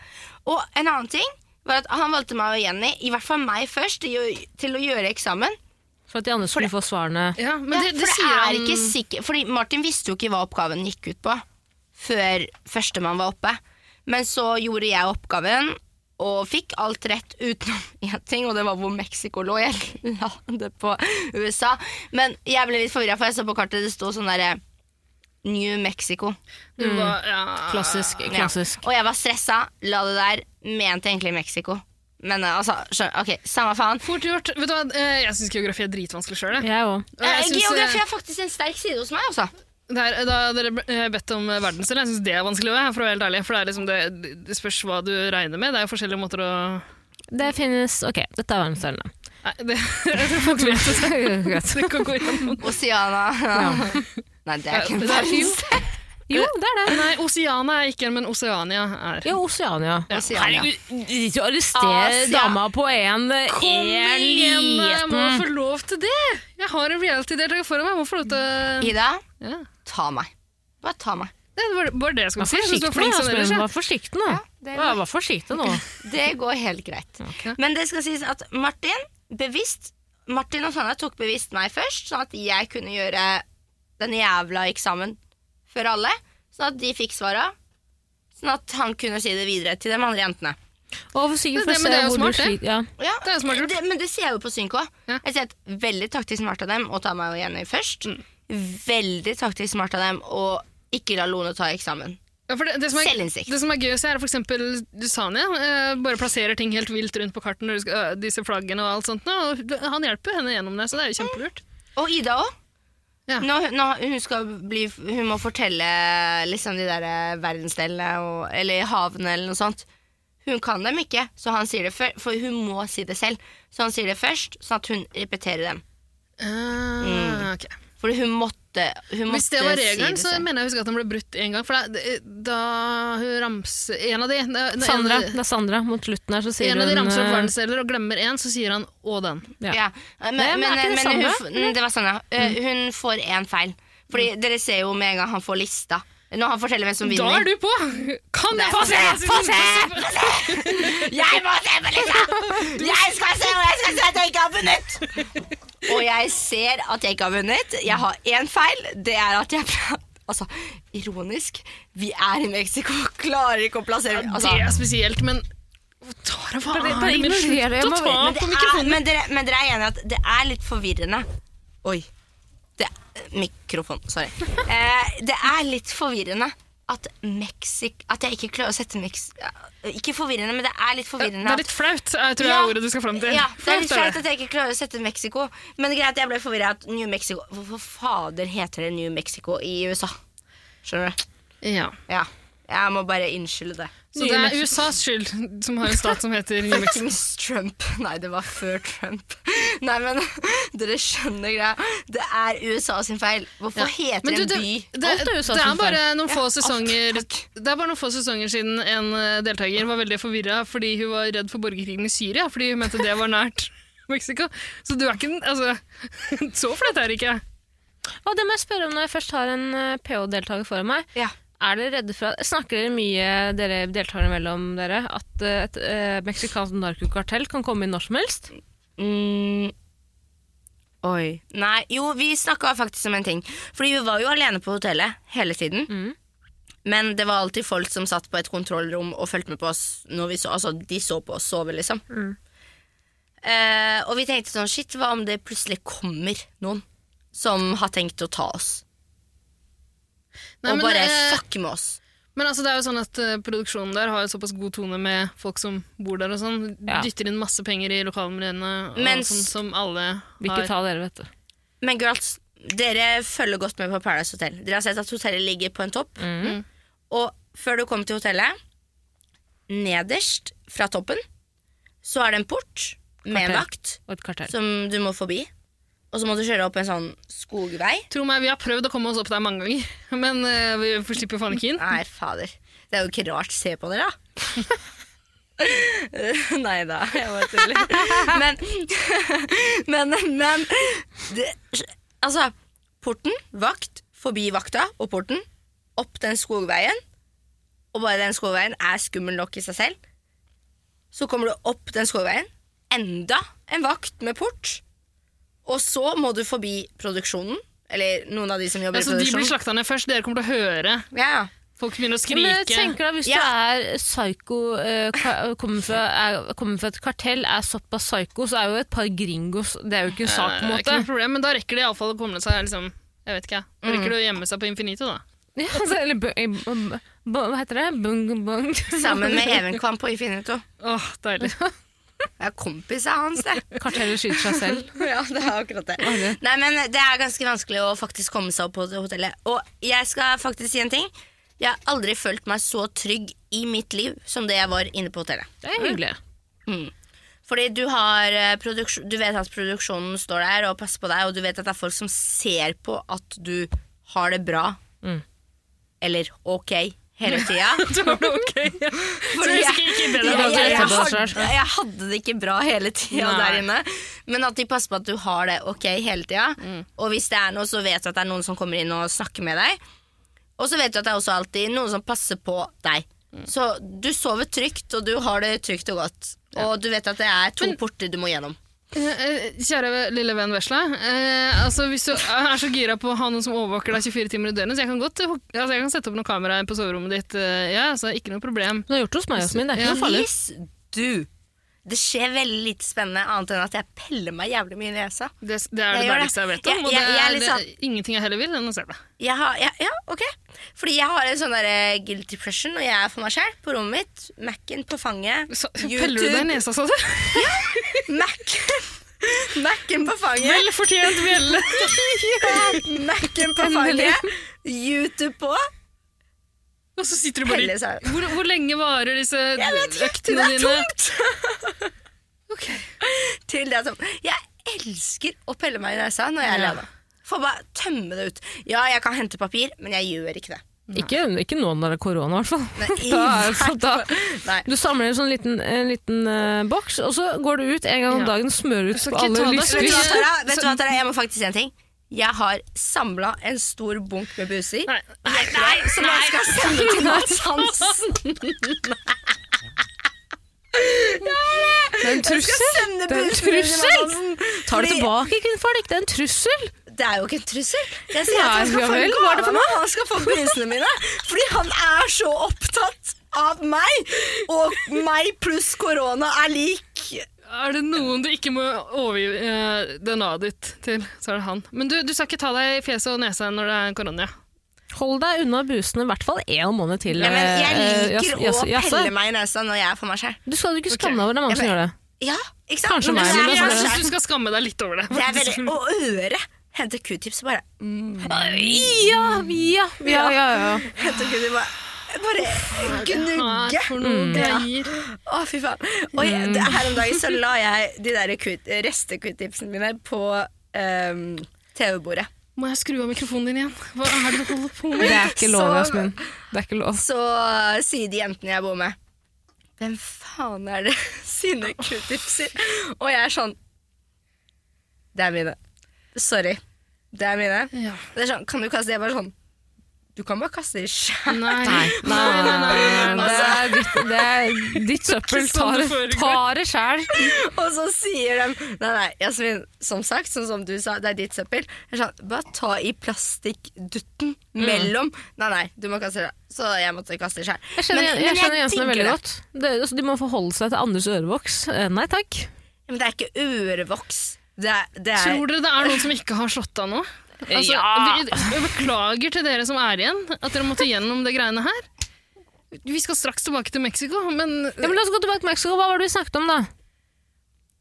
Speaker 1: Og en annen ting var at han valgte meg og Jenny, i hvert fall meg først, til å- til å gjøre eksamen.
Speaker 2: For at de andre skulle få svarene.
Speaker 3: Ja, men
Speaker 1: Ja,
Speaker 3: det, det
Speaker 1: for det
Speaker 3: sier
Speaker 1: er
Speaker 3: han
Speaker 1: ikke sikker, fordi Martin visste jo ikke hva oppgaven gikk ut på før førstemann var oppe. Men så gjorde jeg oppgaven og fikk alt rett utenom én ting, og det var hvor Mexico lå. Jeg la det på USA. Men jeg ble litt forvirra, for jeg så på kartet det sto sånn derre New Mexico.
Speaker 3: du var, ja.
Speaker 2: Klassisk. klassisk.
Speaker 1: Ja. Og jeg var stressa, la det der, mente egentlig Mexico. Men eh, altså, skjønn, ok, samme faen.
Speaker 3: Fort gjort. Vet du hva, eh, jeg syns geografi er dritvanskelig sjøl.
Speaker 2: Jeg òg.
Speaker 1: Eh, Geografi er faktisk en sterk side hos meg, altså.
Speaker 3: Der, da dere ble- eh, bedt om verdensdel, jeg syns det er vanskelig òg, for å være helt ærlig. For det, er liksom det, det spørs hva du regner med. Det er jo forskjellige måter å
Speaker 2: Det finnes Ok, dette er verdensdelene.
Speaker 3: Nei, det, jeg tror folk vet det.
Speaker 2: Greit.
Speaker 3: så det kan gå gjennom.
Speaker 1: Oceana. Nei, det er ikke en
Speaker 3: Det er
Speaker 1: verdens.
Speaker 3: Eh.
Speaker 2: Jo, det er det.
Speaker 3: Nei, Oceana er ikke en, men Oceania er.
Speaker 2: Jo, Oceania.
Speaker 1: Oceania.
Speaker 2: Ikke arrestere
Speaker 1: Asia.
Speaker 2: dama på en eh,
Speaker 3: Kom
Speaker 2: en
Speaker 3: igjen, jeg må
Speaker 2: liten
Speaker 3: få lov til det! Jeg har en reality-deltaker foran meg. Jeg må få lov til
Speaker 1: Ida,
Speaker 3: ja.
Speaker 1: ta meg. Bare ta meg.
Speaker 3: Det var bare det jeg
Speaker 2: Vær
Speaker 3: skulle si. Jeg synes
Speaker 2: forsiktig
Speaker 3: du var
Speaker 2: nå,
Speaker 3: flink som
Speaker 2: Jasmin.
Speaker 3: ellers. ja.
Speaker 2: Vær forsiktig nå.
Speaker 1: det,
Speaker 2: Ja, Vær forsiktig nå.
Speaker 1: går helt greit. Men det skal sies at Martin bevisst Martin og Sanna tok bevisst meg først, sånn at jeg kunne gjøre den jævla eksamen for alle. Sånn at de fikk svara. Sånn at han kunne si det videre til de andre jentene.
Speaker 2: Og for sikkert
Speaker 3: Det-
Speaker 2: for å se hvor du
Speaker 3: men det er jo smart, det.
Speaker 2: sliter. Ja.
Speaker 1: Ja,
Speaker 3: Det er jo smart gjort.
Speaker 1: det- men det sier jeg jo på Synk òg.
Speaker 3: Ja.
Speaker 1: Jeg sier at veldig taktisk smart av dem å ta meg og Jenny først.
Speaker 3: Mm.
Speaker 1: Veldig taktisk smart av dem å ikke la Lone ta eksamen.
Speaker 3: Ja, for det, det, som er,
Speaker 1: Selvinnsikt.
Speaker 3: det som er gøy å se, er for eksempel Dusania. Eh, bare plasserer ting helt vilt rundt på karten, når du skal, øh, disse flaggene og alt sånt. nå, Og d- han hjelper henne gjennom det, så det er jo kjempelurt.
Speaker 1: Og Ida òg.
Speaker 3: Ja.
Speaker 1: Nå, nå, hun, skal bli, hun må fortelle liksom de der eh, verdensdelene og, eller havene eller noe sånt. Hun kan dem ikke, så han sier det før, for hun må si det selv. Så han sier det først, sånn at hun repeterer dem.
Speaker 3: Ah, ok.
Speaker 1: For hun måtte, hun måtte
Speaker 3: Hvis det var regelen,
Speaker 1: si
Speaker 3: så
Speaker 1: det selv.
Speaker 3: mener jeg å huske at han ble brutt én gang. For da, det- da hun ramser En av de da, da,
Speaker 2: Sandra,
Speaker 3: En,
Speaker 2: det er Sandra. Mot slutten her så sier
Speaker 3: en av de
Speaker 2: hun
Speaker 3: ramser opp
Speaker 2: eh,
Speaker 3: verdensdeler og glemmer én, så sier han 'og den'.
Speaker 2: Ja.
Speaker 1: Ja. Men,
Speaker 2: men er
Speaker 1: men,
Speaker 2: ikke det
Speaker 1: men,
Speaker 2: samme?
Speaker 1: hun, f- mm, det var Sandra. Eh, Hun får én feil. Fordi Dere ser jo med en gang han får lista. Når han forteller hvem som
Speaker 3: Mm. Da
Speaker 1: vinner.
Speaker 3: er du på! Kan
Speaker 1: Nei,
Speaker 3: jeg
Speaker 1: få se, få se, få se! Jeg må se på lista! Jeg skal se og jeg skal se at jeg ikke har vunnet! Og jeg ser at jeg ikke har vunnet. Jeg har én feil. Det er at jeg Altså, ironisk. Vi er i Mexico, klarer ikke å plassere altså,
Speaker 3: Det er spesielt, men Tara, hva
Speaker 2: Bare- bare
Speaker 3: er det med
Speaker 2: ignorer det,
Speaker 3: slutt
Speaker 2: jeg
Speaker 3: å
Speaker 2: må-
Speaker 3: ta
Speaker 1: men, det
Speaker 3: på
Speaker 1: er,
Speaker 3: mikrofonen?
Speaker 1: men, dere, men dere er enige at det er litt forvirrende. Oi. Det, mikrofon, sorry. Eh, det er litt forvirrende at Mexik... At jeg ikke klarer å sette Mex... Ikke forvirrende, men det er litt forvirrende.
Speaker 3: Det er litt flaut, jeg tror jeg
Speaker 1: Ja.
Speaker 3: er ordet du skal fram til.
Speaker 1: Ja, det er litt
Speaker 3: er
Speaker 1: flaut
Speaker 3: det.
Speaker 1: at jeg ikke klarer å sette Mexico. Men det er greit, jeg ble forvirra at New Mexico Hvorfor fader heter det New Mexico i USA? Skjønner du?
Speaker 3: Ja.
Speaker 1: Ja. Jeg må bare unnskylde det.
Speaker 3: Så det er USAs skyld som har en stat som heter New Mexico.
Speaker 1: Fuckings Trump. Nei, det var før Trump. Nei, men dere skjønner greia. Det er USA sin feil. Hvorfor heter
Speaker 3: Men du,
Speaker 1: en
Speaker 3: det,
Speaker 1: by
Speaker 3: det,
Speaker 2: Alt er
Speaker 3: det,
Speaker 2: USAs
Speaker 3: er
Speaker 2: feil.
Speaker 3: bare noen få
Speaker 1: Ah,
Speaker 3: sesonger Det er bare noen få sesonger siden en eh, deltaker var veldig forvirra fordi hun var redd for borgerkrigen i Syria, fordi hun mente det var nært Mexico. Så du er ikke den altså, Så flaut er det ikke.
Speaker 2: Og det må jeg spørre om når jeg først har en eh, PH-deltaker foran meg.
Speaker 1: Ja.
Speaker 2: Er dere redde for at Snakker dere mye, dere deltakerne mellom dere, at eh, et eh, meksikansk narkokartell kan komme inn når som helst?
Speaker 1: Mm. Oi. Nei, jo, vi snakka faktisk om en ting. Fordi vi var jo alene på hotellet hele tiden.
Speaker 2: Mm.
Speaker 1: Men det var alltid folk som satt på et kontrollrom og fulgte med på oss når vi så Altså, de så på oss sove, liksom.
Speaker 3: Mm.
Speaker 1: Eh, og vi tenkte sånn Shit, hva om det plutselig kommer noen som har tenkt å ta oss?
Speaker 3: Nei,
Speaker 1: og
Speaker 3: men,
Speaker 1: bare
Speaker 3: eh,
Speaker 1: fucke med oss.
Speaker 3: Men altså, det er jo sånn at eh, produksjonen der har jo såpass god tone med folk som bor der og sånn.
Speaker 2: Ja.
Speaker 3: Dytter inn masse penger i lokalmiljøene, og
Speaker 1: Mens-
Speaker 3: sånn som alle
Speaker 2: Vil ikke
Speaker 3: har.
Speaker 2: ta dere, vet du.
Speaker 1: Men girls, dere følger godt med på Paradise Hotel. Dere har sett at hotellet ligger på en topp.
Speaker 2: Mm.
Speaker 1: Og før du kommer til hotellet, nederst fra toppen, så er det en port med en
Speaker 2: Kartell.
Speaker 1: vakt
Speaker 2: Og et kartell.
Speaker 1: som du må forbi. Og så må du kjøre opp en sånn skogvei.
Speaker 3: Tro meg, vi har prøvd å komme oss opp der mange ganger, men eh, vi får- slipper faen ikke inn.
Speaker 1: Nei, fader. Det er jo ikke rart. Se på dere, da. Nei da, jeg bare tuller. Men, men, men det, Altså, porten, vakt, forbi vakta og porten, opp den skogveien. Og bare den skogveien er skummel nok i seg selv. Så kommer du opp den skogveien, enda en vakt med port. Og så må du forbi produksjonen, eller noen av de som
Speaker 3: Ja,
Speaker 1: jobber i
Speaker 3: så Altså, de blir
Speaker 1: produksjonen.
Speaker 3: slakta ned først. Dere kommer til å høre
Speaker 1: Ja, ja.
Speaker 3: folk begynne å
Speaker 2: sånn. Men jeg
Speaker 3: skrike.
Speaker 2: tenker da, Hvis du er psyko, eh, ka- kommer fra, er, kommer fra et kartell, er såpass psyko, så er jo et par gringos Det er jo ikke en sak, på en
Speaker 3: Eh, Ikke
Speaker 2: måte.
Speaker 3: noe problem, men da rekker det iallfall å komme seg liksom, jeg vet ikke, jeg. Da
Speaker 2: Mm.
Speaker 3: rekker det å gjemme seg på Infinito, da.
Speaker 2: Ja, altså, eller bu- i- bu- bu- Hva heter det? Bung, bung.
Speaker 1: Sammen med Evenkvam på Infinito.
Speaker 3: Åh, deilig.
Speaker 2: Mm.
Speaker 1: Det er kompisa hans, det.
Speaker 2: Kartellet skyter seg selv.
Speaker 1: ja, det er akkurat det. Nei, men Det er ganske vanskelig å faktisk komme seg opp på hotellet. Og jeg skal faktisk si en ting. Jeg har aldri følt meg så trygg i mitt liv som det jeg var inne på hotellet.
Speaker 2: Det er hyggelig.
Speaker 1: Fordi du, har, eh, produksjon- du vet at produksjonen står der og passer på deg, og du vet at det er folk som ser på at du har det bra. Eller ok hele tida.
Speaker 3: Det var ok. Så
Speaker 1: Fordi
Speaker 3: jeg
Speaker 1: jeg-
Speaker 3: husker ikke bedre
Speaker 1: jeg,
Speaker 3: enn
Speaker 1: jeg,
Speaker 3: at jeg-
Speaker 1: jeg,
Speaker 2: etterpå
Speaker 1: hadde,
Speaker 2: selv.
Speaker 1: jeg hadde det ikke bra hele tida
Speaker 3: Nei.
Speaker 1: der inne. Men at de passer på at du har det ok hele tida.
Speaker 3: Mm.
Speaker 1: Og hvis det er noe, så vet du at det er noen som kommer inn og snakker med deg. Og så vet du at det er også alltid noen som passer på deg.
Speaker 3: Mm.
Speaker 1: Så du sover trygt, og du har det trygt og godt. Og du vet at det er to porter du må gjennom.
Speaker 3: Eh, eh, Kjære lille venn Vesla. Eh, altså, hvis du er så gira på å ha noen som overvåker deg 24 timer i døgnet, så jeg kan godt eh, hok- altså, jeg kan sette opp noen kameraer på soverommet ditt. eh, ja, altså, ikke noe problem.
Speaker 2: Du har gjort det hos meg, Jasmin. Det er ikke noe farlig.
Speaker 1: Please do! Det skjer veldig lite spennende, annet enn at jeg peller meg jævlig mye i nesa.
Speaker 3: Det, det
Speaker 1: Jeg
Speaker 3: er det
Speaker 1: gjør det.
Speaker 3: deiligste jeg vet om.
Speaker 1: Jeg-
Speaker 3: Og det
Speaker 1: jeg- jeg er
Speaker 3: er
Speaker 1: litt sånn-
Speaker 3: det, ingenting jeg heller vil enn å se det.
Speaker 1: Jeg har, ja, ja, ok Fordi jeg har en sånn der eh, guilt depression Når jeg er for meg selv på rommet mitt Mac-en på fanget
Speaker 3: Så, peller du deg i
Speaker 1: YouTube
Speaker 3: nesa, sa du?
Speaker 1: Mac-en Mac-en på fanget
Speaker 3: Vel fortjent bjelle.
Speaker 1: Mac-en på fanget YouTube på
Speaker 3: Og så sitter du bare
Speaker 1: Pelle
Speaker 3: i
Speaker 1: seg
Speaker 3: hvor, hvor lenge varer disse
Speaker 1: Det
Speaker 3: øktene
Speaker 1: er
Speaker 3: dine?
Speaker 1: tungt Til det som Jeg elsker å pelle meg i nesa når jeg er
Speaker 3: Ja.
Speaker 1: alene For bare tømme det ut Ja, jeg kan hente papir, men jeg gjør ikke det
Speaker 2: Ikke, ikke nå når det er korona, i hvert fall.
Speaker 1: Nei, i
Speaker 2: Da er det
Speaker 1: hvert
Speaker 2: sånn, da-
Speaker 1: fall- Nei
Speaker 2: Du samler en sånn liten, en liten eh, boks, og så går du ut en gang om
Speaker 3: Ja.
Speaker 2: dagen, smører ut
Speaker 3: skal
Speaker 2: på
Speaker 3: ikke ta
Speaker 2: alle
Speaker 3: deg så
Speaker 1: Vet du hva,
Speaker 2: lystlys.
Speaker 3: mye.
Speaker 1: Tara? Vet du hva, Tara? Jeg må faktisk si en ting. Jeg har samla en stor bunk med buser.
Speaker 3: Nei.
Speaker 1: Nei, som jeg skal sende til Mads Hansen.
Speaker 2: Det er en
Speaker 1: Jeg skal
Speaker 2: trussel!
Speaker 1: sende
Speaker 2: Det er en
Speaker 1: buser til Mads
Speaker 2: trussel!
Speaker 1: Hansen.
Speaker 2: Ta det
Speaker 1: Fordi-
Speaker 2: tilbake, kvinnfolk! Det er en trussel!
Speaker 1: Det er jo ikke en trussel. Jeg sier at
Speaker 2: Nei,
Speaker 1: han skal
Speaker 2: ja
Speaker 1: få
Speaker 2: vel,
Speaker 1: en
Speaker 2: hva er det for
Speaker 1: gave. Han skal få busene mine. Fordi han er så opptatt av meg. Og meg pluss korona er lik
Speaker 3: Er det noen du ikke må overgi eh, DNA-et ditt til, så er det han. Men du, du skal ikke ta deg i fjeset og nesa når det er korona.
Speaker 2: Hold deg unna busene i hvert fall én måned til.
Speaker 1: ja, men
Speaker 2: eh,
Speaker 1: Jeg liker
Speaker 2: jas- jas-
Speaker 1: å
Speaker 2: jasse.
Speaker 1: pelle meg i nesa når jeg er for meg selv.
Speaker 2: Du skal jo ikke skamme deg over det, er mange som
Speaker 1: Ja, men-
Speaker 2: gjør det.
Speaker 1: Ja, ikke sant?
Speaker 2: Kanskje
Speaker 1: Når
Speaker 2: meg,
Speaker 1: jeg er
Speaker 2: men det
Speaker 1: for meg
Speaker 2: er
Speaker 3: Jeg
Speaker 2: sånn
Speaker 1: selv.
Speaker 3: syns du skal skamme deg litt over det.
Speaker 1: Det er veldig, og øret. Hente q-tips og bare
Speaker 2: Ja, ja, ja, ja, ja.
Speaker 1: Hente q-tips bare, bare gnugge.
Speaker 3: for noen greier.
Speaker 1: Å, fy faen. Og jeg, det, her om dagen så la jeg de der q- reste-q-tipsene mine på ehm, TV-bordet.
Speaker 3: Må jeg skru av mikrofonen din igjen? Hva er det du holder på med?
Speaker 2: Det er ikke lov,
Speaker 1: Så-
Speaker 2: Jasmin. Det er ikke lov.
Speaker 1: Så sier de jentene jeg bor med Hvem faen er det sine q-tipser? Og jeg er sånn Det er mine. Sorry. Det er mine.
Speaker 3: Ja.
Speaker 1: Det er sånn, kan du kaste det? Jeg bare sånn Du kan bare kaste det i sjæl.
Speaker 3: Nei.
Speaker 2: Nei, nei, nei, nei, nei. Det, er ditt, det er ditt søppel.
Speaker 3: Ikke sånn
Speaker 2: Ta
Speaker 3: det
Speaker 2: det-
Speaker 3: foregår.
Speaker 2: Ta det sjæl.
Speaker 1: Og så sier de Nei, nei, Jasmin, som sagt, sånn som du sa, det er ditt søppel. Jeg sa, Bare ta i plastikkdutten
Speaker 2: Mm.
Speaker 1: mellom. Nei, nei, du må kaste det. Så jeg måtte kaste det sjøl.
Speaker 2: Jeg skjønner, jeg, skjønner jensene veldig godt. Det, altså, de må forholde seg til andres ørevoks. Eh, Nei takk.
Speaker 1: Men det er ikke ørevoks. Det er, det er
Speaker 3: Tror dere det er noen som ikke har slått av nå? Altså, vi, jeg beklager til dere som er igjen, at dere måtte gjennom det greiene her. Vi skal straks tilbake til Mexico, men
Speaker 2: Ja, men la oss gå tilbake til Mexico. Hva var det vi snakket om, da?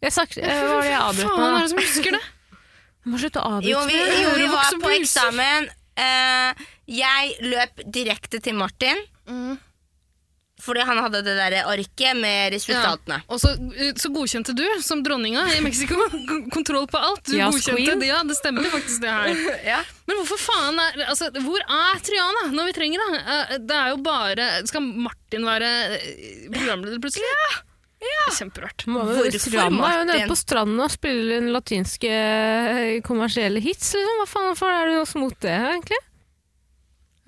Speaker 2: Jeg snakket, eh, hva var det jeg avbrøt
Speaker 3: faen er
Speaker 2: med?
Speaker 3: det som husker det?
Speaker 2: da? Må slutte å
Speaker 1: Jo,
Speaker 2: avbryte
Speaker 1: vi,
Speaker 2: meg.
Speaker 1: jo, vi
Speaker 3: Ørevoks
Speaker 1: var
Speaker 3: og
Speaker 1: på
Speaker 3: pulser.
Speaker 1: eksamen. Eh, jeg løp direkte til Martin.
Speaker 2: Mm.
Speaker 1: Fordi han hadde det der arket med resultatene.
Speaker 3: Og så, eh, så godkjente du, som dronninga i Mexico, k- kontroll på alt. Du
Speaker 2: Ja,
Speaker 3: godkjente
Speaker 2: queen.
Speaker 3: det, ja, det stemmer faktisk det her. Men hvorfor faen er altså, Hvor er Triana når vi trenger det? Eh, Det er jo bare Skal Martin være eh, programleder plutselig? Ja! Kjemperart.
Speaker 2: Må jo-
Speaker 1: Hvorfor,
Speaker 2: Stranda er jo nede
Speaker 1: Martin?
Speaker 2: på stranda og spiller inn latinske eh, kommersielle hits, liksom. Hva faen hvorfor er du også mot det, egentlig?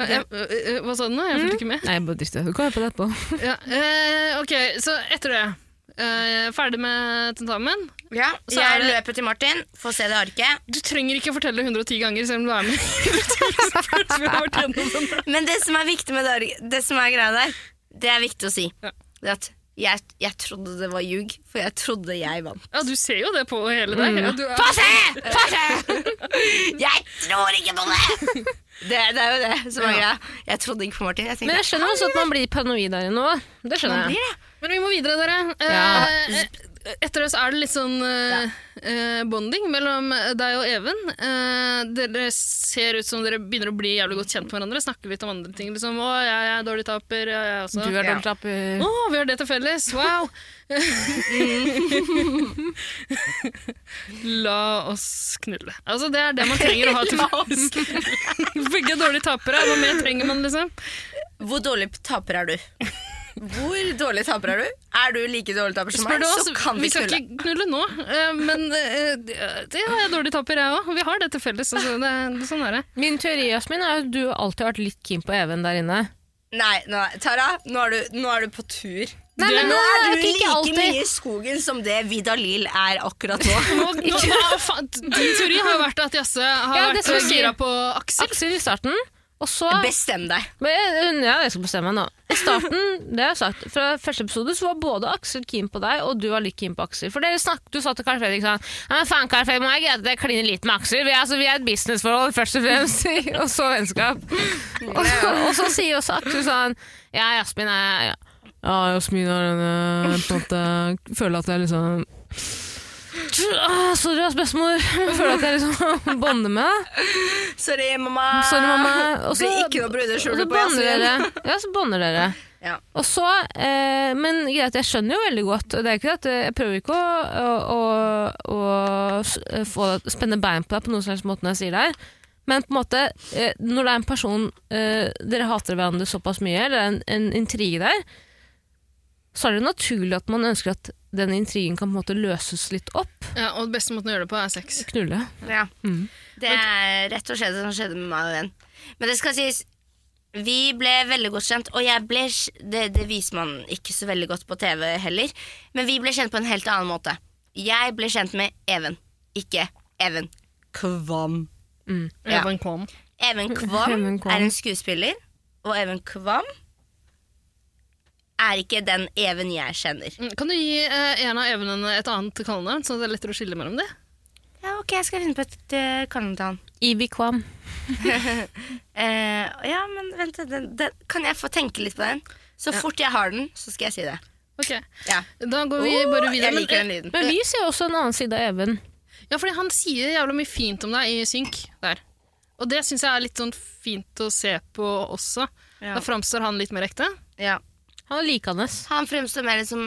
Speaker 3: Eh, eh, eh, Hva sa du nå? Jeg fulgte ikke med.
Speaker 2: Nei, bare dytt det. Du kan høre på det etterpå.
Speaker 3: Ja, eh, ok, så etter det eh, Ferdig med tentamen
Speaker 1: Ja,
Speaker 3: Så er
Speaker 1: jeg
Speaker 3: det-
Speaker 1: løper til Martin, får se det arket.
Speaker 3: Du trenger ikke å fortelle 110 ganger Selv om du er med Først vi har vært gjennom den der.
Speaker 1: Men det som er viktig med det, ark- det som er greia der, det er viktig å si.
Speaker 3: Ja.
Speaker 1: Det er at jeg, jeg trodde det var ljug, for jeg trodde jeg vant.
Speaker 3: Ja, du ser jo det på hele deg
Speaker 2: Mm.
Speaker 3: ja, du er-
Speaker 1: Få se! Få se! Jeg tror ikke på det! Det, det er jo det som er greia. Jeg trodde ikke på Martin. Jeg
Speaker 2: Men
Speaker 1: tenkte,
Speaker 2: jeg skjønner også at man blir paranoid der inne òg. Det
Speaker 1: man
Speaker 2: skjønner jeg.
Speaker 1: blir det.
Speaker 3: Men vi må videre, dere
Speaker 2: Ja.
Speaker 3: Eh, eh, Etter det så er det litt sånn eh, eh, Bonding mellom deg og Even Eh, Dere ser ut som dere begynner å bli Jævlig godt kjent med hverandre Snakker litt om andre ting liksom, Å, jeg, jeg er dårlig taper ja, jeg også.
Speaker 2: Du er
Speaker 1: Ja.
Speaker 2: dårlig trapper.
Speaker 3: Å, vi har det til felles! Wow! La oss knulle. Altså, det er det man trenger å ha til felles. Begge er dårlige tapere. Hva mer trenger man, liksom?
Speaker 1: Hvor dårlig taper er du? Hvor dårlig taper er du? Er du like dårlig taper som
Speaker 3: Spør
Speaker 1: meg,
Speaker 3: du oss,
Speaker 1: så kan
Speaker 3: vi
Speaker 1: vi
Speaker 3: skal
Speaker 1: knulle.
Speaker 3: ikke knulle nå, eh, men eh, det ja, jeg er dårlig taper, jeg òg. Vi har det til felles. Altså, det, det, sånn er det.
Speaker 2: Min teori Jasmin, er jo at du alltid har vært litt keen på Even der inne.
Speaker 1: Nei, nei, Tara, nå er, du, nå er du på tur.
Speaker 2: Nei,
Speaker 1: Du-
Speaker 2: men
Speaker 1: nå
Speaker 2: det
Speaker 1: er
Speaker 2: er
Speaker 1: du
Speaker 2: ikke
Speaker 1: like
Speaker 2: alltid.
Speaker 1: mye i skogen som det Vidalil er akkurat nå.
Speaker 3: Nå, nå, hva faen? Din teori har jo vært at Jasse har
Speaker 2: Ja, det
Speaker 3: vært
Speaker 2: skal jeg si.
Speaker 3: gira på Aksel.
Speaker 2: Aksel i starten, og så
Speaker 1: Bestem deg.
Speaker 2: men jeg, ja, jeg skal bestemme meg nå. I starten, det har jeg sagt, fra første episode så var både Aksel keen på deg, og du var litt keen på Aksel. For dere snakket, du sa til Carl Fredrik sånn Ja, men faen, Carl Fredrik, må jeg greie at jeg kliner litt med Aksel? Vi er, altså, vi er et businessforhold, først og fremst, og så vennskap. Og, og så sier også Aksel sånn Ja, Jasmin er Ja, ja Jasmin er en eh, på en måte Føler at jeg liksom Ah, Sorry, ass, bestemor. Jeg Føler at jeg liksom bonder med deg.
Speaker 1: Sorry, mamma.
Speaker 2: Sorry, mamma. Og så-
Speaker 1: Blir ikke noe
Speaker 2: og
Speaker 1: brudeskjole
Speaker 2: så
Speaker 1: på
Speaker 2: banner
Speaker 1: Jasmin.
Speaker 2: dere. Ja, så banner dere.
Speaker 1: Ja.
Speaker 2: Og så, eh, men greit, jeg skjønner jo veldig godt. og Det er ikke at eh, Jeg prøver ikke å, å, å, å s- eh, få, deg- spenne bein på deg på noen slags måte når jeg sier det her. Men på en måte, eh, når det er en person eh, Dere hater hverandre såpass mye, eller det er en, en intrige der, så er det naturlig at man ønsker at den intrigen kan på en måte løses litt opp.
Speaker 3: Ja, og beste måten å gjøre det på er sex.
Speaker 2: Knulle.
Speaker 1: Ja.
Speaker 2: Mm.
Speaker 1: Det er rett og slett det som skjedde med meg og den. Men det skal sies, vi ble veldig godt kjent, og jeg ble det, det viser man ikke så veldig godt på TV heller, men vi ble kjent på en helt annen måte. Jeg ble kjent med Even, ikke Even Kvam. Ja.
Speaker 3: Even kom.
Speaker 1: Even Kvam
Speaker 2: Even Kvam.
Speaker 1: er en skuespiller, og Even Kvam er ikke den Even jeg kjenner.
Speaker 3: Mm, Kan du gi eh, en av evnene et annet kallenavn, så det er lettere å skille mellom de?
Speaker 1: Ja, ok, jeg skal finne på et uh, kallenavn.
Speaker 2: Ibi Kvam.
Speaker 1: Eh, ja, men vent, den, den, kan jeg få tenke litt på den? Så fort jeg har den, så skal jeg si det.
Speaker 3: Ok,
Speaker 1: Ja.
Speaker 3: Da går vi
Speaker 1: Åh,
Speaker 3: bare
Speaker 1: jeg
Speaker 3: videre. men- eh,
Speaker 1: liker den lyden.
Speaker 2: Men vi ser jo også en annen side av Even.
Speaker 3: Ja, fordi han sier jævla mye fint om deg i synk der. Og det syns jeg er litt sånn fint å se på også.
Speaker 1: Ja.
Speaker 3: Da framstår han litt mer ekte.
Speaker 1: Ja.
Speaker 2: Han er likende.
Speaker 1: Han fremstår mer som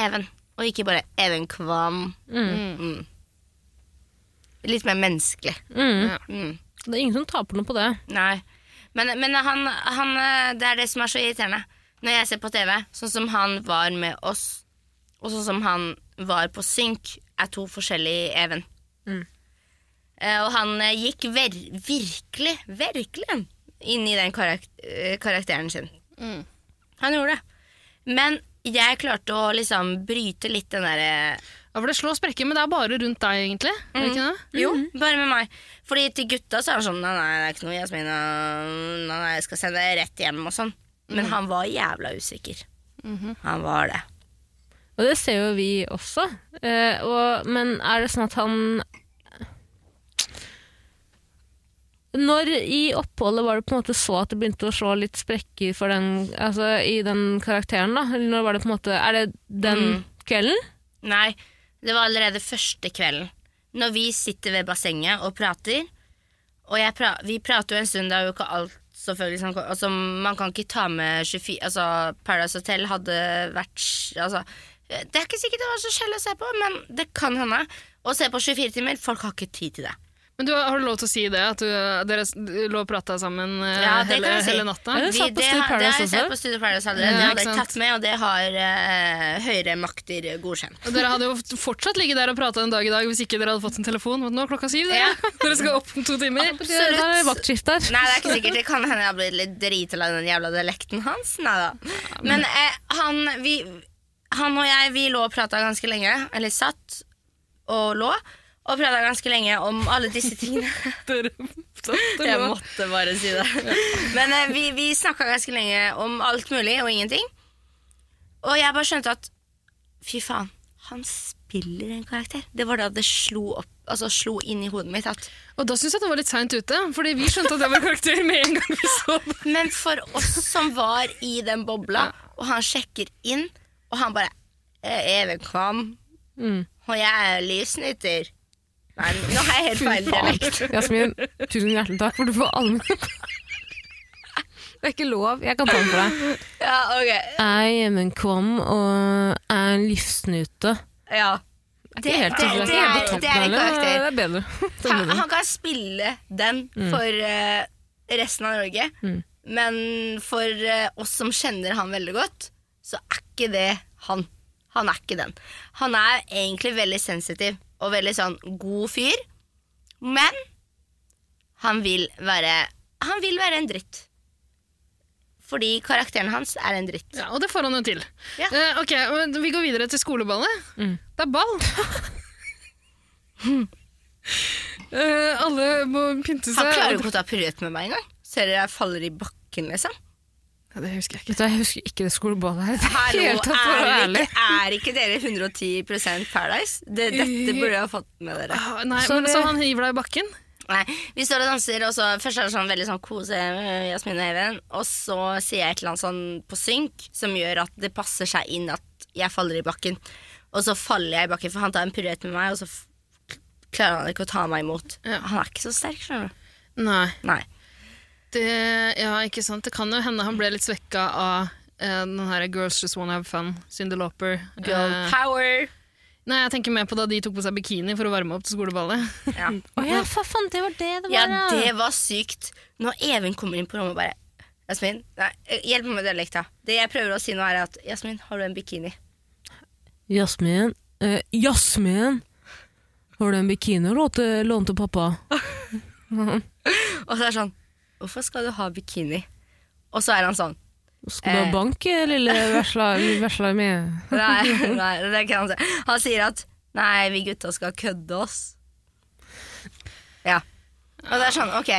Speaker 1: Even, og ikke bare Even Kvam. Mm. Litt mer menneskelig.
Speaker 2: Mm.
Speaker 1: Mm.
Speaker 2: Det er ingen som taper noe på det.
Speaker 1: Nei. Men, men han, han, eh, det er det som er så irriterende. Når jeg ser på TV, sånn som han var med oss, og sånn som han var på Synk, er to forskjellige Even. Eh, Og han eh, gikk ver virkelig, virkelig inni den karak eh, karakteren sin. Han gjorde det. Men jeg klarte å liksom bryte litt den eh, derre
Speaker 3: Ja, for det slår sprekker, men det er bare rundt deg, egentlig. Er det ikke det?
Speaker 1: Jo, bare med meg. Fordi til gutta så er han sånn Nei, nei, det er ikke noe Jasmin. og- Nei, nei, jeg skal sende deg rett hjem og sånn. Men han var jævla usikker. Han var det.
Speaker 2: Og det ser jo vi også. Eh, og, men er det sånn at han Når i oppholdet var det på en måte så at det begynte å slå litt sprekker for den, altså, i den karakteren? da? Eller når var det på en måte, Er det den
Speaker 1: Mm.
Speaker 2: kvelden?
Speaker 1: Nei, det var allerede første kvelden. Når vi sitter ved bassenget og prater, og jeg pra vi prater jo en stund, det er jo ikke alt selvfølgelig som altså, Man kan ikke ta med 24 Altså, Paradise Hotel hadde vært s- Altså, det er ikke sikkert det var så skjell å se på, men det kan hende. Å se på 24 timer, folk har ikke tid til det.
Speaker 3: Men du, har du lov til å si det? At du, dere s- du lå og prata sammen eh,
Speaker 1: Ja, det
Speaker 3: hele,
Speaker 1: kan jeg si.
Speaker 3: hele natta?
Speaker 2: Ja, det
Speaker 1: Vi,
Speaker 2: satt på
Speaker 1: det, har-
Speaker 2: Studio
Speaker 1: det har jeg
Speaker 2: Paradise
Speaker 1: sett
Speaker 2: også.
Speaker 1: på Studio Paradise allerede.
Speaker 3: Ja,
Speaker 1: det
Speaker 3: ikke
Speaker 1: hadde jeg
Speaker 3: sant.
Speaker 1: tatt med, og det har eh, høyere makter godkjent.
Speaker 3: Og dere hadde jo f- fortsatt ligget der og prata en dag i dag hvis ikke dere hadde fått en telefon. Men nå er klokka syv,
Speaker 1: Ja.
Speaker 3: dere. dere skal opp om to timer.
Speaker 1: Absolutt.
Speaker 2: Da er det vaktskift der.
Speaker 1: Nei, det er ikke sikkert. Det kan hende jeg har blitt litt dritla av den jævla dialekten hans. Neida. Men eh, han, vi, han og jeg, vi lå og prata ganske lenge. Eller satt og lå. Og prata ganske lenge om alle disse tingene.
Speaker 3: Dere satt og
Speaker 1: Jeg
Speaker 3: lå.
Speaker 1: måtte bare si det. Men eh, vi, vi snakka ganske lenge om alt mulig og ingenting. Og jeg bare skjønte at fy faen, han spiller en karakter. Det var da det slo, opp, altså, slo inn i hodet mitt at
Speaker 3: Og da syns jeg det var litt seint ute, fordi vi skjønte at det var karakter med en gang vi så det.
Speaker 1: Men for oss som var i den bobla, og han sjekker inn, og han bare «Jeg er Even Kvam,
Speaker 2: Mm.
Speaker 1: og jeg er lysnytter. Nei, nå har jeg helt feil dialekt.
Speaker 2: Jasmin, tusen hjertelig takk for du får alle mine Det er ikke lov. Jeg kan ta den for deg.
Speaker 1: Ja, ok.
Speaker 2: Jeg er hjemmekom og er en livsnute.
Speaker 1: Ja. Det, det,
Speaker 2: Helt
Speaker 1: det,
Speaker 2: tydelig.
Speaker 1: det, er, det er en karakter.
Speaker 2: Det er bedre. Det er
Speaker 1: Han,
Speaker 2: bedre.
Speaker 1: han kan spille den for eh, resten av Norge, men for eh, oss som kjenner han veldig godt, så er ikke det han. Han er ikke den. Han er egentlig veldig sensitiv og veldig sånn god fyr, men han vil være Han vil være en dritt. Fordi karakteren hans er en dritt.
Speaker 3: Ja, og det får han jo til.
Speaker 1: Ja.
Speaker 3: Eh, ok, og Vi går videre til skoleballet.
Speaker 1: Mm.
Speaker 3: Det er ball. Eh, alle må pynte seg.
Speaker 1: Han klarer jo ikke å ta purret med meg engang. Ser dere jeg faller i bakken, liksom.
Speaker 3: Ja, det husker jeg ikke.
Speaker 2: Vet du, jeg husker ikke det skoleballet her. Det er
Speaker 1: Hallo,
Speaker 2: helt tatt for å være
Speaker 1: er,
Speaker 2: ærlig.
Speaker 1: ikke, er ikke dere 110 Paradise? Det, dette burde jeg ha fått med dere.
Speaker 3: Ah, nei,
Speaker 2: Så
Speaker 3: så, men,
Speaker 2: det-
Speaker 3: så han hiver deg i bakken?
Speaker 1: Nei, vi står og danser, og så først er det sånn veldig sånn kose øh, Jasmin og Even, og så sier jeg et eller annet sånn på synk som gjør at det passer seg inn at jeg faller i bakken. Og så faller jeg i bakken, for han tar en purrett med meg, og så f klarer han ikke å ta meg imot.
Speaker 3: Ja.
Speaker 1: Han er ikke så sterk, skjønner du.
Speaker 3: Nei.
Speaker 1: Nei.
Speaker 3: Det, ja, ikke sant. Det kan jo hende han ble litt svekka av eh, den her Girls Just Wanna Have Fun, Cyndi Lauper.
Speaker 1: Girl
Speaker 3: Eh,
Speaker 1: power!
Speaker 3: nei, jeg tenker mer på da de tok på seg bikini for å varme opp til skoleballet.
Speaker 1: Ja.
Speaker 2: Å ja, for faen, det var det det
Speaker 1: Ja,
Speaker 2: var,
Speaker 1: det var sykt. Når Even kommer inn på rommet og bare Jasmin, nei, eh, hjelp meg med dialekta. Det jeg prøver å si nå, er at Jasmin, har du en bikini?
Speaker 2: Jasmin, eh, Jasmin, har du en bikini å låte, lånte pappa?
Speaker 1: Og så er det sånn Hvorfor skal du ha bikini? Og så er han sånn
Speaker 2: Skal du ha
Speaker 1: Eh.
Speaker 2: bank, eh, lille vesla, vesla med?
Speaker 1: Nei, nei det er ikke han sier. Han sier at Nei, vi gutta skal kødde oss. Ja. Og det er sånn, ok.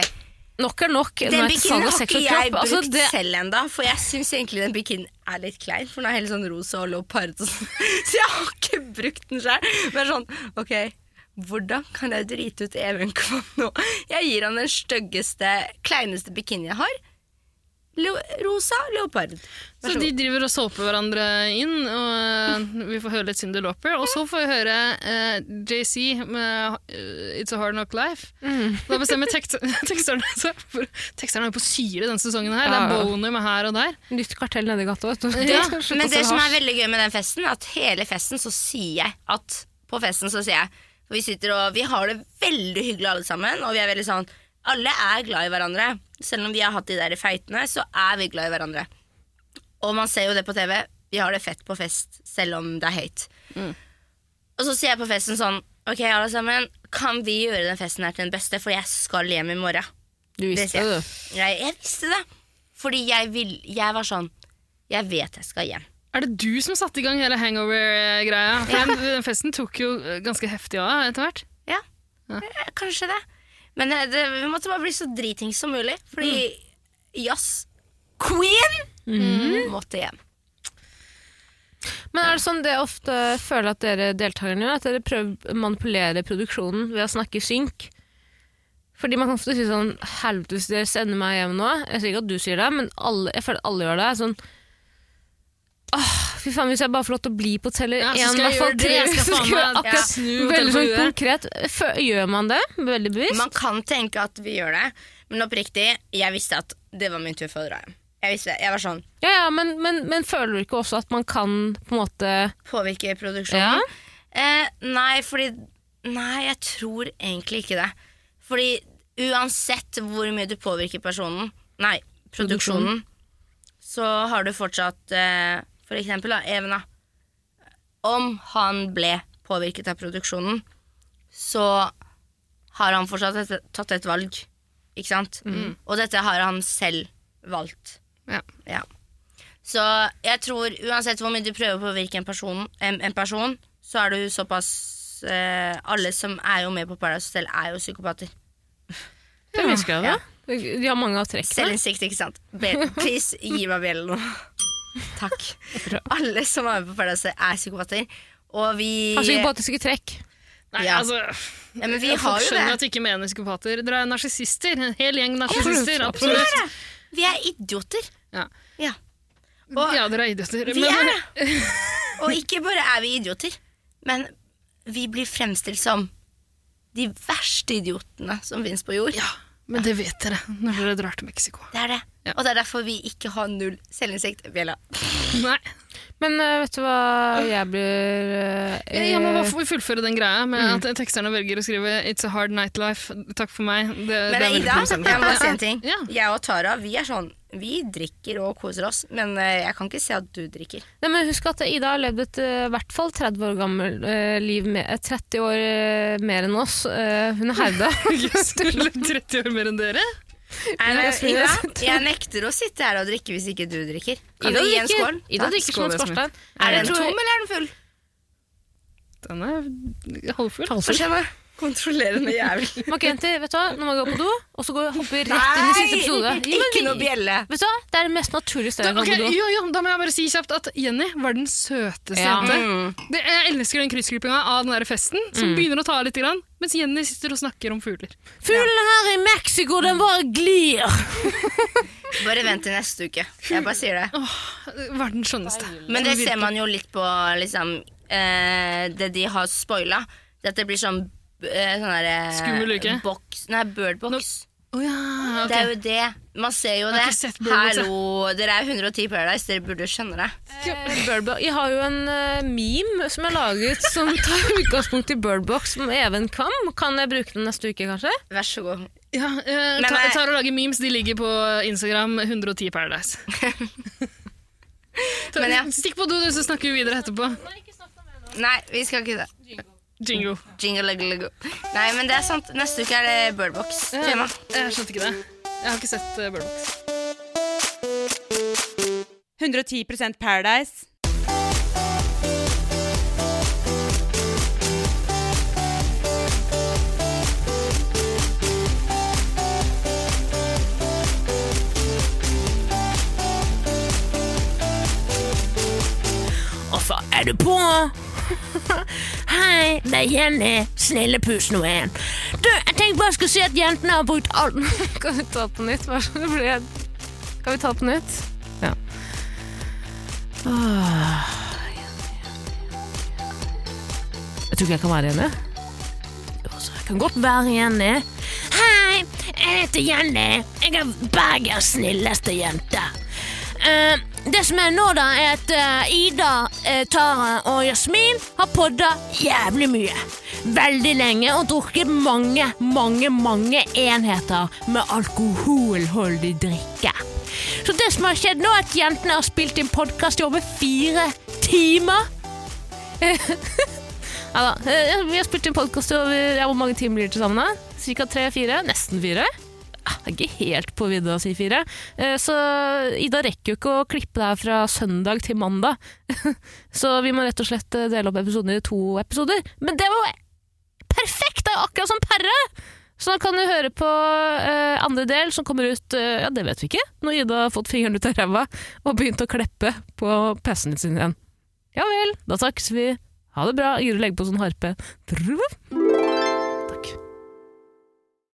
Speaker 2: Nok er nok. Nå
Speaker 1: Den
Speaker 2: er det
Speaker 1: bikinien
Speaker 2: salg av
Speaker 1: har
Speaker 2: sex
Speaker 1: ikke
Speaker 2: og
Speaker 1: jeg
Speaker 2: kropp.
Speaker 1: brukt
Speaker 2: Altså, det,
Speaker 1: selv enda for jeg syns egentlig den bikinien er litt klein, for den er helt sånn rosa og leopard og sånn. Så jeg har ikke brukt den sjøl. Men sånn, ok, hvordan kan jeg drite ut Even Kvam nå? Jeg gir han den styggeste, kleineste bikinien jeg har. Leo rosa leopard. Vær
Speaker 3: Så
Speaker 1: så
Speaker 3: de
Speaker 1: god.
Speaker 3: driver og såper hverandre inn, og eh, vi får høre litt Cyndi Lauper. Og så får vi høre eh, JC med eh, It's a Hard Knock Life.
Speaker 1: Mm.
Speaker 3: Da bestemmer tekst teksterne seg for Teksterne er jo på syre denne sesongen her. Det
Speaker 2: Ja, ja.
Speaker 3: er boner med her og der.
Speaker 2: nytt kartell nede i gata, vet du.
Speaker 1: Ja,
Speaker 2: Slutt å
Speaker 1: men det
Speaker 2: selge
Speaker 1: som er
Speaker 2: hasj.
Speaker 1: veldig gøy med den festen, at hele festen så sier jeg at På festen så sier jeg For vi sitter og Vi har det veldig hyggelig alle sammen, og vi er veldig sånn Alle er glad i hverandre. Selv om vi har hatt de der feitene, så er vi glad i hverandre. Og man ser jo det på TV. Vi har det fett på fest, selv om det er høyt.
Speaker 2: Mm.
Speaker 1: Og så sier jeg på festen sånn Ok, alle sammen, kan vi gjøre den festen her til den beste, for jeg skal hjem i morgen.
Speaker 2: Du visste
Speaker 1: sier
Speaker 2: det,
Speaker 1: jeg.
Speaker 2: du.
Speaker 1: Nei, jeg visste det. Fordi jeg, vil, jeg var sånn Jeg vet jeg skal hjem.
Speaker 3: Er det du som satte i gang hele hangover-greia? For den, den festen tok jo eh, ganske heftig av etter hvert.
Speaker 1: Ja, Eh, kanskje det. Men eh, det, vi måtte bare bli så dritings som mulig. Fordi jazz queen mm, måtte hjem.
Speaker 2: Men er det sånn det jeg ofte føler at dere deltakerne gjør, at dere prøver å manipulere produksjonen ved å snakke synk? Fordi man kan ofte si sånn Helvete, hvis dere sender meg hjem nå Jeg sier ikke at du sier det, men alle, jeg føler at alle gjør det. Sånn Åh, fy faen, hvis jeg bare får lov til å bli på hotellet
Speaker 3: Ja, så
Speaker 2: én,
Speaker 3: skal
Speaker 2: i
Speaker 3: jeg
Speaker 2: hvert fall
Speaker 3: gjøre det,
Speaker 2: tre
Speaker 3: jeg skal faen
Speaker 2: skulle jeg
Speaker 3: meg
Speaker 2: akkurat-
Speaker 3: snu hotellet
Speaker 2: Veldig sånn
Speaker 3: på huet.
Speaker 2: konkret. Fø- Gjør man det? Veldig bevisst?
Speaker 1: Man kan tenke at vi gjør det, men oppriktig, jeg visste at det var min tur for å dra hjem. Jeg visste det, jeg var sånn
Speaker 2: ja, ja, men, men, men føler du ikke også at man kan på en måte
Speaker 1: Påvirke produksjonen?
Speaker 2: Ja?
Speaker 1: Eh, nei, fordi Nei, jeg tror egentlig ikke det. Fordi uansett hvor mye du påvirker personen Nei, produksjonen, så har du fortsatt eh, For eksempel da, Even, da. Om han ble påvirket av produksjonen, så har han fortsatt et, tatt et valg. Ikke sant? Og dette har han selv valgt.
Speaker 3: Ja.
Speaker 1: Ja. Så jeg tror uansett hvor mye du prøver å påvirke en person, en, en person så er du såpass eh, Alle som er jo med på Paradise Hotel, er jo psykopater.
Speaker 2: Det virker jo det.
Speaker 1: Ja.
Speaker 2: De har mange av trekkene.
Speaker 1: Selvinnsikt, ikke sant? Be, please, gi meg bjellen nå. Takk. Alle som er med på Paradise Hotel, er psykopater. Og vi
Speaker 2: Har psykopatiske trekk.
Speaker 3: Nei,
Speaker 1: Ja.
Speaker 3: altså...
Speaker 1: ja, men vi
Speaker 3: Folk
Speaker 1: har jo
Speaker 3: skjønner at
Speaker 1: det.
Speaker 3: de ikke mener psykopater. Dere er narsissister. En hel gjeng narsissister. Absolutt.
Speaker 1: Vi er idioter.
Speaker 3: Ja.
Speaker 1: Ja. Og-
Speaker 3: ja, dere er idioter.
Speaker 1: Vi er det! Og ikke bare er vi idioter, men vi blir fremstilt som de verste idiotene som finnes på jord.
Speaker 3: Ja, men det vet dere når dere drar til Mexico.
Speaker 1: Det er det.
Speaker 3: Ja.
Speaker 1: Og det er derfor vi ikke har null selvinnsikt. Bjella.
Speaker 3: Nei.
Speaker 2: Men eh, vet du hva jeg blir eh,
Speaker 3: Jeg må bare få fullføre den greia med at teksterne velger å skrive 'It's a hard nightlife'. Takk for meg. Det,
Speaker 1: Men
Speaker 3: veldig
Speaker 1: Ida, jeg
Speaker 3: provoserende.
Speaker 1: må bare si en ting.
Speaker 3: Ja.
Speaker 1: Jeg og Tara vi er sånn Vi drikker og koser oss, men eh, jeg kan ikke se at du drikker.
Speaker 2: eh, Nei, men Husk at Ida har levd et eh, i hvert fall 30 år gammelt eh, liv, med, eh, 30 år eh, mer enn oss. Eh, hun er herda.
Speaker 3: Jøss, du er 30 år mer enn dere?
Speaker 1: Nei, men,
Speaker 2: jeg skulle-
Speaker 1: Ida, jeg nekter å sitte her og drikke hvis ikke du drikker. Kan
Speaker 2: Ida
Speaker 1: du gi en
Speaker 2: drikker,
Speaker 1: skål?
Speaker 2: Ida
Speaker 3: Takk,
Speaker 2: drikker
Speaker 3: skål,
Speaker 2: som en
Speaker 3: Jasmin.
Speaker 2: skorstein.
Speaker 1: Er
Speaker 2: Jeg
Speaker 1: den
Speaker 2: tror-
Speaker 1: tom, eller er den full?
Speaker 3: Den er halvfull.
Speaker 1: Få se meg kontrollere den jævlig.
Speaker 2: Ok, jenter, vet du hva? Nå må jeg gå på do, og så går jeg hopper rett inn i siste episode. Jo, men
Speaker 1: ikke
Speaker 2: vi-
Speaker 1: noe bjelle.
Speaker 2: Vet du hva? Det er det mest naturlige
Speaker 3: Da,
Speaker 2: stedet jeg
Speaker 3: ok,
Speaker 2: kan gå på do.
Speaker 3: jo, jo, da må jeg bare si kjapt at Jenny var den søteste
Speaker 2: Ja.
Speaker 3: jente. Det, jeg elsker den kryssklippinga av den der festen, som begynner å ta av litt, grann, mens Jenny sitter og snakker om fugler.
Speaker 2: Fuglen her i Mexico, den bare glir!
Speaker 1: Bare vent til neste uke. Jeg bare sier det.
Speaker 3: Var den skjønneste.
Speaker 1: Men det ser man jo litt på liksom, eh, det de har spoila. At det blir sånn eh, sånn der, eh,
Speaker 3: Skummel uke?
Speaker 1: Box, nei, birdbox.
Speaker 3: Å ja, ok.
Speaker 1: Det er jo det. Man ser jo
Speaker 3: Jeg har
Speaker 1: det.
Speaker 3: ikke sett Birdbox, jeg.
Speaker 1: Hallo, dere er 110 Paradise, dere burde skjønne det.
Speaker 2: Eh, Bird Box- Jeg har jo en eh, meme som jeg laget som tar utgangspunkt i Birdbox med Even Kvam. Kan jeg bruke den neste uke, kanskje?
Speaker 1: Vær så god.
Speaker 3: Ja, eh,
Speaker 1: Men,
Speaker 3: ta,
Speaker 1: eh,
Speaker 3: tar og lager memes, de ligger på Instagram 110 Paradise. Ta-
Speaker 1: Men ja.
Speaker 3: Stikk på do, du, så snakker vi videre etterpå.
Speaker 1: Nei, vi skal ikke det.
Speaker 3: Jingo.
Speaker 1: Jingle, jingle, jingle. Nei, men det er sant. Neste uke er det Birdbox-tema.
Speaker 3: Jeg skjønte ikke det. Jeg har ikke sett uh, Birdbox.
Speaker 4: 110 Paradise.
Speaker 10: Og så er du på. Hei, det er Jenny. Snille pus nummer
Speaker 2: eh.
Speaker 10: én. Du, jeg tenkte bare jeg skulle si at jentene har brukt alt
Speaker 2: Kan vi ta det på nytt? Vær så snill, fordi jeg- Kan vi ta det på nytt? Ja. Ah. Åh. Jeg tror ikke jeg kan være enig.
Speaker 10: Altså, Jeg kan godt være Jenny. Hei, jeg heter Jenny. Jeg er Bergens snilleste jente. Eh, det som er nå, da, er at eh, Ida, eh, Tara og Jasmin har podda jævlig mye. Veldig lenge og drukket mange, mange, mange enheter med alkoholholdig drikke. Så det som har skjedd nå, er at jentene har spilt inn podkast i over fire timer.
Speaker 2: Ja da. Eh, Vi har spilt inn podkast over ja, hvor mange timer blir det til sammen? da? Cirka tre-fire? Nesten fire. ah, det er ikke helt på vidda å si fire. Eh, Så Ida rekker jo ikke å klippe det her fra søndag til mandag. Så vi må rett og slett eh, dele opp episoden i to episoder. Men det var jo perfekt! Det er jo akkurat som Perre! Så da kan du høre på eh, andre del som kommer ut eh, Ja, det vet vi ikke. Når Ida har fått fingeren ut av ræva og begynt å kleppe på PC-en sin igjen. Ja vel, da snakkes vi. Ha det bra. Guri legger på sånn harpe. Truff.